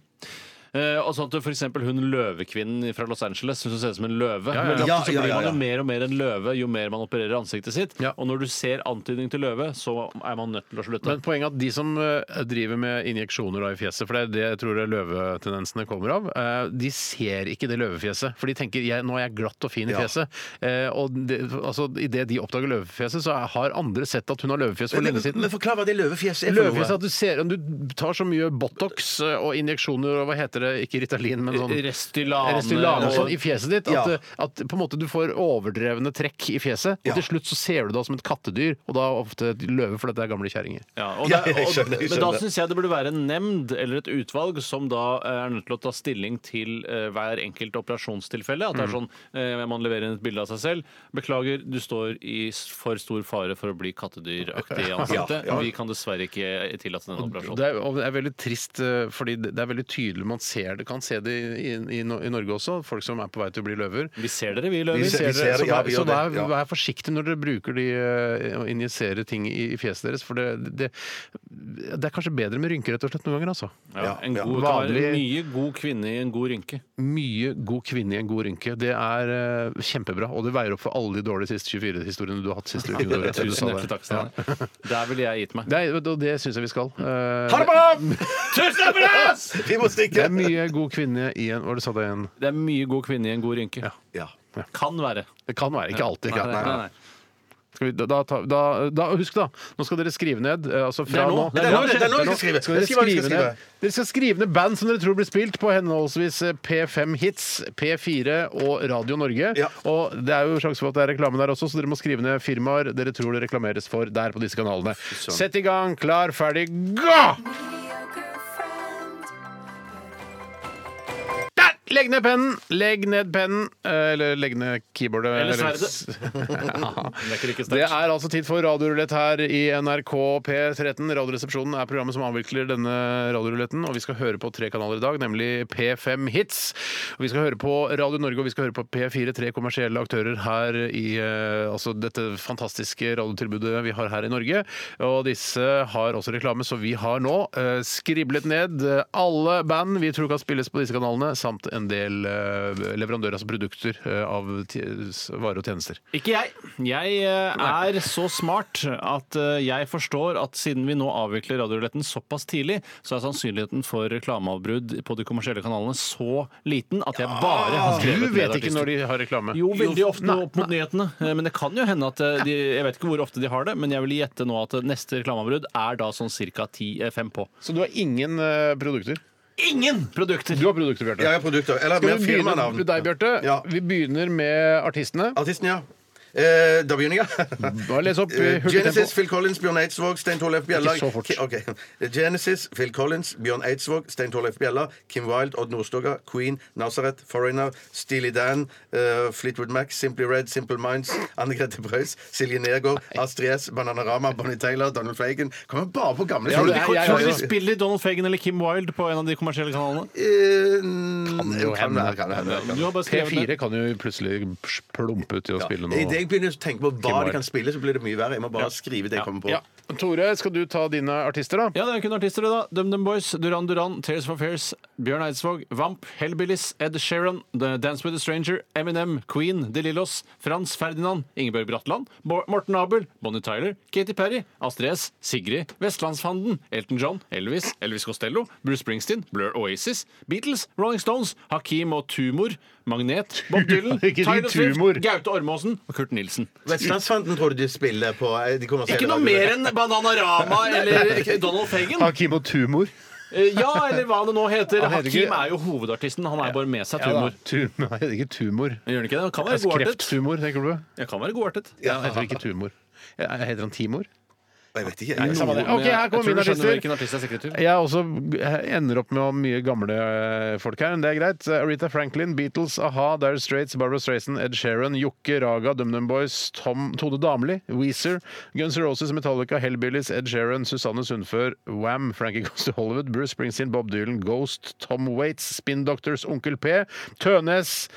S5: Eh, og sånn at for eksempel hun løvekvinnen fra Los Angeles syns hun ser ut som en løve.
S4: ja.
S5: Veldig ofte
S6: Ja,
S5: så
S6: ja,
S5: blir
S6: ja,
S5: man jo
S6: ja.
S5: mer og mer en løve jo mer man opererer ansiktet sitt.
S4: Ja.
S5: Og når du ser antydning til løve, så er man nødt til å slutte.
S4: Men poenget er at de som eh, driver med injeksjoner da i fjeset, for det er det jeg tror det løvetendensene kommer av, eh, de ser ikke det løvefjeset. For de tenker jeg, nå er jeg glatt og fin i
S6: Ja.
S4: fjeset. Eh, Og det- altså, idet de oppdager løvefjeset, så har andre sett at hun har løvefjes for lenge siden.
S6: Men forklar hva det løvefjeset er for
S4: Løvefjes er
S6: noe.
S4: at du ser Du tar så mye Botox eh, og injeksjoner og hva heter heter det? Ikke Ritalin, men sånn
S5: Restylane.
S4: Restylane og sånn i fjeset ditt. At,
S6: Ja.
S4: at på en måte du får overdrevne trekk i fjeset, og til slutt så ser du deg som et kattedyr, og da ofte et løve, for dette er gamle kjerringer.
S5: Ja, og
S6: Ja,
S5: da-
S6: jeg skjønner,
S5: og-
S6: jeg
S5: Men da
S6: skjønner.
S5: syns jeg det burde være en nemnd eller et utvalg som da eh, er nødt til å ta stilling til eh, hver enkelt operasjonstilfelle. At det er
S4: Mm.
S5: sånn eh, man leverer inn et bilde av seg selv. Beklager, du står i s- for stor fare for å bli kattedyraktig i ansiktet.
S6: Ja, ja.
S5: Vi kan dessverre ikke tillate den operasjonen.
S4: Det er, og det er veldig trist, eh, fordi det det er veldig tydelig man ser det. Kan se det i, i, i Nor- i Norge også, folk som er på vei til å bli løver.
S5: Vi ser dere, vi,
S4: Vi
S5: Løvis.
S4: ser
S6: Mm. vi
S4: det,
S6: ser
S4: så
S6: det, ja,
S4: vær,
S6: vi
S4: så
S6: gjør
S4: vær,
S6: det, ja.
S4: vær forsiktig når dere bruker de eh, og injiserer ting i, i fjeset deres, for det, det, det er kanskje bedre med rynker rett og slett noen ganger, altså.
S5: Ja, en
S6: ja.
S5: god, det kan være
S4: Vanlig-
S5: mye god kvinne i en god rynke.
S4: Mye god kvinne i en god rynke. Det er eh, kjempebra, og det veier opp for alle de dårlige siste 24-historiene du har hatt siste uke. Tore, etter du sa
S5: Tusen
S4: det.
S5: hjertelig takk. Steinar. Der ville jeg gitt meg.
S4: Det, er, og det syns jeg vi skal. Eh,
S6: Ha det bra! Vi må
S4: det
S6: stikke!
S4: er mye god kvinne i en Hva var det du sa det igjen?
S5: Det er mye god kvinne i en god rynke.
S6: Ja.
S5: Kan være.
S4: Det kan være. Ikke alltid.
S5: Nei,
S4: Ikke?
S5: nei, nei, nei.
S4: Skal vi, da, da, ta- da, da, husk, da. Nå skal dere skrive ned. eh, Altså fra
S5: Det er nå.
S4: nå.
S5: Det er nå,
S6: det er nå vi skal skrive.
S4: Skal dere,
S6: Skriv hva vi skal
S4: skrive
S6: skrive.
S4: ned, dere skal skrive ned band som dere tror blir spilt på henholdsvis eh, P5 Hits, P4 og Radio Norge.
S6: Ja.
S4: Og det er jo sjanse for at det er reklame der også, så dere må skrive ned firmaer dere tror det reklameres for der på disse kanalene. Sett i gang, klar, ferdig, gå! Der! Legg ned pennen! Legg ned pennen. Eh, Eller legg ned keyboardet.
S5: Eller
S4: sverdet.
S5: Det er ikke like
S4: Det
S5: sterkt.
S4: er altså tid for radiorulett her i NRK P13. Radioresepsjonen er programmet som avvikler denne radioruletten, og vi skal høre på tre kanaler i dag, nemlig P5 Hits. Og vi skal høre på Radio Norge, og vi skal høre på P4, tre kommersielle aktører her i eh, altså dette fantastiske radiotilbudet vi har her i Norge. Og disse har også reklame, så vi har nå eh, skriblet ned eh, alle band vi tror kan spilles på disse kanalene, samt en del eh, leverandører, altså produkter, eh, av t varer og tjenester.
S5: Ikke jeg. Jeg eh, er så smart at eh, jeg forstår at siden vi nå avvikler radioruletten såpass tidlig, så er sannsynligheten for reklameavbrudd på de kommersielle kanalene så liten at jeg bare har skrevet
S4: Du
S5: ned
S4: vet ikke
S5: artister.
S4: når de har reklame.
S5: Jo, veldig ofte opp mot nyhetene. Eh, Men det kan jo hende at eh, de Jeg vet ikke hvor ofte de har det, men jeg vil gjette nå at eh, neste reklameavbrudd er da sånn ca. ti-fem på.
S4: Så du har ingen eh, produkter?
S5: Ingen produkter!
S4: Du har produkter, Bjarte.
S6: Jeg har produkter. Eller
S4: Skal
S6: mer
S4: vi begynne
S6: firmanavn.
S4: med deg, Bjarte?
S6: Ja.
S4: Vi begynner med artistene.
S6: Artisten, ja. Eh, da begynner jeg.
S4: Bare les opp i
S6: Eh,
S4: hurtig
S6: Genesis,
S4: tempo.
S6: Phil Collins, Bjørn Eidsvåg, Stein Torleif Bjella
S4: Ikke så fort.
S6: Ki- ok. Genesis, Phil Collins, Bjørn Eidsvåg, Stein Torleif Bjella, Kim Wilde, Odd Nordstoga, Queen, Nazareth, Foreigner, Steely Dan, eh, Fleetwood Mac, Simply Red, Simple Minds, Anne Grete Preus, Silje Nergård, Astrid S, Bananarama, Bonnie Taylor, Donald Fagan Kommer bare på gamle
S4: Ja,
S6: ting.
S4: det er-
S6: Eh,
S4: jeg-
S5: Tror du de
S4: jeg-
S5: spiller Donald Fagan eller Kim Wilde på en av de kommersielle kanalene?
S6: Eh, mm, Kan
S4: jo hende.
S6: være, kan være, kan
S5: Du
S6: være.
S5: har bare skrevet ned.
S4: P4 kan jo plutselig plumpe ut i å spille
S6: Idet
S4: noe.
S6: jeg begynner å tenke på hva
S4: Wilde.
S6: de kan spille, så blir det mye verre. Jeg må bare skrive det jeg kommer på.
S4: Ja. Tore, skal du ta dine artister, da?
S5: Ja, det er kun artister, det, da. DumDum Boys, Duran Duran, Tears for Fears, Bjørn Eidsvåg, Vamp, Hellbillies, Ed Sheeran, The Dance with a Stranger, Eminem, Queen, De Lillos, Frans Ferdinand, Ingebjørg Bratland, Bo- Morten Abel, Bonnie Tyler, Katy Perry, Astrid S, Sigrid, Vestlandsfanden, Elton John, Elvis, Elvis Costello, Bruce Springsteen, Blur Oasis, Beatles, Rolling Stones, Hakim og Tumor, Magnet, Bob Dylan,
S4: Ikke de
S5: Tyler
S4: Tumor.
S5: Swift, Gaute Ormåsen og Kurt Nilsen.
S6: Vestlandsfanten tror du de spiller på eh, de kommer
S5: Ikke
S6: senere.
S5: noe mer enn Bananarama eller Donald Fagan.
S4: Hakim og Tumor.
S5: Eh, Ja, eller hva det nå heter.
S4: Han heter
S5: Hakim
S4: ikke-
S5: er jo hovedartisten. Han er bare med seg
S4: Ja, da.
S5: tumor.
S4: Tu- Nei, det er ikke tumor.
S5: Gjør han ikke det? Han kan være
S4: Altså,
S5: godartet.
S4: Krefttumor, tenker du?
S5: Jeg kan være godartet.
S4: Ja, heter ikke tumor. Ja, Heter han Timor?
S6: Jeg vet ikke. Jeg,
S4: samme det.
S5: Men
S4: Ok, her
S5: jeg
S4: kommer
S5: tror
S4: mine
S5: du skjønner
S4: artister.
S5: Hvilken artist jeg sikter til.
S4: Jeg også ender opp med å ha mye gamle eh, folk her, men det er greit. Aretha Franklin, Beatles, A-ha, Dire Straits, Barbara Streisand, Ed Sheeran, Jokke, Raga, DumDum Boys, Tom, Tode Damli, Weezer, Guns N' Roses, Metallica, Hellbillies, Ed Sheeran, Susanne Sundfør, Wham, Frankie Goes to Hollywood, Bruce Springsteen, Bob Dylan, Ghost, Tom Waits, Spin Doctors, Onkel P, Tønes,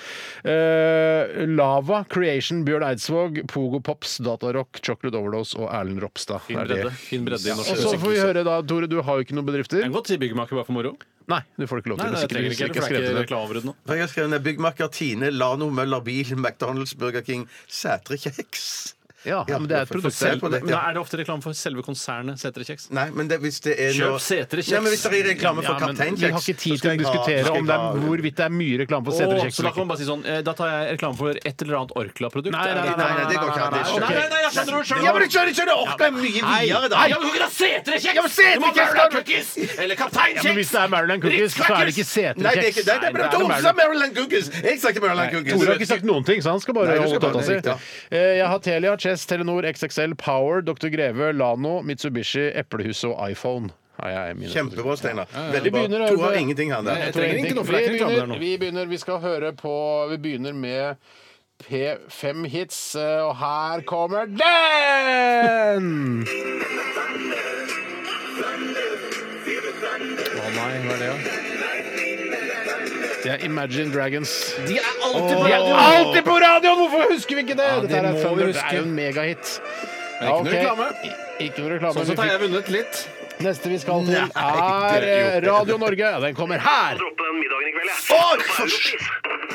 S4: eh, Lava, Creation, Bjørn Eidsvåg, Pogo Pops, Datarock, Chocolate Overdose og Erlend Ropstad.
S5: Fin
S4: Er det.
S5: bredde. Fin bredde i
S4: Og
S5: norsk
S4: så
S5: musikk.
S4: får vi høre da, Tore, du har jo ikke noen bedrifter.
S5: Jeg kan godt si byggmaker bare for moro.
S4: Nei, det får du ikke lov
S5: Nei,
S4: til.
S5: nei,
S4: hvis
S5: jeg
S4: ikke du- hvis
S5: trenger ikke
S4: ikke
S5: det, for det er ikke
S4: skrevet det.
S5: reklameavbrudd nå.
S6: jeg har skrevet ned Byggmaker, Tine, Lano, Møller Bil, McDonald's, Burger King, Sætre Kjeks.
S4: Ja, men det er et
S6: for- for
S4: produkt.
S6: selv-
S5: Men da er det ofte reklame for selve konsernet Sætre Kjeks?
S6: Nei, men det, hvis det er
S5: Kjøp
S6: noe-
S5: Sætre kjeks.
S6: Nei, men Hvis det er reklame for
S4: Ja, men
S6: Kaptein
S4: vi har ikke
S6: Kjeks,
S4: tid til å
S6: så skal jeg ha-
S4: diskutere
S6: skal
S4: om det
S6: jeg
S4: er
S6: ha-
S4: hvorvidt det er mye reklame for
S5: Å,
S4: Sæterkjeks.
S5: så da kan man bare si sånn eh, Da tar jeg reklame for et eller annet Orkla-produkt.
S4: Nei, nei,
S6: Nei, nei, det går ikke an. Det
S5: Å,
S6: skjønner
S5: nei,
S6: jeg.
S5: nei, nei, jeg skjønner det sjøl!
S6: Ja, men du skjønner, skjønner, orker jeg mye videre, da.
S5: Ja, men du kan ikke ha Sætre-kjeks!
S6: Ja, men
S5: Du
S6: Sætre
S5: må ha
S6: Kjeks,
S5: Maryland
S6: da.
S5: Cookies! Eller Kaptein
S4: Ja, men
S5: Kjeks!
S4: hvis det er Maryland Cookies, så er det ikke
S6: Nei, det er ikke
S4: Sæterkjeks.
S6: det.
S4: Nei,
S6: Det er bare
S4: det er
S6: Tore
S4: Maryland-
S6: sa Maryland Cookies! Jeg sa ikke Maryland Cookies.
S4: Tore har ikke sagt noen ting, så han skal bare
S6: Nei, du
S4: holde
S6: skal bare-
S4: tøtta si.
S6: det er riktig,
S4: Eh, Jeg har Telia, Chess, Telenor, XXL, Power, Dr. Greve, Lano, Mitsubishi, Eplehuset og iPhone. Nei, jeg er mine
S6: Kjempebra, Steinar.
S4: Vi
S6: Veldig bra.
S4: begynner,
S6: Tore har
S4: Tore.
S6: ingenting, han der.
S5: Jeg trenger ikke noe, for det er ikke
S4: vi,
S5: reklame der
S4: begynner,
S5: nå.
S4: vi begynner, vi skal høre på Vi begynner med P5 Hits, eh, og her kommer den!
S5: Å nei, hva er det, ja?
S4: Det er Imagine Dragons.
S5: De er alltid
S4: De er alltid på radioen! Hvorfor husker vi ikke det?
S5: det
S4: Dette her
S5: må
S4: er
S5: vi
S4: Thunder. Det
S5: huske.
S4: er jo en megahit.
S5: Men ikke noe
S4: Ja, ok.
S5: reklame.
S4: I- Ikke noe reklame.
S5: Sånn
S4: Vi
S5: sett har
S4: fikk-
S5: jeg vunnet litt.
S4: Neste vi skal til, er eh, Radio Norge. Ja, Den kommer her!
S9: droppe den middagen i kveld, jeg.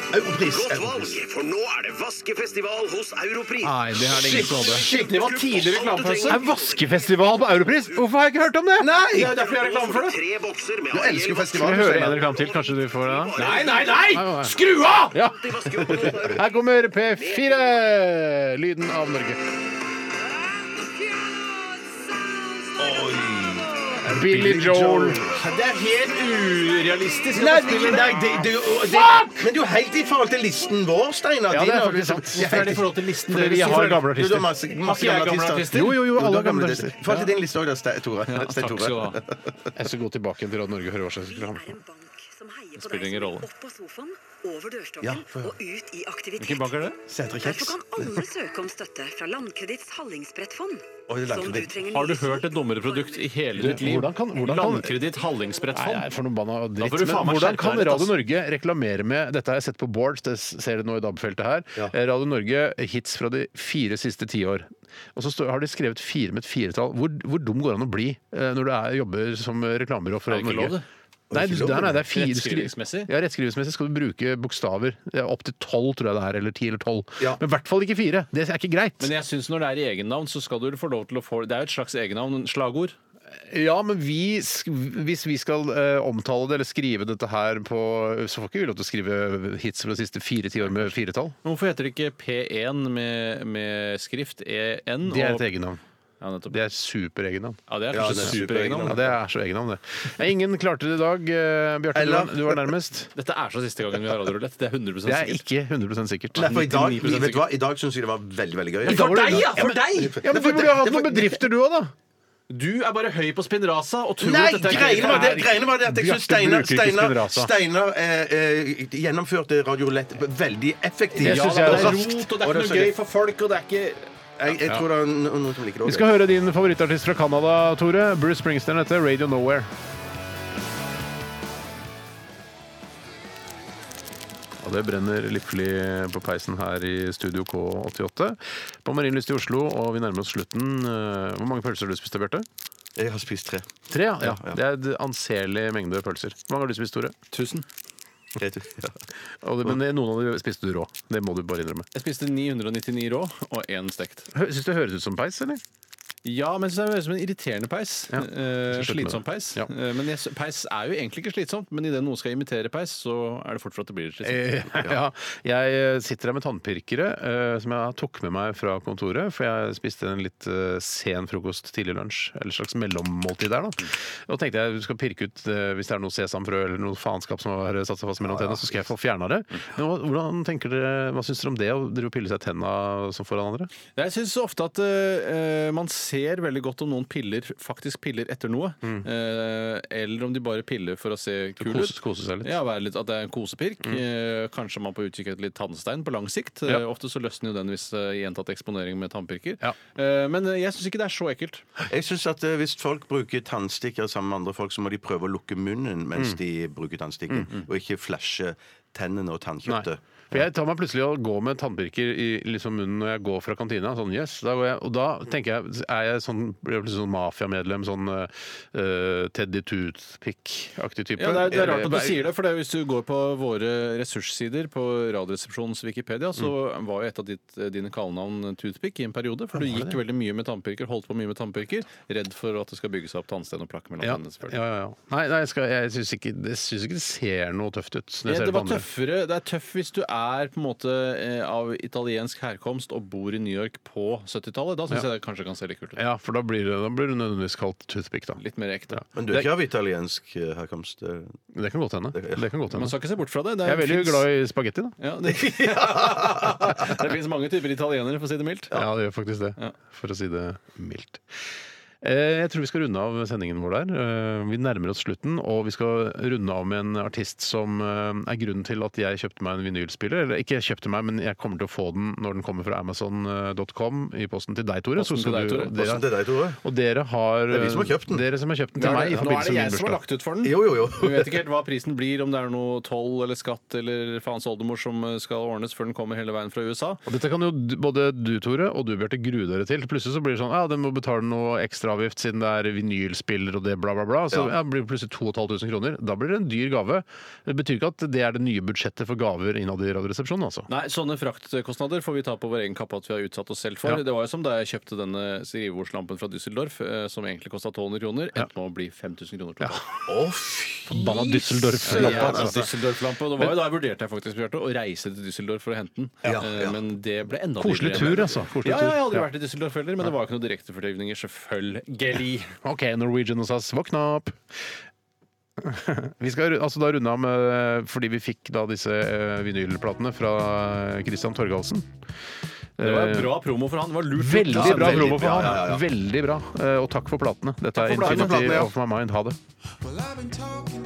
S6: Europris. Europris.
S9: for nå er det vaskefestival hos Europris.
S5: Nei, det har det ingen som hadde. Det var tidlig reklamepause.
S4: er vaskefestival på Europris! Hvorfor har jeg ikke hørt om det?
S6: Nei!
S5: Det er derfor jeg har reklame for det.
S9: Tre bokser med
S6: Du elsker jo
S4: Skal vi høre en
S6: festivaler.
S4: reklame til? Kanskje du får det? da?
S5: Nei, nei, nei! Skru av!
S4: Ja. Her kommer P4! Lyden av Norge. Billy Joel.
S5: Det er helt urealistisk.
S6: Nei, det, nei det, det, det, det, men det er jo helt i forhold til listen vår, Steinar.
S4: Ja, det er
S6: Din
S4: faktisk
S6: liksom-
S4: sant.
S6: Ja,
S5: Hvorfor er det i forhold til listen
S4: Fordi
S5: dere
S4: vi har
S5: sier?
S4: gamle
S6: Du, du har
S4: artister.
S6: masse, masse
S5: jeg
S6: gamle
S5: gamle
S6: artister.
S5: artister?
S4: Jo, jo, jo, alle
S6: Du har
S4: gamle
S6: artister.
S4: artister.
S6: I forhold til din liste òg, Stein Tore.
S5: Ja,
S6: Stein
S5: takk
S6: Tore.
S5: skal du ha.
S4: Jeg skal gå tilbake igjen til Radio Norge og høre hva slags program.
S10: Det
S5: spiller ingen rolle.
S10: Opp på sofaen, over dørstokken
S6: Ja, få høre.
S10: og ut i aktivitet.
S5: Hvilken bank er det?
S6: Sætre
S10: Derfor
S6: Kjeks.
S10: kan alle søke om støtte fra Landkreditts Hallingsbrettfond.
S6: Oi, det er
S10: Som du
S6: Landkreditt.
S10: trenger
S5: Har du
S10: nye
S5: hørt et
S10: støtte-
S5: dummere produkt i hele
S4: Du,
S5: ditt liv?
S4: hvordan kan- hvordan kan-
S5: Landkreditt
S4: Nei, det
S5: Hallingsbrettfond?
S4: er for noe banna og dritt.
S5: Da får du
S4: Men
S5: faen meg
S4: hvordan
S5: skjerpe
S4: kan
S5: deg litt,
S4: Radio
S5: ass.
S4: Norge reklamere med Dette har jeg sett på boards, det ser du nå i DAB-feltet her. Eh, Radio Norge, hits fra de fire siste tiår. Og så står, har de skrevet fire med et firetall. Hvor, hvor dum går det an å bli eh, når du er, jobber som reklamebyrå for
S5: Er
S4: Radio
S5: det ikke lov,
S4: Norge?
S5: det?
S4: Nei, du- nei, nei, det er fire
S5: Rettskrivingsmessig?
S4: Ja, rettskrivingsmessig skal du bruke bokstaver. Ja, Opptil tolv, tror jeg det er. Eller ti eller tolv.
S6: Ja.
S4: Men i hvert fall ikke fire. Det er ikke greit.
S5: Men jeg synes når det er i egennavn, så skal du få lov til å få Det er jo et slags egennavn, slagord.
S4: Ja, men vi, sk- hvis vi skal eh, omtale det eller skrive dette her på Så får ikke vi lov til å skrive hits fra de siste fire tiår med firetall.
S5: Men hvorfor heter det ikke P1 med, med skrift EN?
S4: Det er
S5: og-
S4: et egennavn.
S5: Ja, nettopp.
S4: Det er superegennavn.
S5: Ja, det er
S6: Ja,
S5: kanskje
S6: det er
S5: superegennavn.
S4: Ja, det er så egennavn, det. Nei, Ingen klarte det i dag. eh, Bjarte, du,
S6: Ella.
S4: var- du var nærmest.
S5: Dette er så siste gangen vi har radiorulett. Det er 100
S4: Det er
S5: sikkert.
S4: ikke 100 sikkert.
S6: Nei, for i dag,
S5: 99%
S6: vet du hva? I dag syns jeg det var veldig, veldig gøy.
S4: For deg,
S5: ja! For deg!
S4: Ja, men Du burde jo hatt noen bedrifter, du òg, da.
S5: Du er bare høy på spinnrasa og tror
S6: Nei,
S5: at dette er
S6: greiene var det, greiene var det at jeg
S4: Bjarte
S6: syns Steinar,
S4: bruker ikke
S6: Steinar,
S4: Spinrasa.
S6: Steinar eh, eh, gjennomførte Radio Lett veldig effektivt.
S4: Det
S5: Ja,
S4: synes
S5: det
S4: jeg
S5: er
S4: er
S5: rot, og det er ikke
S6: Og det er
S5: noe
S6: så
S5: gøy for folk, og det er ikke
S6: Jeg, jeg tror det er no- noen som liker det
S4: Vi
S6: også.
S4: skal høre din favorittartist fra Canada, Tore. Bruce Springsteen heter Radio Nowhere. Ja, det brenner lippelig på peisen her i Studio K88 på Marienlyst i Oslo. Og vi nærmer oss slutten. Eh, Hvor mange pølser har du spist, Bjarte?
S6: Jeg har spist tre.
S4: Tre, ja. ja. Det er en anselig mengde pølser. Hvor mange har du spist, Tore?
S5: Tusen.
S6: Jeg tror- ja.
S4: Og det, men det- noen av dem spiste du rå. Det må du bare innrømme.
S5: Jeg spiste 999 rå og én stekt.
S4: Hø- Syns det høres ut som peis, eller?
S5: Ja, men så er det høres ut som en irriterende peis.
S4: Ja.
S5: Eh,
S4: Så slutt med det.
S5: slitsom peis.
S4: Ja.
S5: Eh, men jeg, peis er jo egentlig ikke slitsomt, men idet noen skal imitere peis, så er det fort for at det blir slitsomt.
S4: Eh, Ja. Jeg eh, sitter her med tannpirkere eh, som jeg tok med meg fra kontoret. For jeg spiste en litt eh, sen frokost, tidlig lunsj, eller slags mellommåltid der. da. Og tenkte jeg du skal pirke ut eh, hvis det er noe sesamfrø eller noe faenskap som har satt seg fast mellom tennene, så skal jeg få fjerna det. Men hva- hvordan tenker dere, Hva syns dere om det å drive og pille seg i tenna som foran andre?
S5: Jeg syns ofte at eh, eh, man ser veldig godt om noen piller faktisk piller etter noe, eh, eller om de bare piller for å se kul
S4: Mm. Kose,
S5: ut.
S4: kose seg litt. Mm.
S5: Ja, være litt, At det er en kosepirk. Eh, kanskje man er på utkikk etter litt tannstein på lang sikt.
S4: Ja.
S5: Eh, ofte så løsner jo den hvis eh, gjentatt eksponering med tannpirker.
S4: Ja.
S5: Eh, men eh, jeg syns ikke det er så ekkelt.
S6: Jeg syns at eh, hvis folk bruker tannstikker sammen med andre folk, så må de prøve å lukke munnen mens de bruker tannstikken, og ikke flashe tennene og tannkjøttet.
S4: For jeg tar meg plutselig og går med tannpirker i liksom munnen når jeg går fra kantina. Sånn, yes, da går jeg, og da tenker jeg Er jeg sånn, blir jeg plutselig sånn mafiamedlem, sånn eh, Teddy Toothpick-aktig type?
S5: Ja, det, er, det er rart at du sier det, for det er, jo- hvis du går på våre ressurssider på Radioresepsjonens Wikipedia, så
S4: Mm.
S5: var jo et av ditt, eh, dine kallenavn Toothpick i en periode. For du gikk veldig mye med tannpirker, holdt på mye med tannpirker, redd for at det skal bygge seg opp tannsten og plakke mellom
S4: Ja,
S5: tennene. Sånn, selvfølgelig.
S4: ja, ja, ja. Nei, nei jeg, skal, jeg syns ikke, jeg syns ikke det ser noe tøft ut. Når jeg ser
S5: Ja, Eh,
S4: det på
S5: det, var
S4: andre.
S5: tøffere, det er tøff hvis du er på en måte eh, av italiensk herkomst og bor i New York på 70-tallet. Da syns jeg det kanskje kan se litt kult ut.
S4: Ja, for da blir det, da blir det nødvendigvis kalt toothpick, da.
S5: Litt mer ekte.
S6: Men du er ikke av italiensk eh, herkomst? eh.
S4: Det kan godt hende. Det kan godt
S5: Man
S4: hende.
S5: skal ikke se bort fra det. det
S4: Jeg er veldig
S5: finnes-
S4: glad i spagetti, da.
S5: ja, det, det fins mange typer italienere, for å si det mildt.
S4: Ja, det gjør faktisk det. For å si det mildt. Eh, Jeg tror vi skal runde av sendingen vår der. Eh, Vi nærmer oss slutten, og vi skal runde av med en artist som eh, er grunnen til at jeg kjøpte meg en vinylspiller. Eller ikke jeg kjøpte meg, men jeg kommer til å få den når den kommer fra Amazon.com i posten til deg, Tore.
S5: Posten til deg, Tore.
S4: og
S6: Posten til deg, Tore.
S4: Og dere har
S6: Det er vi som har kjøpt den.
S4: Dere som har kjøpt den til meg i
S5: Nå er
S4: forbindelse
S5: det
S4: med
S5: jeg
S4: min
S5: som har
S4: bursdag.
S5: lagt ut for den.
S6: Jo, jo, jo.
S5: Vi vet ikke helt hva prisen blir, om det er noe toll eller skatt eller faens oldemor som eh, skal ordnes før den kommer hele veien fra USA.
S4: Og dette kan jo d- både du, Tore, og du, Bjarte, grue dere til. Plutselig så blir det sånn ja, den må betale noe ekstraavgift siden det er vinylspiller og det bla, bla, bla. Så ja. det blir det plutselig 2500 kroner. Da blir det en dyr gave. Det betyr ikke at det er det nye budsjettet for gaver innad i Radioresepsjonen, altså.
S5: Nei, sånne fraktkostnader får vi ta på vår egen kappe at vi har utsatt oss selv for.
S4: Ja.
S5: Det var jo som da jeg kjøpte denne skrivebordslampen fra Düsseldorf, eh, som egentlig kosta 1200 kroner, endte med å bli 5000 kroner totalt.
S4: Forbanna
S5: Søren,
S4: Düsseldorf-lampa.
S5: altså,
S4: altså.
S5: Düsseldorf-lampe. Og det var jo da jeg vurderte jeg faktisk Bjarte, å reise til Düsseldorf for å hente den. Eh, Men det ble enda
S4: Koselig
S5: dyrere.
S4: tur, altså. Koselig
S5: Ja, ja, jeg har
S4: tur.
S5: aldri vært i Düsseldorf heller, men det var jo ikke noen direktefortøyvninger, selvfølgelig.
S4: OK, Norwegian og SAS, våkna opp! Vi skal ru- altså da runde av med fordi vi fikk da disse eh, vinylplatene fra eh, Christian Eh, Torgalsen.
S5: Det var en bra promo for han. Det var lurt. gjort.
S4: Veldig bra
S6: veldig
S4: promo for
S6: bra,
S4: han.
S6: ja, ja, ja.
S4: Veldig bra. Eh, Og takk for platene. Dette er
S5: for platene.
S4: Infinity
S6: Takk for platene, ja.
S4: of my mind. Ha det.
S9: Well, I've been talking